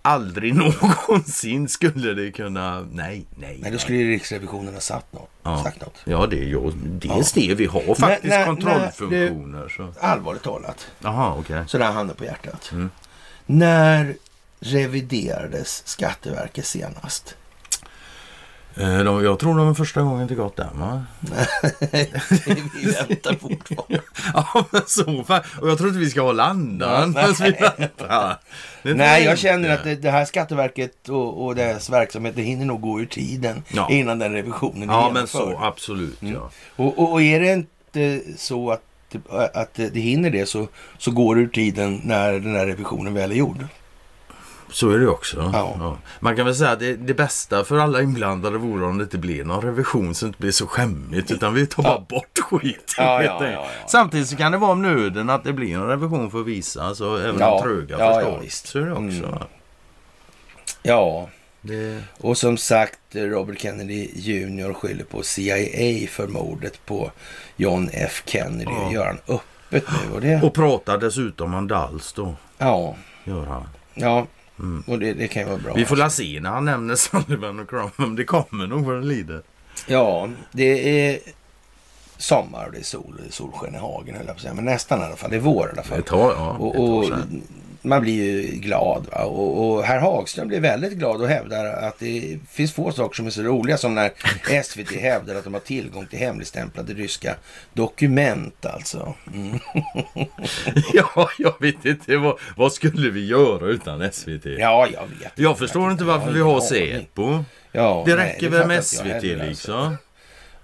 [SPEAKER 4] aldrig någonsin skulle det kunna, nej, nej.
[SPEAKER 3] Nej, då skulle ju Riksrevisionen ha satt något, sagt något.
[SPEAKER 4] Ja, det är, ju- det, är det. Vi har faktiskt
[SPEAKER 3] nej,
[SPEAKER 4] kontrollfunktioner. så.
[SPEAKER 3] Allvarligt talat,
[SPEAKER 4] Jaha, okej.
[SPEAKER 3] sådär handen på hjärtat.
[SPEAKER 4] Mm.
[SPEAKER 3] När reviderades Skatteverket senast?
[SPEAKER 4] Eh, de- Jag tror de första gången till Gotham, va?
[SPEAKER 3] Vi väntar fortfarande.
[SPEAKER 4] Ja, men så fan. Och jag tror inte vi ska hålla andan medan vi väntar. Det tror
[SPEAKER 3] Nej, jag
[SPEAKER 4] inte.
[SPEAKER 3] känner att det, det här Skatteverket och, och dess verksamhet, det hinner nog gå ur tiden
[SPEAKER 4] Ja.
[SPEAKER 3] innan den revisionen är
[SPEAKER 4] Ja, men
[SPEAKER 3] genomförd.
[SPEAKER 4] så absolut.
[SPEAKER 3] Mm.
[SPEAKER 4] Ja.
[SPEAKER 3] Och, och, och är det inte så att, att det hinner det så, så går det ur tiden när den här revisionen väl är gjord.
[SPEAKER 4] Så är det ju också.
[SPEAKER 3] Ja.
[SPEAKER 4] Man kan väl säga att det, det bästa för alla inblandade vore om det inte blev någon revision så det inte blir så skämmigt utan vi tar bara bort skiten.
[SPEAKER 3] Ja,
[SPEAKER 4] helt
[SPEAKER 3] ja,
[SPEAKER 4] enkelt.
[SPEAKER 3] ja, ja.
[SPEAKER 4] Samtidigt så kan det vara om nöden att det blir en revision för vissa så även
[SPEAKER 3] Ja.
[SPEAKER 4] de tröga
[SPEAKER 3] Ja,
[SPEAKER 4] förstår.
[SPEAKER 3] ja, visst.
[SPEAKER 4] Så är det också.
[SPEAKER 3] Mm. Ja,
[SPEAKER 4] Det...
[SPEAKER 3] och som sagt Robert Kennedy Jr skyller på CIA för mordet på John F Kennedy.
[SPEAKER 4] Ja.
[SPEAKER 3] Det gör han öppet nu. Och det,
[SPEAKER 4] Och pratar dessutom om Dals då.
[SPEAKER 3] ja,
[SPEAKER 4] Gör han.
[SPEAKER 3] ja. och det, det kan ju vara bra.
[SPEAKER 4] Mm. Vi får la se när han nämner Sullivan och Crumb. Det kommer nog vad det lider.
[SPEAKER 3] Ja, det är sommar och det är sol och det är solsken i hagen höll jag på att säga. Men nästan i alla fall. Det är vår i alla fall.
[SPEAKER 4] Det tar, ja,
[SPEAKER 3] och,
[SPEAKER 4] det tar
[SPEAKER 3] och,
[SPEAKER 4] sen.
[SPEAKER 3] man blir ju glad. Va? Och, och herr Hagström blir väldigt glad och hävdar att det finns få saker som är så roliga som när SVT hävdar att de har tillgång till hemligstämplade ryska dokument alltså. Mm.
[SPEAKER 4] Ja, jag vet inte. Vad, vad skulle vi göra utan SVT?
[SPEAKER 3] Ja, jag vet.
[SPEAKER 4] Jag förstår inte varför vi har Säpo.
[SPEAKER 3] Ja,
[SPEAKER 4] Det
[SPEAKER 3] nej,
[SPEAKER 4] räcker
[SPEAKER 3] fattar
[SPEAKER 4] väl med
[SPEAKER 3] inte jag
[SPEAKER 4] SVT
[SPEAKER 3] heller, alltså.
[SPEAKER 4] liksom.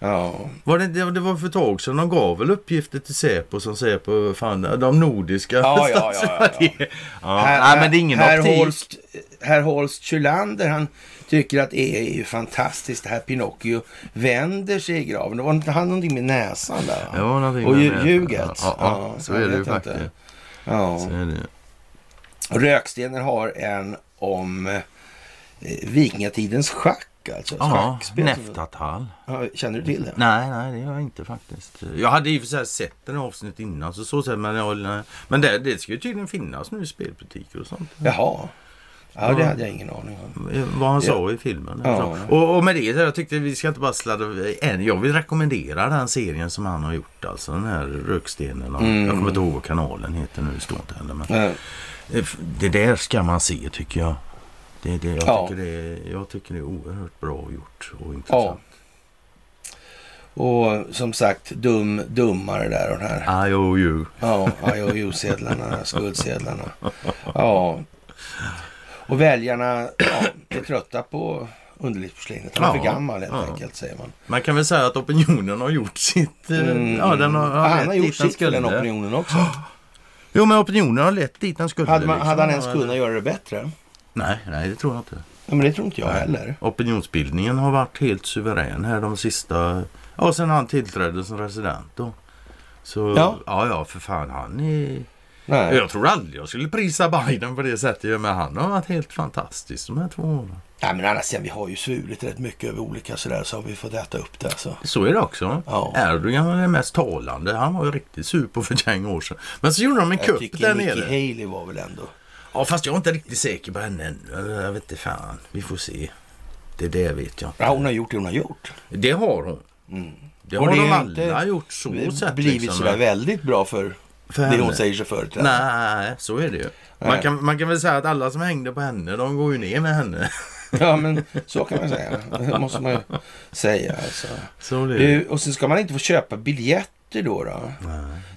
[SPEAKER 3] Ja,
[SPEAKER 4] Var det, det, det var för ett tag sedan. De gav väl uppgifter till Säpo som Säpo fann. De nordiska.
[SPEAKER 3] Ja, ja, ja, ja, ja.
[SPEAKER 4] Det- ja. Nej, men det är ingen
[SPEAKER 3] herr
[SPEAKER 4] optik.
[SPEAKER 3] Holst, herr Holst Kylander, han tycker att EU är ju fantastiskt. Det här Pinocchio vänder sig i graven. Det var inte han någonting med näsan där? va?
[SPEAKER 4] Det var någonting
[SPEAKER 3] och
[SPEAKER 4] med
[SPEAKER 3] lju-
[SPEAKER 4] det.
[SPEAKER 3] ljuget.
[SPEAKER 4] Ja, ja, så
[SPEAKER 3] jag
[SPEAKER 4] är det ju
[SPEAKER 3] vet inte.
[SPEAKER 4] faktiskt.
[SPEAKER 3] Ja.
[SPEAKER 4] Så är det.
[SPEAKER 3] Rökstenar har en om eh, vikingatidens schack. Alltså,
[SPEAKER 4] Ja,
[SPEAKER 3] Schackspel som-
[SPEAKER 4] Neftatal.
[SPEAKER 3] Ja, Känner du till det?
[SPEAKER 4] Nej, nej, det gör jag inte faktiskt. Jag hade i och för sig sett den avsnitt innan, så så sätt, men, jag, nej. men det, det ska ju tydligen finnas nu i spelbutiker och sånt.
[SPEAKER 3] Jaha. Ja, det hade jag ingen aning om.
[SPEAKER 4] Vad han sa i filmen.
[SPEAKER 3] Ja.
[SPEAKER 4] Och, och med det, så jag tyckte vi ska inte bara sladda än. Jag vill rekommendera den serien som han har gjort, alltså den här Rökstenen. och-
[SPEAKER 3] Mm.
[SPEAKER 4] Jag kommer inte ihåg vad kanalen heter nu, det står inte heller. Men
[SPEAKER 3] Eh,
[SPEAKER 4] det där ska man se tycker jag. Det, det, jag,
[SPEAKER 3] Ja.
[SPEAKER 4] tycker det, är- jag tycker det är oerhört bra gjort och intressant.
[SPEAKER 3] Och som sagt, dum, dummare där och den här.
[SPEAKER 4] I owe you.
[SPEAKER 3] Ja, IOU-sedlarna, skuldsedlarna. Ja. Och väljarna ja, är trötta på underlivsporslinet. Han är för
[SPEAKER 4] Ja,
[SPEAKER 3] gammal helt
[SPEAKER 4] ja.
[SPEAKER 3] enkelt säger man.
[SPEAKER 4] Man kan väl säga att opinionen har gjort sitt. eh, Ja, den har, har
[SPEAKER 3] Mm. Ah, han
[SPEAKER 4] lett
[SPEAKER 3] har
[SPEAKER 4] dit
[SPEAKER 3] gjort sitt för den
[SPEAKER 4] skulle.
[SPEAKER 3] opinionen också.
[SPEAKER 4] Jo, men opinionen har lett dit den skulle.
[SPEAKER 3] Hade, man,
[SPEAKER 4] liksom.
[SPEAKER 3] hade han ens
[SPEAKER 4] Ja,
[SPEAKER 3] kunnat göra det bättre? Nej,
[SPEAKER 4] Nej, nej, det tror jag inte.
[SPEAKER 3] men det tror inte jag heller.
[SPEAKER 4] Opinionsbildningen har varit helt suverän här de sista... Ja, sen han tillträdde som resident då. Så
[SPEAKER 3] Ja.
[SPEAKER 4] ja, ja, för fan han är...
[SPEAKER 3] Nej.
[SPEAKER 4] Jag tror aldrig jag skulle prisa Biden på det sättet. Men han har varit helt fantastisk de här två åren.
[SPEAKER 3] Nej, men annars sen, vi har ju svurit rätt mycket över olika sådär så har vi fått äta upp det alltså.
[SPEAKER 4] Så är det också.
[SPEAKER 3] Ja.
[SPEAKER 4] Erdogan var den mest talande. Han var ju riktigt sur på för ett gäng år sedan. Men så gjorde de en
[SPEAKER 3] Jag
[SPEAKER 4] kupp
[SPEAKER 3] tycker
[SPEAKER 4] där
[SPEAKER 3] Nikki
[SPEAKER 4] nere.
[SPEAKER 3] Haley var väl ändå...
[SPEAKER 4] Ja, fast jag är inte riktigt säker på henne ännu. Eller, Jag vet inte fan. Vi får se. Det där vet jag inte.
[SPEAKER 3] Ja, hon har gjort det hon har gjort.
[SPEAKER 4] Det har hon. Det har
[SPEAKER 3] Och det
[SPEAKER 4] de
[SPEAKER 3] är
[SPEAKER 4] alla
[SPEAKER 3] inte-
[SPEAKER 4] gjort så
[SPEAKER 3] Det har
[SPEAKER 4] sett.
[SPEAKER 3] blivit
[SPEAKER 4] liksom.
[SPEAKER 3] sådär väldigt bra för,
[SPEAKER 4] För
[SPEAKER 3] det hon
[SPEAKER 4] henne.
[SPEAKER 3] säger sig företräda.
[SPEAKER 4] Nej, så är det ju. Man
[SPEAKER 3] Nej.
[SPEAKER 4] kan, man kan väl säga att alla som hängde på henne, de går ju ner med henne.
[SPEAKER 3] Ja, men så kan man säga. Det måste man ju säga. Alltså.
[SPEAKER 4] Så blir det.
[SPEAKER 3] Du, och sen ska man inte få köpa biljetter då. då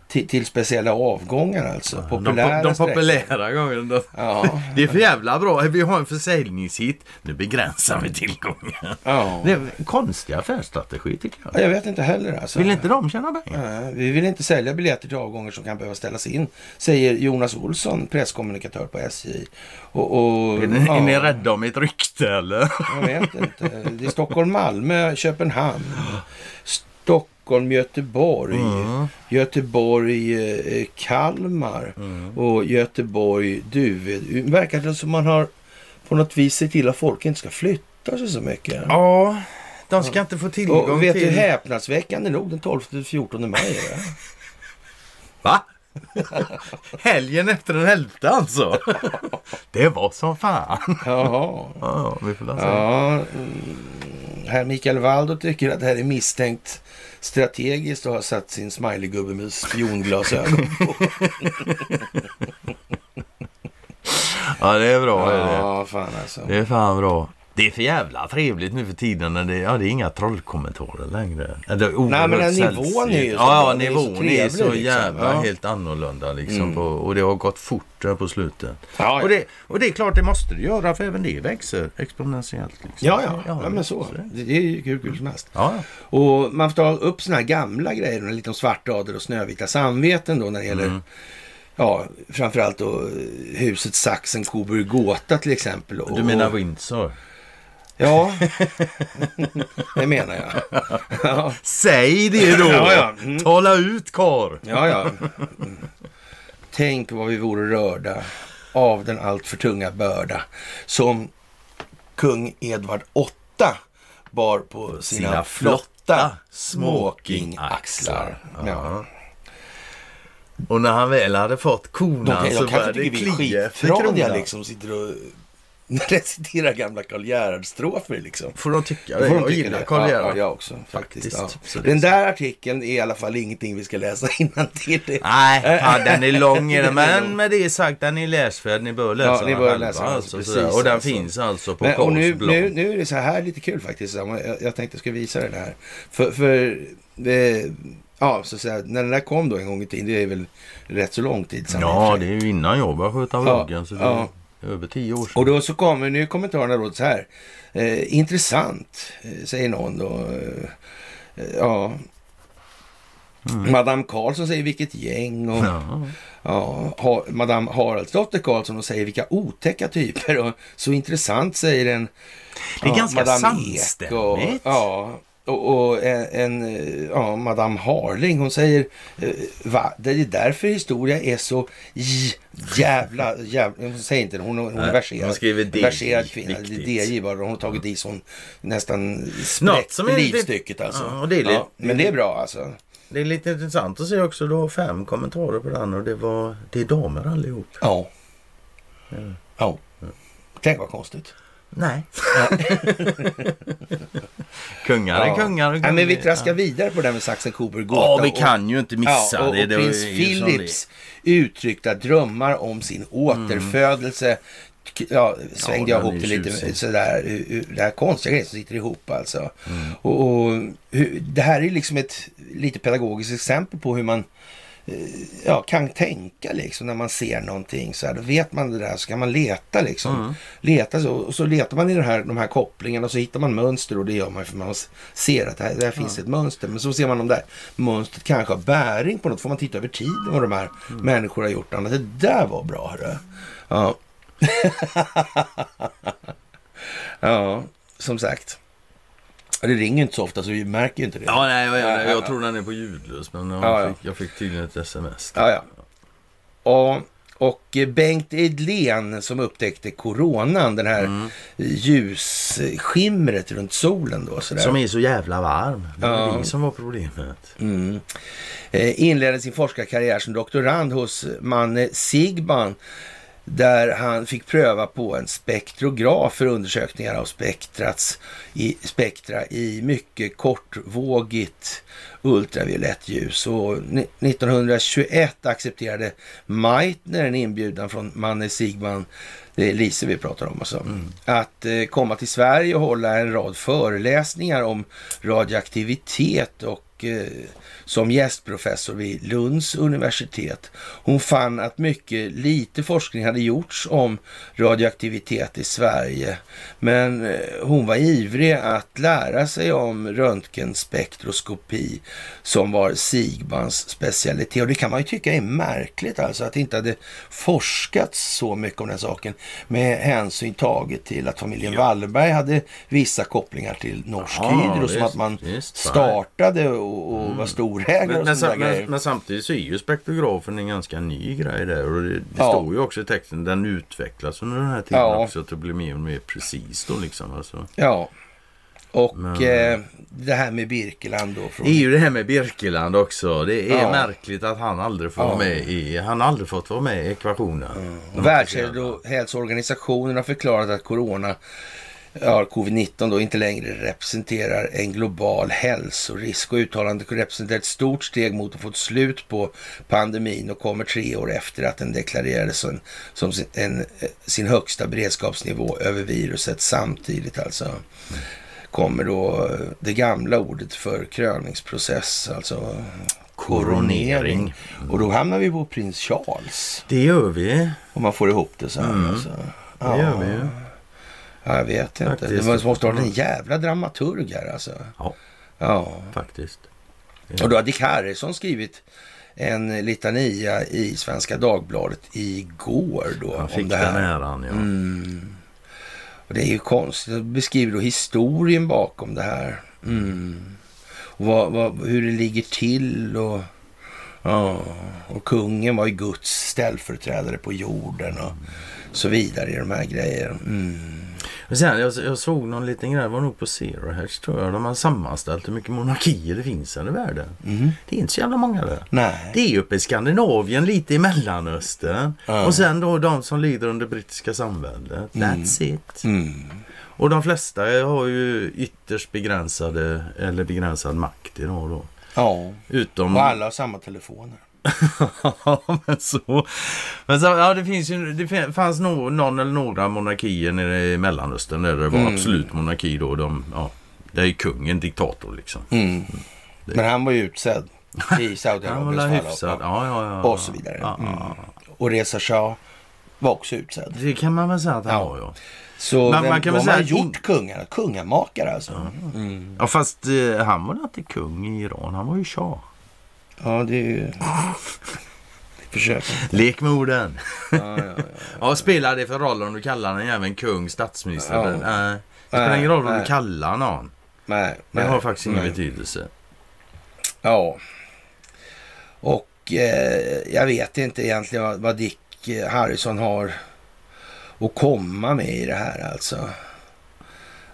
[SPEAKER 3] till, till speciella avgångar alltså.
[SPEAKER 4] De,
[SPEAKER 3] Populära
[SPEAKER 4] po- de
[SPEAKER 3] sträckor.
[SPEAKER 4] populära gångerna.
[SPEAKER 3] Ja.
[SPEAKER 4] Det är för jävla bra. Vi har en försäljningshit. Nu begränsar vi tillgången.
[SPEAKER 3] Ja.
[SPEAKER 4] Det är en konstig affärsstrategi tycker
[SPEAKER 3] Ja,
[SPEAKER 4] jag.
[SPEAKER 3] Jag vet inte heller alltså.
[SPEAKER 4] Vill inte de tjäna pengar?
[SPEAKER 3] Nej, Vi vill inte sälja biljetter till avgångar som kan behöva ställas in, säger Jonas Olsson, presskommunikatör på SJ. Och, och,
[SPEAKER 4] Är ni,
[SPEAKER 3] ja,
[SPEAKER 4] är ni rädda om ert rykte eller?
[SPEAKER 3] Jag vet inte. Det är Stockholm, Malmö, Köpenhamn, Stockholm, Göteborg,
[SPEAKER 4] Mm.
[SPEAKER 3] Göteborg, eh, Kalmar
[SPEAKER 4] Mm.
[SPEAKER 3] och Göteborg, Duved. Det verkar det som man har på något vis sett till att folk inte ska flytta sig så mycket.
[SPEAKER 4] Ja, de ska inte få tillgång
[SPEAKER 3] Och vet
[SPEAKER 4] till...
[SPEAKER 3] du, häpnadsväckande nog den 12-14 maj. är det.
[SPEAKER 4] Va? Helgen efter den elfte alltså? det var som fan.
[SPEAKER 3] Jaha.
[SPEAKER 4] Ja, vi får läsa.
[SPEAKER 3] Ja, mm, herr Mikael Waldo tycker att det här är misstänkt strategiskt och har satt sin smileygubbe med spionglasögon.
[SPEAKER 4] ja, det är bra. det är det.
[SPEAKER 3] ja, fan alltså.
[SPEAKER 4] Det är fan bra. Det är för jävla trevligt nu för tiden. När det, ja, det är inga trollkommentarer längre. Ja, Det är
[SPEAKER 3] Nej, men den
[SPEAKER 4] oerhört
[SPEAKER 3] nivån
[SPEAKER 4] sällsynt.
[SPEAKER 3] är ju så bra.
[SPEAKER 4] Ja, ja
[SPEAKER 3] Det är så
[SPEAKER 4] nivån är så,
[SPEAKER 3] trevlig, liksom.
[SPEAKER 4] jävla
[SPEAKER 3] Ja. Mm.
[SPEAKER 4] helt annorlunda. Liksom, på, och det har gått fort där på slutet.
[SPEAKER 3] Ja, ja.
[SPEAKER 4] Och, det, och det är klart, det måste det göra för även det växer exponentiellt. Liksom.
[SPEAKER 3] Ja, ja. ja, men så.
[SPEAKER 4] är det.
[SPEAKER 3] Det är ju hur kul som helst.
[SPEAKER 4] Ja, ja.
[SPEAKER 3] Och
[SPEAKER 4] Mm.
[SPEAKER 3] man får ta upp såna här gamla grejer, lite om svartrader och snövita samveten då när det gäller ja, framförallt då huset Saxen Coburg Gåta till exempel. Och,
[SPEAKER 4] Du menar Windsor?
[SPEAKER 3] Ja, det menar jag. Ja,
[SPEAKER 4] Säg det då!
[SPEAKER 3] Ja, ja. Mm.
[SPEAKER 4] Tala ut kar.
[SPEAKER 3] ja. ja. Tänk vad vi vore rörda av den alltför tunga börda som kung Edvard VIII bar på sina,
[SPEAKER 4] Sina flotta
[SPEAKER 3] flotta smokingaxlar. Ja.
[SPEAKER 4] Och när han väl hade fått
[SPEAKER 3] De,
[SPEAKER 4] konan
[SPEAKER 3] kan-
[SPEAKER 4] så
[SPEAKER 3] de kanske
[SPEAKER 4] började det
[SPEAKER 3] tycker vi
[SPEAKER 4] klia
[SPEAKER 3] är
[SPEAKER 4] efter kronan.
[SPEAKER 3] skitfradiga liksom, sitter och reciterar gamla Karl Gerhard-strofer liksom.
[SPEAKER 4] Får de tycka
[SPEAKER 3] Då
[SPEAKER 4] det?
[SPEAKER 3] får de
[SPEAKER 4] Jag
[SPEAKER 3] tycka
[SPEAKER 4] gillar
[SPEAKER 3] det.
[SPEAKER 4] Karl
[SPEAKER 3] ja, ja,
[SPEAKER 4] Gerhard.
[SPEAKER 3] jag också faktiskt.
[SPEAKER 4] Faktiskt,
[SPEAKER 3] Ja.
[SPEAKER 4] absolut.
[SPEAKER 3] Den där artikeln är i alla fall ingenting vi ska läsa innantill. Det-
[SPEAKER 4] Nej, fan, den är lång i den.
[SPEAKER 3] Den Eh, är lång.
[SPEAKER 4] Men med det sagt, den är läsvärd. Ni bör läsa
[SPEAKER 3] Ja, ni
[SPEAKER 4] den
[SPEAKER 3] bör
[SPEAKER 4] själva,
[SPEAKER 3] läsa den,
[SPEAKER 4] alltså,
[SPEAKER 3] precis,
[SPEAKER 4] sådär. Och den
[SPEAKER 3] alltså.
[SPEAKER 4] finns alltså på
[SPEAKER 3] Men, och nu,
[SPEAKER 4] Karls
[SPEAKER 3] nu,
[SPEAKER 4] blogg.
[SPEAKER 3] nu är det så här lite kul faktiskt. Jag, jag tänkte jag skulle visa det här. För, för eh, ja, så att säga, när den där kom då en gång i tiden, det är väl rätt så lång tid sedan.
[SPEAKER 4] Ja, det är ju innan jag började sköta vloggen. Så det är
[SPEAKER 3] ja.
[SPEAKER 4] över tio år sedan.
[SPEAKER 3] Och då så kommer, nu är kommentarerna då så här. Eh, intressant, eh, säger någon då. Eh, eh, ja. Madame Karlsson säger vilket gäng och
[SPEAKER 4] Mm. Ja.
[SPEAKER 3] ja, ha, Madame Haraldsdotter Karlsson och säger vilka otäcka typer och så intressant säger en
[SPEAKER 4] Det är
[SPEAKER 3] ja,
[SPEAKER 4] ganska
[SPEAKER 3] Ek
[SPEAKER 4] samstämmigt.
[SPEAKER 3] Och, ja, och, och en, en eh, ja, Madame Harling hon säger eh, va? Det är därför historia är så j- jävla, jävla hon säger inte det, hon, hon
[SPEAKER 4] Nej,
[SPEAKER 3] är verserad,
[SPEAKER 4] hon skriver DJ,
[SPEAKER 3] verserad kvinna. Det
[SPEAKER 4] viktigt.
[SPEAKER 3] är DJ bara, hon har tagit i som nästan
[SPEAKER 4] Något
[SPEAKER 3] spräckt
[SPEAKER 4] som är lite-
[SPEAKER 3] livstycket alltså.
[SPEAKER 4] Ja, och det är lite-
[SPEAKER 3] men det är bra alltså.
[SPEAKER 4] Det är lite intressant att se också. Du har fem kommentarer på den och det var... Det är damer allihop.
[SPEAKER 3] Ja. Ja. Tänk vad konstigt.
[SPEAKER 4] Nej. kungar är
[SPEAKER 3] Ja.
[SPEAKER 4] kungar. och
[SPEAKER 3] Nej, men vi
[SPEAKER 4] kungar-
[SPEAKER 3] traskar vidare på det här med Saxen Coburg Gotha.
[SPEAKER 4] Ja, vi
[SPEAKER 3] och-
[SPEAKER 4] kan ju inte missa
[SPEAKER 3] Ja, och, och
[SPEAKER 4] det. det var ju
[SPEAKER 3] prins
[SPEAKER 4] som
[SPEAKER 3] Philips uttryckta drömmar om sin återfödelse. K- Ja, svängde
[SPEAKER 4] Ja,
[SPEAKER 3] jag
[SPEAKER 4] den
[SPEAKER 3] ihop
[SPEAKER 4] är
[SPEAKER 3] det lite
[SPEAKER 4] tjusig.
[SPEAKER 3] sådär. ur- ur- Det här konstiga grejen som sitter ihop alltså. Och, och hur, det här är liksom ett lite pedagogiskt exempel på hur man eh, ja, kan tänka liksom när man ser någonting. Så här, då vet man det där så kan man leta liksom. Leta så, och så letar man i den här, de här kopplingarna och så hittar man mönster och det gör man för man ser att det här, det här finns ett mönster. Men så ser man om det här mönstret kanske har bäring på något. får man titta över tiden vad de här människor har gjort. Annars, det där var bra hörru. Ja. ja, som sagt. Det ringer ju inte så ofta så vi märker ju inte det.
[SPEAKER 4] Ja, nej, jag,
[SPEAKER 3] Ja,
[SPEAKER 4] jag,
[SPEAKER 3] ja,
[SPEAKER 4] jag
[SPEAKER 3] ja.
[SPEAKER 4] tror den är på ljudlös. Men jag,
[SPEAKER 3] Ja, ja.
[SPEAKER 4] Fick, jag fick tydligen ett sms.
[SPEAKER 3] Ja, ja. Och, och Bengt Edlén som upptäckte coronan, den här ljusskimret runt solen då. Sådär.
[SPEAKER 4] Som är så jävla varm. Det var
[SPEAKER 3] Ja.
[SPEAKER 4] det som var problemet.
[SPEAKER 3] Mm. Eh, Inledde sin forskarkarriär som doktorand hos Manne Sigban där han fick pröva på en spektrograf för undersökningar av spektrats i, spektra i mycket kortvågigt ultraviolett ljus. Och ni- 1921 accepterade Meitner en inbjudan från Manne Sigman, det är Lise vi pratar om alltså, att eh, komma till Sverige och hålla en rad föreläsningar om radioaktivitet och eh, som gästprofessor vid Lunds universitet. Hon fann att mycket lite forskning hade gjorts om radioaktivitet i Sverige. Men eh, hon var ivrig att lära sig om röntgenspektroskopi som var Sigbans specialitet. Och det kan man ju tycka är märkligt alltså att det inte hade forskats så mycket om den saken med hänsyn taget till att familjen Wallenberg hade vissa kopplingar till Norsk
[SPEAKER 4] Jaha,
[SPEAKER 3] Hydro som
[SPEAKER 4] visst,
[SPEAKER 3] att man
[SPEAKER 4] visst,
[SPEAKER 3] startade startade och, och var storägare
[SPEAKER 4] Mm. Men,
[SPEAKER 3] och
[SPEAKER 4] men,
[SPEAKER 3] sådana
[SPEAKER 4] sam,
[SPEAKER 3] där grejer.
[SPEAKER 4] men, men samtidigt så är ju spektrografen en ganska ny grej där. Och det det
[SPEAKER 3] Ja.
[SPEAKER 4] står ju också i texten. Den utvecklas under den här tiden
[SPEAKER 3] Ja.
[SPEAKER 4] också. Att det blir mer och mer precis då liksom. Alltså.
[SPEAKER 3] Ja. Och
[SPEAKER 4] Men-
[SPEAKER 3] eh, det här med Birkeland då. Från...
[SPEAKER 4] Det är ju det här med Birkeland också. Det är
[SPEAKER 3] Ja.
[SPEAKER 4] märkligt att han aldrig får
[SPEAKER 3] Ja. Mm.
[SPEAKER 4] vara med i... Han har aldrig fått vara med i ekvationen. De officiella.
[SPEAKER 3] Världshälsoorganisationen har förklarat att corona, ja, covid-19 då, inte längre representerar en global hälsorisk och uttalandet representerar ett stort steg mot att få ett slut på pandemin och kommer tre år efter att den deklarerades som, som sin, en, eh, sin högsta beredskapsnivå över viruset samtidigt alltså. kommer då det gamla ordet för kröningsprocess, alltså
[SPEAKER 4] Koronering.
[SPEAKER 3] koronering. Och då hamnar vi på prins Charles,
[SPEAKER 4] Det gör vi.
[SPEAKER 3] om man får ihop det så här. Alltså.
[SPEAKER 4] Mm. Det gör vi ju.
[SPEAKER 3] Ja, jag vet inte.
[SPEAKER 4] Faktiskt.
[SPEAKER 3] Det var- måste ha varit en jävla dramaturg här alltså.
[SPEAKER 4] Ja,
[SPEAKER 3] Ja.
[SPEAKER 4] faktiskt.
[SPEAKER 3] Och då har Dick Harrison skrivit en litania i Svenska Dagbladet igår då.
[SPEAKER 4] Han
[SPEAKER 3] om
[SPEAKER 4] fick
[SPEAKER 3] det här. Mm.
[SPEAKER 4] den äran, ja.
[SPEAKER 3] Och det är ju konstigt. Det beskriver då historien bakom det här. Mm. Och vad, vad, hur det ligger till och... Ja, och kungen var ju Guds ställföreträdare på jorden och så vidare i de här grejerna. Mm.
[SPEAKER 4] Men Sen, jag, jag såg någon liten grej, det var nog på Zero Hedge tror jag. De har sammanställt hur mycket monarkier det finns här i världen. Det är inte så jävla många det.
[SPEAKER 3] Mm. Nej.
[SPEAKER 4] Det är ju uppe i Skandinavien, lite i Mellanöstern. Och sen då de som lider under brittiska samväldet.
[SPEAKER 3] Mm.
[SPEAKER 4] That's it. Och de flesta har ju ytterst begränsade eller begränsad makt idag då.
[SPEAKER 3] Ja,
[SPEAKER 4] Utom...
[SPEAKER 3] och alla har samma telefoner.
[SPEAKER 4] Ja, men så. Men så, ja, det, finns ju, det fin- fanns nog någon eller några monarkier nere i Mellanöstern där det var
[SPEAKER 3] Mm.
[SPEAKER 4] absolut monarki då. De, ja, det är ju kungen diktator liksom.
[SPEAKER 3] Mm. Men han var ju utsedd i
[SPEAKER 4] Han var
[SPEAKER 3] Saudiarabiens
[SPEAKER 4] väl
[SPEAKER 3] fall.
[SPEAKER 4] hyfsad. Ja, ja, ja.
[SPEAKER 3] Och så vidare.
[SPEAKER 4] Ja, ja.
[SPEAKER 3] Mm. Och Reza Shah var också utsedd.
[SPEAKER 4] Det kan man väl säga att han
[SPEAKER 3] Ja.
[SPEAKER 4] var ja.
[SPEAKER 3] Så
[SPEAKER 4] Men
[SPEAKER 3] vem,
[SPEAKER 4] man kan
[SPEAKER 3] de
[SPEAKER 4] väl säga
[SPEAKER 3] har
[SPEAKER 4] att
[SPEAKER 3] gjort
[SPEAKER 4] in-
[SPEAKER 3] kungarna, kungamakare alltså. Mm.
[SPEAKER 4] ja. Fast eh, han var inte kung i Iran, han var ju shah.
[SPEAKER 3] Ja, det är ju... Försök.
[SPEAKER 4] Lek med orden. Ja, spelar det för roll om du kallar den även kung, statsminister?
[SPEAKER 3] Ja.
[SPEAKER 4] eller- Nej. Det spelar ingen roll om du
[SPEAKER 3] Nej.
[SPEAKER 4] kallar någon.
[SPEAKER 3] Nej,
[SPEAKER 4] Det
[SPEAKER 3] nej,
[SPEAKER 4] har faktiskt ingen
[SPEAKER 3] nej.
[SPEAKER 4] betydelse.
[SPEAKER 3] Ja. Och eh, jag vet inte egentligen vad, vad Dick eh, Harrison har att komma med i det här alltså.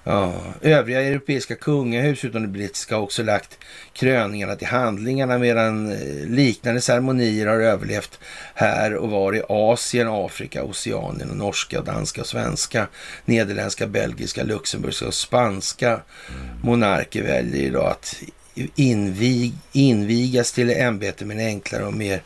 [SPEAKER 3] Ja. Övriga europeiska kungahus utom det brittiska har också lagt kröningarna till handlingarna medan eh, liknande ceremonier har överlevt här och var i Asien, Afrika, Oceanien och norska, danska och svenska, nederländska, belgiska, luxemburgska och spanska monarker väljer idag att invig, invigas till ämbete men enklare och mer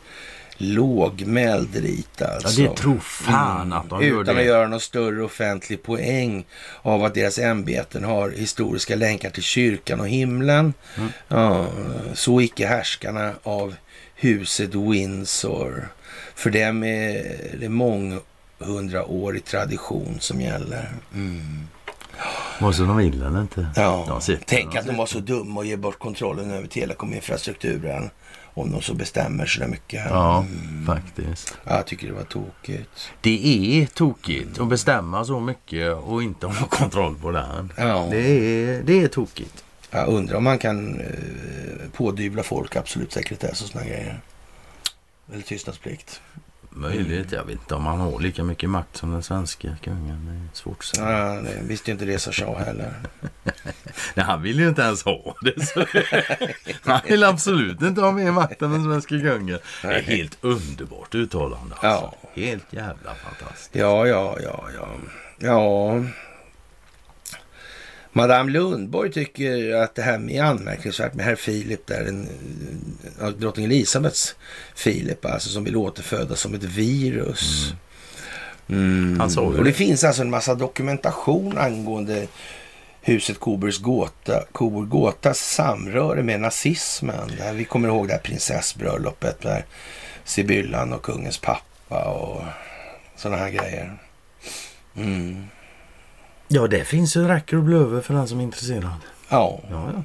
[SPEAKER 3] lågmäld rit alltså.
[SPEAKER 4] Ja, det tror fan att de gör
[SPEAKER 3] Utan
[SPEAKER 4] det.
[SPEAKER 3] att göra någon större offentlig poäng av att deras ämbeten har historiska länkar till kyrkan och himlen.
[SPEAKER 4] Mm.
[SPEAKER 3] Ja, så icke härskarna av huset Windsor. För dem är det månghundraårig tradition som gäller.
[SPEAKER 4] Vare sig de vill eller inte.
[SPEAKER 3] Ja.
[SPEAKER 4] De Mm. sitter
[SPEAKER 3] Tänk
[SPEAKER 4] där.
[SPEAKER 3] att de var så dumma och ger bort kontrollen över telekominfrastrukturen. Om de så bestämmer sig där mycket.
[SPEAKER 4] Ja, faktiskt.
[SPEAKER 3] Ja, Jag tycker det var tokigt.
[SPEAKER 4] Det är tokigt att bestämma så mycket och inte ha kontroll på det här.
[SPEAKER 3] Ja.
[SPEAKER 4] Det, är, det är tokigt.
[SPEAKER 3] Jag undrar om man kan eh, pådyvla folk absolut sekretess och såna grejer. Eller tystnadsplikt.
[SPEAKER 4] Möjligt. Jag vet inte om han har lika mycket makt som den svenska kungen. Det är svårt att säga.
[SPEAKER 3] Ja, det visste ju inte Reza Shah heller.
[SPEAKER 4] Nej, han vill ju inte ens ha det. Så. han vill absolut inte ha mer makt än den svenska kungen. Det är helt underbart uttalande. Alltså. Helt jävla fantastiskt.
[SPEAKER 3] Ja, ja, ja, ja. Ja. Madame Lundborg tycker att det här är anmärkningsvärt med herr Filip där, den, ja, drottning Elisabeths Filip, alltså som vill återfödas som ett virus. Mm.
[SPEAKER 4] Han sa ju
[SPEAKER 3] Och det
[SPEAKER 4] det.
[SPEAKER 3] finns alltså en massa dokumentation angående huset Coburgs gåta, Coburg gåtas samröre med nazismen. Där vi kommer ihåg det här prinsessbröllopet där Sibyllan och kungens pappa och sådana här grejer. Mm.
[SPEAKER 4] Ja, det finns ju räcker och blöver för den som är intresserad.
[SPEAKER 3] Ja,
[SPEAKER 4] Ja, ja.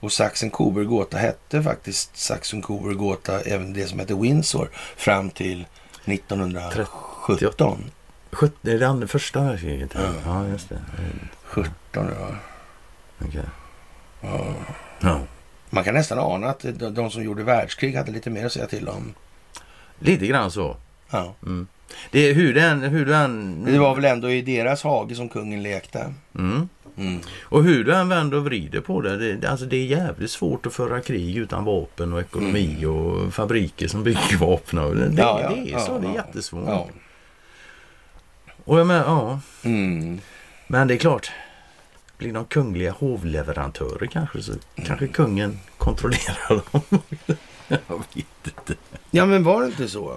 [SPEAKER 3] och Saxen Coburg gåta hette faktiskt Saxen Coburg gåta, även det som hette Windsor, fram till 1917.
[SPEAKER 4] 70, det är det andra- första världskriget? Ja, ja just det.
[SPEAKER 3] 17, ja.
[SPEAKER 4] Okej. Ja.
[SPEAKER 3] Man kan nästan ana att de de som gjorde världskrig hade lite mer att säga till om.
[SPEAKER 4] Lite grann så.
[SPEAKER 3] Ja.
[SPEAKER 4] Mm. Det är hur den, hur den...
[SPEAKER 3] Det var väl ändå i deras hage som kungen lekte.
[SPEAKER 4] Mm.
[SPEAKER 3] Mm.
[SPEAKER 4] Och hur du än vänder och vrider på det, det, det- alltså det är jävligt svårt att föra krig utan vapen och ekonomi och fabriker som bygger vapen. Och det, det,
[SPEAKER 3] Mm. Ja, ja,
[SPEAKER 4] det är så,
[SPEAKER 3] ja,
[SPEAKER 4] det är
[SPEAKER 3] ja.
[SPEAKER 4] jättesvårt.
[SPEAKER 3] Ja.
[SPEAKER 4] Och jag menar, ja.
[SPEAKER 3] Mm.
[SPEAKER 4] Men det är klart, blir de kungliga hovleverantörer kanske så
[SPEAKER 3] Mm.
[SPEAKER 4] kanske kungen kontrollerar dem. jag vet inte.
[SPEAKER 3] ja, men var det inte så? Va?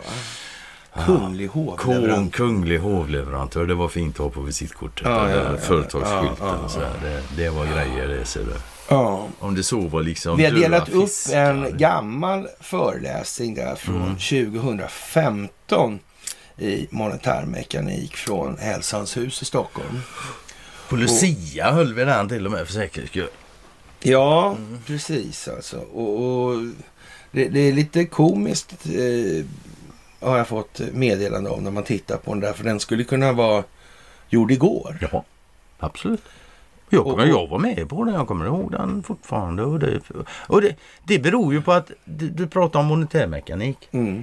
[SPEAKER 4] Ah.
[SPEAKER 3] Kunglig
[SPEAKER 4] Kon,
[SPEAKER 3] hovleverantör.
[SPEAKER 4] kunglig hovleverantör, det var fint att ha på visitkortet.
[SPEAKER 3] Ja,
[SPEAKER 4] eller
[SPEAKER 3] ja, ja, ja.
[SPEAKER 4] företagsskylten
[SPEAKER 3] Ja, ja,
[SPEAKER 4] och så här. Det, det var grejer det ser du.
[SPEAKER 3] Ja.
[SPEAKER 4] Om det så var liksom
[SPEAKER 3] Vi har
[SPEAKER 4] döda
[SPEAKER 3] delat upp
[SPEAKER 4] fiskar.
[SPEAKER 3] en gammal föreläsning där från 2015 i monetärmekanik från Hälsans hus i Stockholm.
[SPEAKER 4] På Lucia höll vi den till och med för säkerhets skull.
[SPEAKER 3] Ja, precis alltså. Mm. Och, och Det, det är lite komiskt eh, har jag fått meddelande om när man tittar på den där. För den skulle kunna vara gjord igår.
[SPEAKER 4] Ja, absolut. Jag,
[SPEAKER 3] Och-
[SPEAKER 4] kommer, jag var med på den, jag kommer ihåg den fortfarande. Och det, och det, det beror ju på att du, du pratar om monetärmekanik.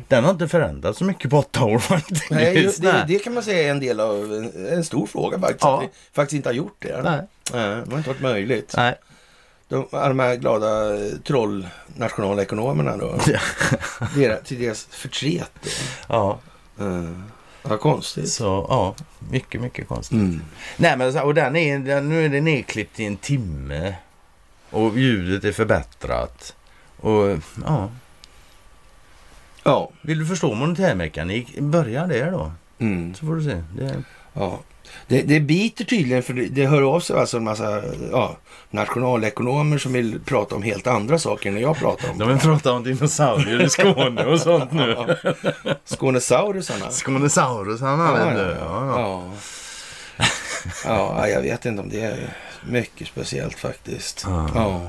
[SPEAKER 4] Den har inte förändrats så mycket på åtta år faktiskt.
[SPEAKER 3] Mm. Nej, ju- det,
[SPEAKER 4] Nej.
[SPEAKER 3] det kan man säga är en del av en, en stor fråga faktiskt.
[SPEAKER 4] Ja.
[SPEAKER 3] Att vi faktiskt inte har gjort det.
[SPEAKER 4] Nej.
[SPEAKER 3] Nej, det har inte varit möjligt.
[SPEAKER 4] Nej.
[SPEAKER 3] De, alla de här glada eh, trollnationalekonomerna då. deras, till deras förtret då.
[SPEAKER 4] Ja,
[SPEAKER 3] Uh, vad konstigt.
[SPEAKER 4] så ja, mycket, mycket konstigt. Nej, men så, och den är, den, nu är den nedklippt i en timme. Och ljudet är förbättrat. Och ja,
[SPEAKER 3] Ja.
[SPEAKER 4] vill du förstå monetärmekanik, börja där då.
[SPEAKER 3] Mm.
[SPEAKER 4] Så får du se. Det,
[SPEAKER 3] Ja. Det, det biter tydligen för det, det hör av sig alltså en massa ja, nationalekonomer som vill prata om helt andra saker än det jag pratar om.
[SPEAKER 4] de vill prata om dinosaurier i Skåne och sånt nu.
[SPEAKER 3] Skånesaurusarna.
[SPEAKER 4] Skånesaurus han
[SPEAKER 3] Ja,
[SPEAKER 4] använde.
[SPEAKER 3] ja, ja. ja, jag vet inte om det är mycket speciellt faktiskt.
[SPEAKER 4] Ja.
[SPEAKER 3] Ja.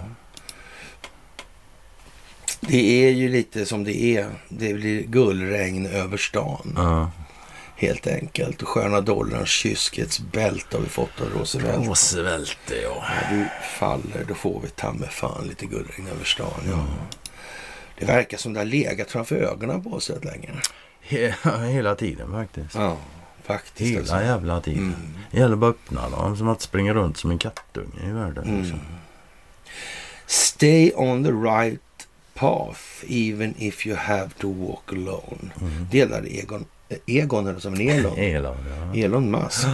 [SPEAKER 3] Det är ju lite som det är. Det blir gullregn över stan.
[SPEAKER 4] ja.
[SPEAKER 3] Helt enkelt. Och sköna dollarns kyskets bälte har vi fått av Roosevelt.
[SPEAKER 4] Roosevelt, ja.
[SPEAKER 3] När du faller, då får vi ta med fan lite guldregn över stan. Ja. Det verkar som det har legat framför ögonen på oss rätt länge.
[SPEAKER 4] He- Hela tiden faktiskt.
[SPEAKER 3] Ja, faktiskt.
[SPEAKER 4] Hela
[SPEAKER 3] Alltså.
[SPEAKER 4] jävla tiden. Det gäller bara att öppna dem så man inte springer runt som en kattunge i världen.
[SPEAKER 3] Mm.
[SPEAKER 4] Liksom.
[SPEAKER 3] Stay on the right path even if you have to walk alone.
[SPEAKER 4] Mm.
[SPEAKER 3] Det gällde Egon, eh, Egon eller som en Elon.
[SPEAKER 4] Elak, ja.
[SPEAKER 3] Elon Musk.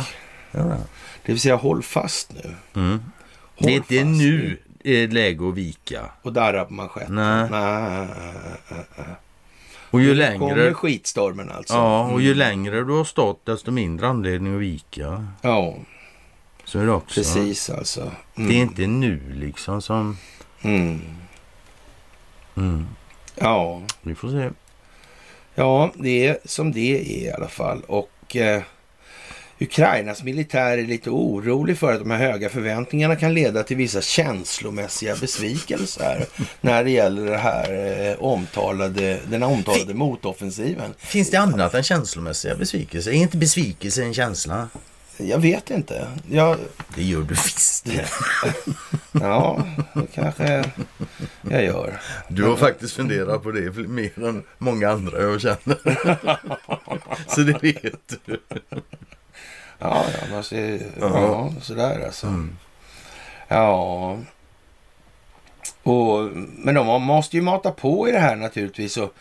[SPEAKER 4] Ja.
[SPEAKER 3] Det vill säga håll fast nu.
[SPEAKER 4] Mm.
[SPEAKER 3] Håll
[SPEAKER 4] Det är inte
[SPEAKER 3] fast
[SPEAKER 4] nu det är läge att vika.
[SPEAKER 3] Och darra på manschetten.
[SPEAKER 4] Nej.
[SPEAKER 3] Nej.
[SPEAKER 4] Och ju
[SPEAKER 3] Kommer
[SPEAKER 4] längre...
[SPEAKER 3] skitstormen alltså.
[SPEAKER 4] Ja, och ju längre du har stått desto mindre anledning att vika.
[SPEAKER 3] Mm. Ja,
[SPEAKER 4] Så är det också.
[SPEAKER 3] precis alltså. Mm.
[SPEAKER 4] Det är inte nu liksom som... Mm.
[SPEAKER 3] Mm. Ja.
[SPEAKER 4] Vi får se.
[SPEAKER 3] ja, det är som det är i alla fall. Och eh, Ukrainas militär är lite orolig för att de här höga förväntningarna kan leda till vissa känslomässiga besvikelser när det gäller det här eh, omtalade, den här omtalade motoffensiven.
[SPEAKER 4] Finns det annat än känslomässiga besvikelser? Är inte besvikelse en känsla?
[SPEAKER 3] Jag vet inte. Jag,
[SPEAKER 4] Det gör du visst.
[SPEAKER 3] ja, det kanske jag gör.
[SPEAKER 4] Du har faktiskt funderat på det mer än många andra jag känner. Så det vet du.
[SPEAKER 3] Ja, ja, man ser, ja sådär alltså.
[SPEAKER 4] Mm.
[SPEAKER 3] Ja. Och, men de måste ju mata på i det här naturligtvis. Och,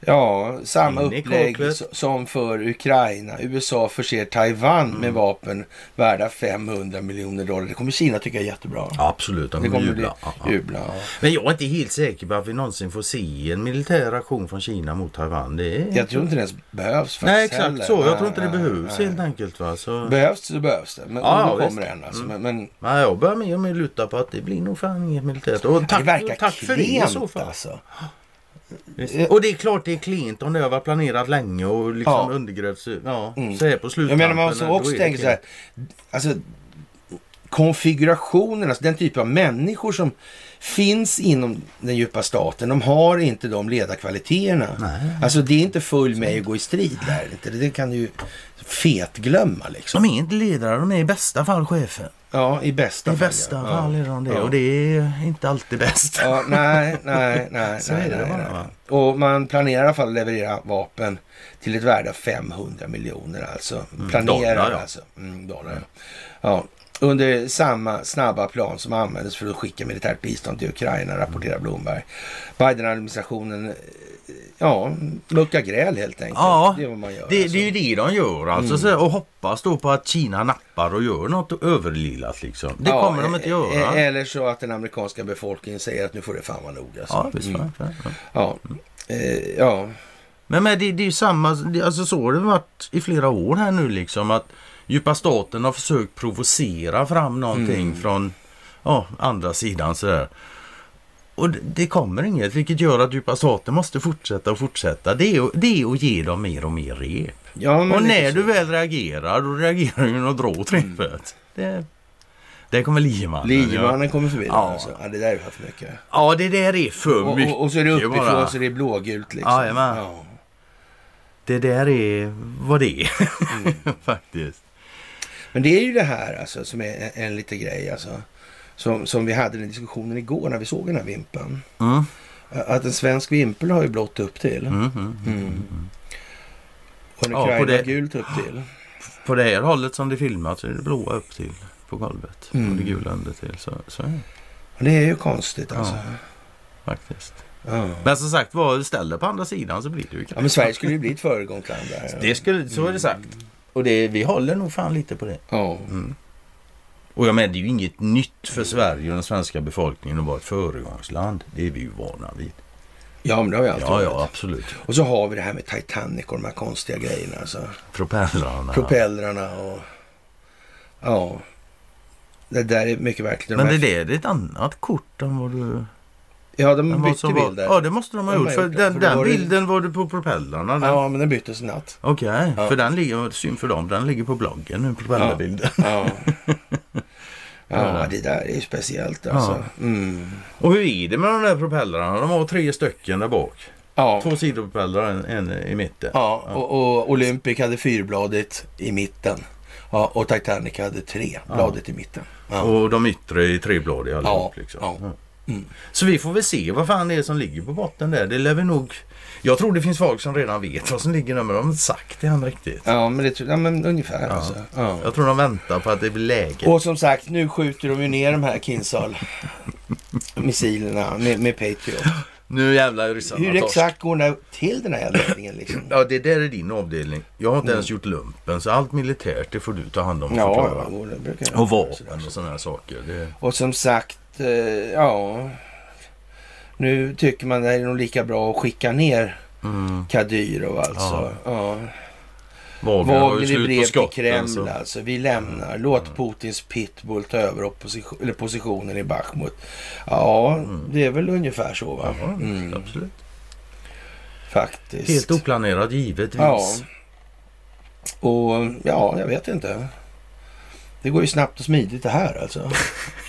[SPEAKER 3] ja, samma
[SPEAKER 4] In i
[SPEAKER 3] upplägg
[SPEAKER 4] kaklet.
[SPEAKER 3] s- som för Ukraina. USA förser Taiwan
[SPEAKER 4] Mm.
[SPEAKER 3] med vapen värda 500 miljoner dollar. Det kommer Kina tycka är jättebra.
[SPEAKER 4] Absolut, de
[SPEAKER 3] det
[SPEAKER 4] kommer
[SPEAKER 3] kommer
[SPEAKER 4] jubla. Ja, ja.
[SPEAKER 3] bli jubla. ja.
[SPEAKER 4] Men jag är inte helt säker på att vi någonsin får se en militär aktion från Kina mot Taiwan. Det är...
[SPEAKER 3] Jag tror inte det ens behövs. faktiskt
[SPEAKER 4] Nej, exakt
[SPEAKER 3] heller.
[SPEAKER 4] så. Jag
[SPEAKER 3] Nej,
[SPEAKER 4] tror inte det
[SPEAKER 3] nej,
[SPEAKER 4] behövs
[SPEAKER 3] nej.
[SPEAKER 4] helt enkelt. Va? Så...
[SPEAKER 3] Behövs så behövs det. Men
[SPEAKER 4] Ja,
[SPEAKER 3] men
[SPEAKER 4] ja,
[SPEAKER 3] då kommer
[SPEAKER 4] visst. Mm.
[SPEAKER 3] den alltså. Men, men
[SPEAKER 4] Nej, jag börjar mer och mer luta på att det blir nog fan inget militärt. Och tack,
[SPEAKER 3] det verkar
[SPEAKER 4] tack för det i så
[SPEAKER 3] klent,
[SPEAKER 4] fall.
[SPEAKER 3] alltså.
[SPEAKER 4] Visst. Och det är klart det är klent om det har varit planerat länge och liksom
[SPEAKER 3] Ja.
[SPEAKER 4] undergrävs. Ja, Mm. så här på
[SPEAKER 3] Mm. Jag
[SPEAKER 4] sluttampen.
[SPEAKER 3] menar man måste
[SPEAKER 4] då är
[SPEAKER 3] också
[SPEAKER 4] det
[SPEAKER 3] tänka så här.
[SPEAKER 4] klent.
[SPEAKER 3] Alltså, konfigurationen, alltså den typ av människor som finns inom den djupa staten, de har inte de ledarkvaliteterna. Alltså det är inte full med att gå i strid där. inte. Det kan du ju fetglömma liksom.
[SPEAKER 4] De är inte ledare, de är i bästa fall chefer.
[SPEAKER 3] Ja, i bästa
[SPEAKER 4] I
[SPEAKER 3] fall.
[SPEAKER 4] bästa
[SPEAKER 3] ja.
[SPEAKER 4] fall är de det.
[SPEAKER 3] Ja.
[SPEAKER 4] Och det är inte alltid bäst.
[SPEAKER 3] Ja, nej, nej, nej.
[SPEAKER 4] Så
[SPEAKER 3] nej,
[SPEAKER 4] är det
[SPEAKER 3] nej,
[SPEAKER 4] bara,
[SPEAKER 3] nej.
[SPEAKER 4] va?
[SPEAKER 3] Och man planerar i alla fall att leverera vapen till ett värde av 500 miljoner alltså. Planerar
[SPEAKER 4] Mm, dollar, ja.
[SPEAKER 3] alltså. Mm, dollar, ja. ja. Under samma snabba plan som användes för att skicka militärt bistånd till Ukraina, rapporterar Blomberg. Biden-administrationen, eh, ja, muckar gräl helt enkelt.
[SPEAKER 4] Ja,
[SPEAKER 3] det är vad man gör.
[SPEAKER 4] Det,
[SPEAKER 3] alltså.
[SPEAKER 4] det är ju det de gör alltså. Så, här, och hoppas då på att Kina nappar och gör något överlilat liksom. Det
[SPEAKER 3] Ja,
[SPEAKER 4] kommer de inte
[SPEAKER 3] eh,
[SPEAKER 4] göra.
[SPEAKER 3] eh, Eller så att den amerikanska befolkningen säger att nu får det fan vara nog alltså.
[SPEAKER 4] ja, visst, va? Ja, ja.
[SPEAKER 3] Ja. Eh, ja.
[SPEAKER 4] Men, men det, det är ju samma, det, alltså så har det varit i flera år här nu liksom att djupa staten har försökt provocera fram någonting
[SPEAKER 3] Mm.
[SPEAKER 4] från ja, andra sidan sådär. Och det, det kommer inget vilket gör att djupa staten måste fortsätta och fortsätta. Det är, att- det är att ge dem mer och mer rep.
[SPEAKER 3] ja men
[SPEAKER 4] och
[SPEAKER 3] lite
[SPEAKER 4] när
[SPEAKER 3] så. Mm.
[SPEAKER 4] du väl reagerar då reagerar du och drar åt repet. Det, Där kommer liemannen.
[SPEAKER 3] Liemannen
[SPEAKER 4] ja.
[SPEAKER 3] kommer förbi.
[SPEAKER 4] Ja.
[SPEAKER 3] Alltså. Ja, det där är för mycket.
[SPEAKER 4] ja, det där är för
[SPEAKER 3] Och,
[SPEAKER 4] mycket.
[SPEAKER 3] och, och så är det uppifrån
[SPEAKER 4] bara.
[SPEAKER 3] så det är blågult liksom.
[SPEAKER 4] Jajamän.
[SPEAKER 3] Ja.
[SPEAKER 4] Det där är vad det är.
[SPEAKER 3] Mm.
[SPEAKER 4] Faktiskt.
[SPEAKER 3] Men det är ju det här alltså, som är en, en liten grej alltså. Som, som vi hade den diskussionen igår när vi såg den här vimpen.
[SPEAKER 4] Mm.
[SPEAKER 3] Att en svensk vimpel har ju blått upp till.
[SPEAKER 4] Mm, mm.
[SPEAKER 3] Och en
[SPEAKER 4] Ja, på
[SPEAKER 3] Ukraina
[SPEAKER 4] det-
[SPEAKER 3] gult upp till.
[SPEAKER 4] På det här hållet som det filmats är det blåa upp till på golvet.
[SPEAKER 3] Mm.
[SPEAKER 4] Och det gula under till. Så, så är det
[SPEAKER 3] Och det är ju konstigt alltså.
[SPEAKER 4] faktiskt.
[SPEAKER 3] Ja.
[SPEAKER 4] Men som sagt var, ställ det på andra sidan så blir det ju
[SPEAKER 3] Ja, men Sverige Mm. skulle ju bli ett föregångsland där.
[SPEAKER 4] Det skulle, så är det sagt. Och det, vi håller nog fan lite på det.
[SPEAKER 3] Ja.
[SPEAKER 4] Mm. Och jag menar, det är ju inget nytt för Sverige och den svenska befolkningen att vara ett föregångsland. Det är vi ju vana vid.
[SPEAKER 3] ja, men det har vi alltid
[SPEAKER 4] Ja,
[SPEAKER 3] varit.
[SPEAKER 4] ja, absolut.
[SPEAKER 3] Och så har vi det här med Titanic och de här konstiga grejerna. Alltså.
[SPEAKER 4] Propellrarna.
[SPEAKER 3] Propellrarna och... Ja. Det där är mycket verkligt. De
[SPEAKER 4] Men det
[SPEAKER 3] här-
[SPEAKER 4] där är ett annat kort än vad du...
[SPEAKER 3] Ja,
[SPEAKER 4] än
[SPEAKER 3] de
[SPEAKER 4] vad
[SPEAKER 3] bytte
[SPEAKER 4] som var...
[SPEAKER 3] bild där.
[SPEAKER 4] Ja, det måste de ha
[SPEAKER 3] De
[SPEAKER 4] gjort.
[SPEAKER 3] har
[SPEAKER 4] För
[SPEAKER 3] gjort det,
[SPEAKER 4] den,
[SPEAKER 3] för då
[SPEAKER 4] den
[SPEAKER 3] var det-
[SPEAKER 4] bilden var det på propellrarna. Den...
[SPEAKER 3] ja, men den byttes i natt.
[SPEAKER 4] Okej,
[SPEAKER 3] Ja.
[SPEAKER 4] för den ligger, synd för dem, den ligger på bloggen nu, propellerbilden.
[SPEAKER 3] Ja. ja, det där är ju speciellt alltså. Mm.
[SPEAKER 4] Och hur är det med de där propellrarna? De har tre stycken där bak.
[SPEAKER 3] Ja.
[SPEAKER 4] Två sidopropellrar, en, en i mitten.
[SPEAKER 3] Ja, och, och Olympic hade fyrbladigt i mitten. Ja, och Titanic hade tre bladet i mitten. Ja.
[SPEAKER 4] Och de yttre är trebladiga allihop.
[SPEAKER 3] Ja,
[SPEAKER 4] liksom.
[SPEAKER 3] ja.
[SPEAKER 4] Ja. Så vi får väl se vad fan det är som ligger på botten där. Det lär vi nog... Jag tror det finns folk som redan vet vad som ligger där men de har inte sagt det än riktigt.
[SPEAKER 3] Ja, men, det, tror- ja, men ungefär alltså. Ja.
[SPEAKER 4] Jag tror de väntar på att det blir läge.
[SPEAKER 3] Och som sagt, nu skjuter de ju ner de här Kinsal-missilerna med, med Patriot.
[SPEAKER 4] Nu jävlar är ryssarna
[SPEAKER 3] Hur
[SPEAKER 4] torsk.
[SPEAKER 3] exakt går den här till den här jävla övningen liksom?
[SPEAKER 4] Ja det där är din avdelning. Jag har inte ens gjort lumpen så allt militärt det får du ta hand om och
[SPEAKER 3] Mm. Ja,
[SPEAKER 4] förklara.
[SPEAKER 3] ja, det brukar jag.
[SPEAKER 4] Och vapen och sådana här saker. Det...
[SPEAKER 3] Och som sagt, eh, ja. Nu tycker man det är nog lika bra att skicka ner
[SPEAKER 4] Mm.
[SPEAKER 3] Kadyrov alltså. Ja.
[SPEAKER 4] Wagner har ju
[SPEAKER 3] Wagner i brev
[SPEAKER 4] slut på Mm.
[SPEAKER 3] till
[SPEAKER 4] skotten.
[SPEAKER 3] Kreml
[SPEAKER 4] så-
[SPEAKER 3] alltså. Vi lämnar. Låt Putins pitbull ta över opposition, eller positionen i Bachmut. Ja, det är väl ungefär så va?
[SPEAKER 4] Mm. Ja,
[SPEAKER 3] Mm,
[SPEAKER 4] Absolut.
[SPEAKER 3] faktiskt.
[SPEAKER 4] Helt oplanerat givetvis.
[SPEAKER 3] Ja. Och ja, jag vet inte. Det går ju snabbt och smidigt det här alltså.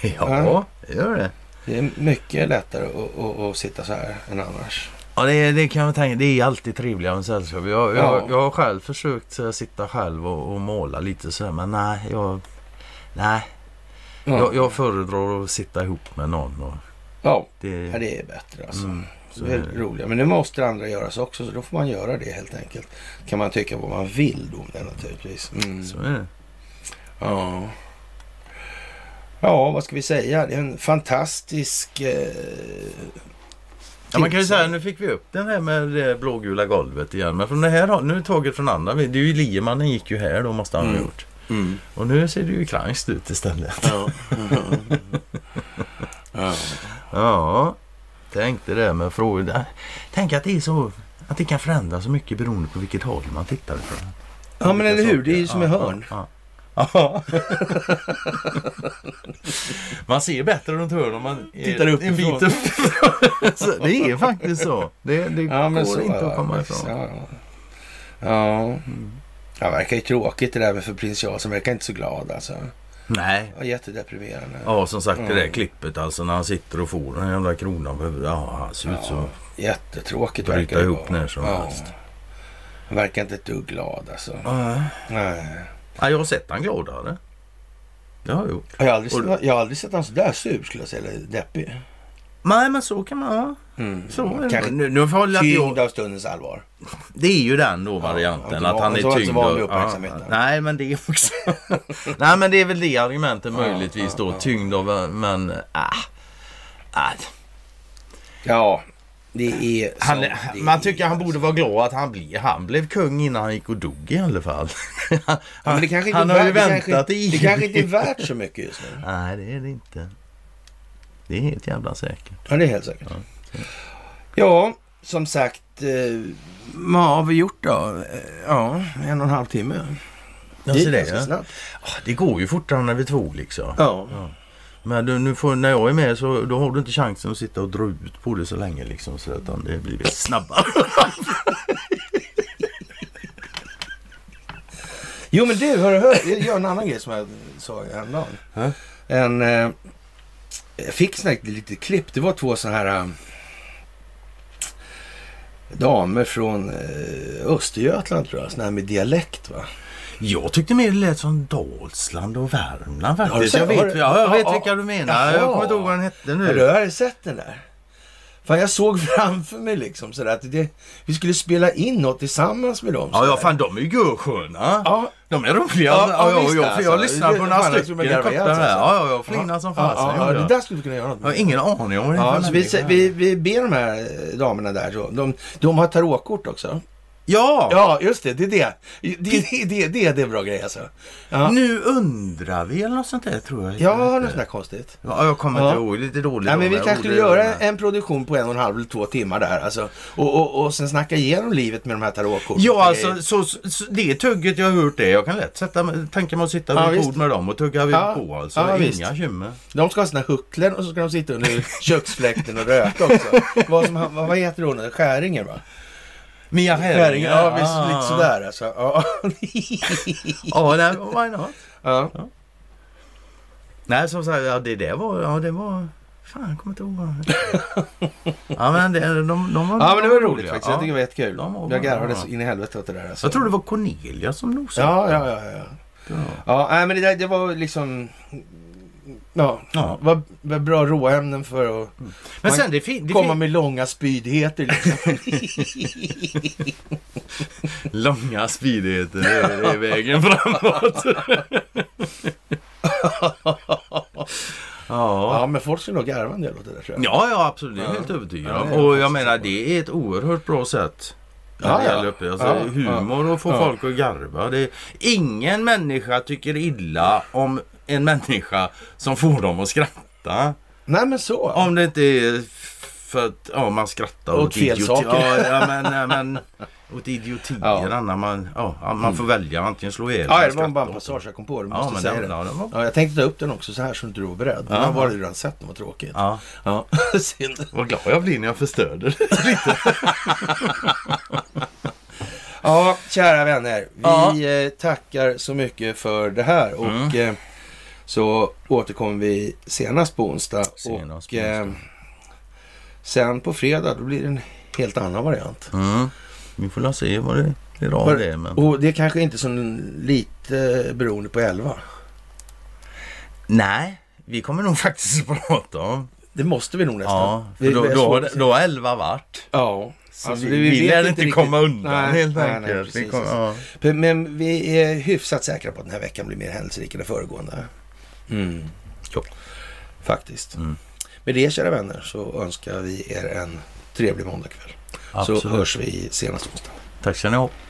[SPEAKER 4] ja det gör det.
[SPEAKER 3] Det är mycket lättare att, att, att sitta så här än annars.
[SPEAKER 4] Ja, det, det kan jag tänka. Det är alltid trevligare med sällskap.
[SPEAKER 3] Ja.
[SPEAKER 4] Jag, jag, jag har själv försökt så här, sitta själv och, och måla lite sådär. Men nej, jag, nej.
[SPEAKER 3] Ja.
[SPEAKER 4] Jag, jag föredrar att sitta ihop med någon. Och
[SPEAKER 3] Ja,
[SPEAKER 4] det,
[SPEAKER 3] ja det är bättre alltså.
[SPEAKER 4] Mm,
[SPEAKER 3] Så det är roligare. Men det måste det andra göras också, så då får man göra det helt enkelt. Kan man tycka vad man vill då om det naturligtvis. Mm.
[SPEAKER 4] så är det.
[SPEAKER 3] Ja. ja, vad ska vi säga? Det är en fantastisk... Eh,
[SPEAKER 4] Ja, man kan ju
[SPEAKER 3] tips.
[SPEAKER 4] säga nu fick vi upp den här med det blågula golvet igen. Men från det här har- nu är det taget från andra. Det är ju Liemannen gick ju här då måste han ha
[SPEAKER 3] Mm.
[SPEAKER 4] gjort. Och nu ser det ju kranscht ut istället.
[SPEAKER 3] Ja. ja.
[SPEAKER 4] Ja, tänk det där med frågor. Tänk att det är så att det kan förändras så mycket beroende på vilket håll man tittar ifrån.
[SPEAKER 3] ja, men eller hur? Det är ju
[SPEAKER 4] Olika
[SPEAKER 3] som ett
[SPEAKER 4] saker.
[SPEAKER 3] hörn.
[SPEAKER 4] Ja, ja. man ser bättre runt hörn om man är
[SPEAKER 3] Tittar upp
[SPEAKER 4] en bit
[SPEAKER 3] ifrån.
[SPEAKER 4] upp. Så det är faktiskt så. Det, det
[SPEAKER 3] Ja, men
[SPEAKER 4] går
[SPEAKER 3] så
[SPEAKER 4] inte
[SPEAKER 3] ja,
[SPEAKER 4] att komma
[SPEAKER 3] precis.
[SPEAKER 4] ifrån.
[SPEAKER 3] Ja, ja. ja. Ja, verkar ju tråkigt det där med för prins Charles. Han verkar inte så glad alltså.
[SPEAKER 4] Nej.
[SPEAKER 3] Ja, jättedeprimerande.
[SPEAKER 4] Ja, som sagt det där
[SPEAKER 3] Mm.
[SPEAKER 4] klippet alltså när han sitter och får den jävla kronan på huvudet. Ja, han ser ut så.
[SPEAKER 3] Jättetråkigt
[SPEAKER 4] Bryta
[SPEAKER 3] verkar det
[SPEAKER 4] ihop
[SPEAKER 3] vara.
[SPEAKER 4] när som helst.
[SPEAKER 3] Han verkar inte ett dugg glad alltså.
[SPEAKER 4] Ja.
[SPEAKER 3] Nej.
[SPEAKER 4] Ja, jag har sett han gladare. Det har jag gjort.
[SPEAKER 3] Jag har aldrig,
[SPEAKER 4] Och-
[SPEAKER 3] sett- jag har aldrig sett honom sådär sur skulle jag säga. Eller deppig.
[SPEAKER 4] Nej, men så kan man... Ja.
[SPEAKER 3] Mm.
[SPEAKER 4] Så är det.
[SPEAKER 3] Kanske
[SPEAKER 4] nu, nu får jag hålla till-
[SPEAKER 3] Tyngd av stundens allvar.
[SPEAKER 4] Det är ju den då varianten
[SPEAKER 3] Ja,
[SPEAKER 4] att han
[SPEAKER 3] inte van-
[SPEAKER 4] är
[SPEAKER 3] inte
[SPEAKER 4] tyngd.
[SPEAKER 3] van
[SPEAKER 4] av-
[SPEAKER 3] vid uppmärksamheten.
[SPEAKER 4] Ja, ja. nej men det är också. nej men det är väl det argumentet möjligtvis då. Tyngd av men ah, ah.
[SPEAKER 3] Ja, det är
[SPEAKER 4] Han,
[SPEAKER 3] som det
[SPEAKER 4] Man
[SPEAKER 3] är.
[SPEAKER 4] tycker han borde vara glad att han, ble, han blev kung innan han gick och dog i alla fall. han
[SPEAKER 3] Ja, men det kanske inte
[SPEAKER 4] han
[SPEAKER 3] är
[SPEAKER 4] har ju
[SPEAKER 3] värt- det kanske-
[SPEAKER 4] väntat i
[SPEAKER 3] Det kanske inte är värt så mycket just nu.
[SPEAKER 4] Nej det är det inte. Det är helt jävla säkert.
[SPEAKER 3] Ja, det är helt säkert. Ja, som sagt. Eh, vad har vi gjort då? Eh, Ja, en och en halv timme.
[SPEAKER 4] Ja,
[SPEAKER 3] gick
[SPEAKER 4] så det,
[SPEAKER 3] ganska
[SPEAKER 4] ja.
[SPEAKER 3] snabbt.
[SPEAKER 4] Ah, det går ju fortare när vi två liksom.
[SPEAKER 3] Ja.
[SPEAKER 4] Men du, nu får, när jag är med så då har du inte chansen att sitta och dra ut på det så länge liksom. Så utan det blir snabbare.
[SPEAKER 3] Jo, men du, har du hört? Jag gör en annan grej som jag sa häromdagen. en... Eh, jag fick sån här lite klipp. Det var två såna här eh, damer från eh, Östergötland tror jag. Såna här med dialekt va.
[SPEAKER 4] Jag tyckte mer det lät som Dalsland och Värmland
[SPEAKER 3] Har du
[SPEAKER 4] faktiskt.
[SPEAKER 3] sett-
[SPEAKER 4] Jag
[SPEAKER 3] har
[SPEAKER 4] vet,
[SPEAKER 3] du-
[SPEAKER 4] ja, jag
[SPEAKER 3] ja,
[SPEAKER 4] vet
[SPEAKER 3] ja.
[SPEAKER 4] vilka du menar.
[SPEAKER 3] Jaha.
[SPEAKER 4] Jag kommer inte ihåg vad den hette
[SPEAKER 3] Har du
[SPEAKER 4] nu.
[SPEAKER 3] har sett den där? Fan, jag såg framför mig liksom sådär att det, vi skulle spela in något tillsammans med dem.
[SPEAKER 4] Ja,
[SPEAKER 3] sådär.
[SPEAKER 4] ja, fan de är ju gursköna.
[SPEAKER 3] Ja.
[SPEAKER 4] De är roliga.
[SPEAKER 3] Ja,
[SPEAKER 4] Ja,
[SPEAKER 3] ja,
[SPEAKER 4] ja, ja,
[SPEAKER 3] visst,
[SPEAKER 4] jag,
[SPEAKER 3] alltså.
[SPEAKER 4] jag lyssnade
[SPEAKER 3] Det-
[SPEAKER 4] på några
[SPEAKER 3] fan, jag skulle
[SPEAKER 4] stycken
[SPEAKER 3] bli garvad,
[SPEAKER 4] korta
[SPEAKER 3] alltså.
[SPEAKER 4] där. Ja, ja, jag flinade som
[SPEAKER 3] Ja,
[SPEAKER 4] fasen.
[SPEAKER 3] ja,
[SPEAKER 4] gjorde
[SPEAKER 3] det
[SPEAKER 4] jag.
[SPEAKER 3] där skulle vi kunna göra något
[SPEAKER 4] Jag har ingen aning om vad det är
[SPEAKER 3] Ja,
[SPEAKER 4] för
[SPEAKER 3] så vi,
[SPEAKER 4] människa.
[SPEAKER 3] se- vi, vi ber de här eh, damerna där. så. De, de har tarotkort också.
[SPEAKER 4] Ja,
[SPEAKER 3] Ja, just det. Det är det. Det, det, det, det, det är en bra grej alltså. Ja,
[SPEAKER 4] nu undrar vi eller något sånt där tror jag.
[SPEAKER 3] ja något sånt där konstigt.
[SPEAKER 4] Ja, jag kommer
[SPEAKER 3] Ja.
[SPEAKER 4] inte ihåg. Lite dåligt.
[SPEAKER 3] Nej, men vi kanske skulle göra en produktion på en och en halv eller två timmar där alltså. Och, och, och sen snacka igenom livet med de här tarotkorten.
[SPEAKER 4] Ja, alltså så, så, det tugget jag har hört det. Jag kan lätt sätta, mig- tänka mig att sitta
[SPEAKER 3] Ja,
[SPEAKER 4] vid ett
[SPEAKER 3] visst.
[SPEAKER 4] bord med dem och tugga vid
[SPEAKER 3] Ja,
[SPEAKER 4] på alltså.
[SPEAKER 3] ja,
[SPEAKER 4] Inga
[SPEAKER 3] visst.
[SPEAKER 4] bekymmer.
[SPEAKER 3] De ska ha sina hucklen och så ska de sitta under köksfläkten och röka också. vad, som, han- vad vad heter hon? Skäringer va?
[SPEAKER 4] Mia
[SPEAKER 3] Skäringer,
[SPEAKER 4] Skäringer.
[SPEAKER 3] ja visst. Lite sådär alltså. Ja.
[SPEAKER 4] ah, Ja, nej, why not?
[SPEAKER 3] ja.
[SPEAKER 4] Nej, som sagt, ja, det, det var... Ja, det var... Fan, jag kommer inte ihåg vad han hette. Ja, men det, de, de, de var
[SPEAKER 3] Ja men det var roligt
[SPEAKER 4] roliga.
[SPEAKER 3] faktiskt.
[SPEAKER 4] Ja.
[SPEAKER 3] Jag tycker det var jättekul.
[SPEAKER 4] De var
[SPEAKER 3] Jag garvade
[SPEAKER 4] bra.
[SPEAKER 3] så in i helvete åt det där. Alltså.
[SPEAKER 4] Jag tror det var Cornelia som nosade.
[SPEAKER 3] Ja, ja, ja. Ja, ja. nej, men det, där, det var liksom... Ja,
[SPEAKER 4] Ja.
[SPEAKER 3] Var, var bra råämnen för att
[SPEAKER 4] Men
[SPEAKER 3] Man
[SPEAKER 4] sen det, fin, det
[SPEAKER 3] komma
[SPEAKER 4] fin,
[SPEAKER 3] med långa spydigheter. Liksom.
[SPEAKER 4] Långa spydigheter, det är- det är vägen framåt. ja.
[SPEAKER 3] ja, men folk skulle nog garva en del åt det där tror jag.
[SPEAKER 4] Ja, ja absolut. Det är jag helt övertygad
[SPEAKER 3] Ja,
[SPEAKER 4] om.
[SPEAKER 3] det är jag
[SPEAKER 4] Och jag
[SPEAKER 3] faktiskt
[SPEAKER 4] menar det är ett oerhört bra sätt. När
[SPEAKER 3] Ja,
[SPEAKER 4] det
[SPEAKER 3] ja.
[SPEAKER 4] gäller uppe. Alltså,
[SPEAKER 3] Ja,
[SPEAKER 4] humor och få
[SPEAKER 3] ja.
[SPEAKER 4] folk att garva. Det är, ingen människa tycker illa om en människa som får dem att skratta.
[SPEAKER 3] Nej, men så.
[SPEAKER 4] Om det inte är för att ja, man skrattar
[SPEAKER 3] Åt fel
[SPEAKER 4] idioti-
[SPEAKER 3] saker.
[SPEAKER 4] Ja, ja, men, ja, men, åt idiotier.
[SPEAKER 3] Ja.
[SPEAKER 4] När man, ja, man får välja antingen slå ihjäl
[SPEAKER 3] ja,
[SPEAKER 4] eller
[SPEAKER 3] det var bara
[SPEAKER 4] skratta
[SPEAKER 3] en
[SPEAKER 4] åt
[SPEAKER 3] passage jag kom på. Du
[SPEAKER 4] Ja,
[SPEAKER 3] måste
[SPEAKER 4] men
[SPEAKER 3] säga
[SPEAKER 4] den,
[SPEAKER 3] det.
[SPEAKER 4] ja, den var...
[SPEAKER 3] Ja, jag tänkte ta upp den också så här så inte du var beredd. Men jag var redan sett den, vad tråkigt.
[SPEAKER 4] Ja.
[SPEAKER 3] Ja, synd.
[SPEAKER 4] Vad glad jag blir när jag förstörde det.
[SPEAKER 3] Ja, kära vänner. Vi
[SPEAKER 4] Ja. Mm.
[SPEAKER 3] eh, tackar så mycket för det här. Och eh, så återkommer vi senast på onsdag.
[SPEAKER 4] Senast
[SPEAKER 3] och
[SPEAKER 4] på onsdag.
[SPEAKER 3] Eh, sen på fredag, då blir det en helt annan variant.
[SPEAKER 4] Mm. Vi får la se vad det blir
[SPEAKER 3] Var-
[SPEAKER 4] av det. Men...
[SPEAKER 3] Och det är kanske inte så lite beroende på 11.
[SPEAKER 4] Nej, vi kommer nog faktiskt att prata om.
[SPEAKER 3] Det måste vi nog nästan.
[SPEAKER 4] Ja,
[SPEAKER 3] Vi-
[SPEAKER 4] för då,
[SPEAKER 3] vi har
[SPEAKER 4] då, har
[SPEAKER 3] svårt
[SPEAKER 4] det-
[SPEAKER 3] att se-
[SPEAKER 4] då har 11 vart.
[SPEAKER 3] Ja. Alltså,
[SPEAKER 4] Så vi, vi,
[SPEAKER 3] vet
[SPEAKER 4] lär inte
[SPEAKER 3] riktigt.
[SPEAKER 4] komma undan
[SPEAKER 3] Nej,
[SPEAKER 4] helt
[SPEAKER 3] nej,
[SPEAKER 4] enkelt.
[SPEAKER 3] Nej,
[SPEAKER 4] Vi
[SPEAKER 3] precis,
[SPEAKER 4] kommer- ja.
[SPEAKER 3] P- Men vi är hyfsat säkra på att den här veckan blir mer händelserik än den föregående. Mm.
[SPEAKER 4] Ja.
[SPEAKER 3] Faktiskt.
[SPEAKER 4] Mm.
[SPEAKER 3] Med det kära vänner så önskar vi er en trevlig måndagkväll. Så
[SPEAKER 4] Absolut.
[SPEAKER 3] hörs vi senast onsdag.
[SPEAKER 4] Tack ska ni ha.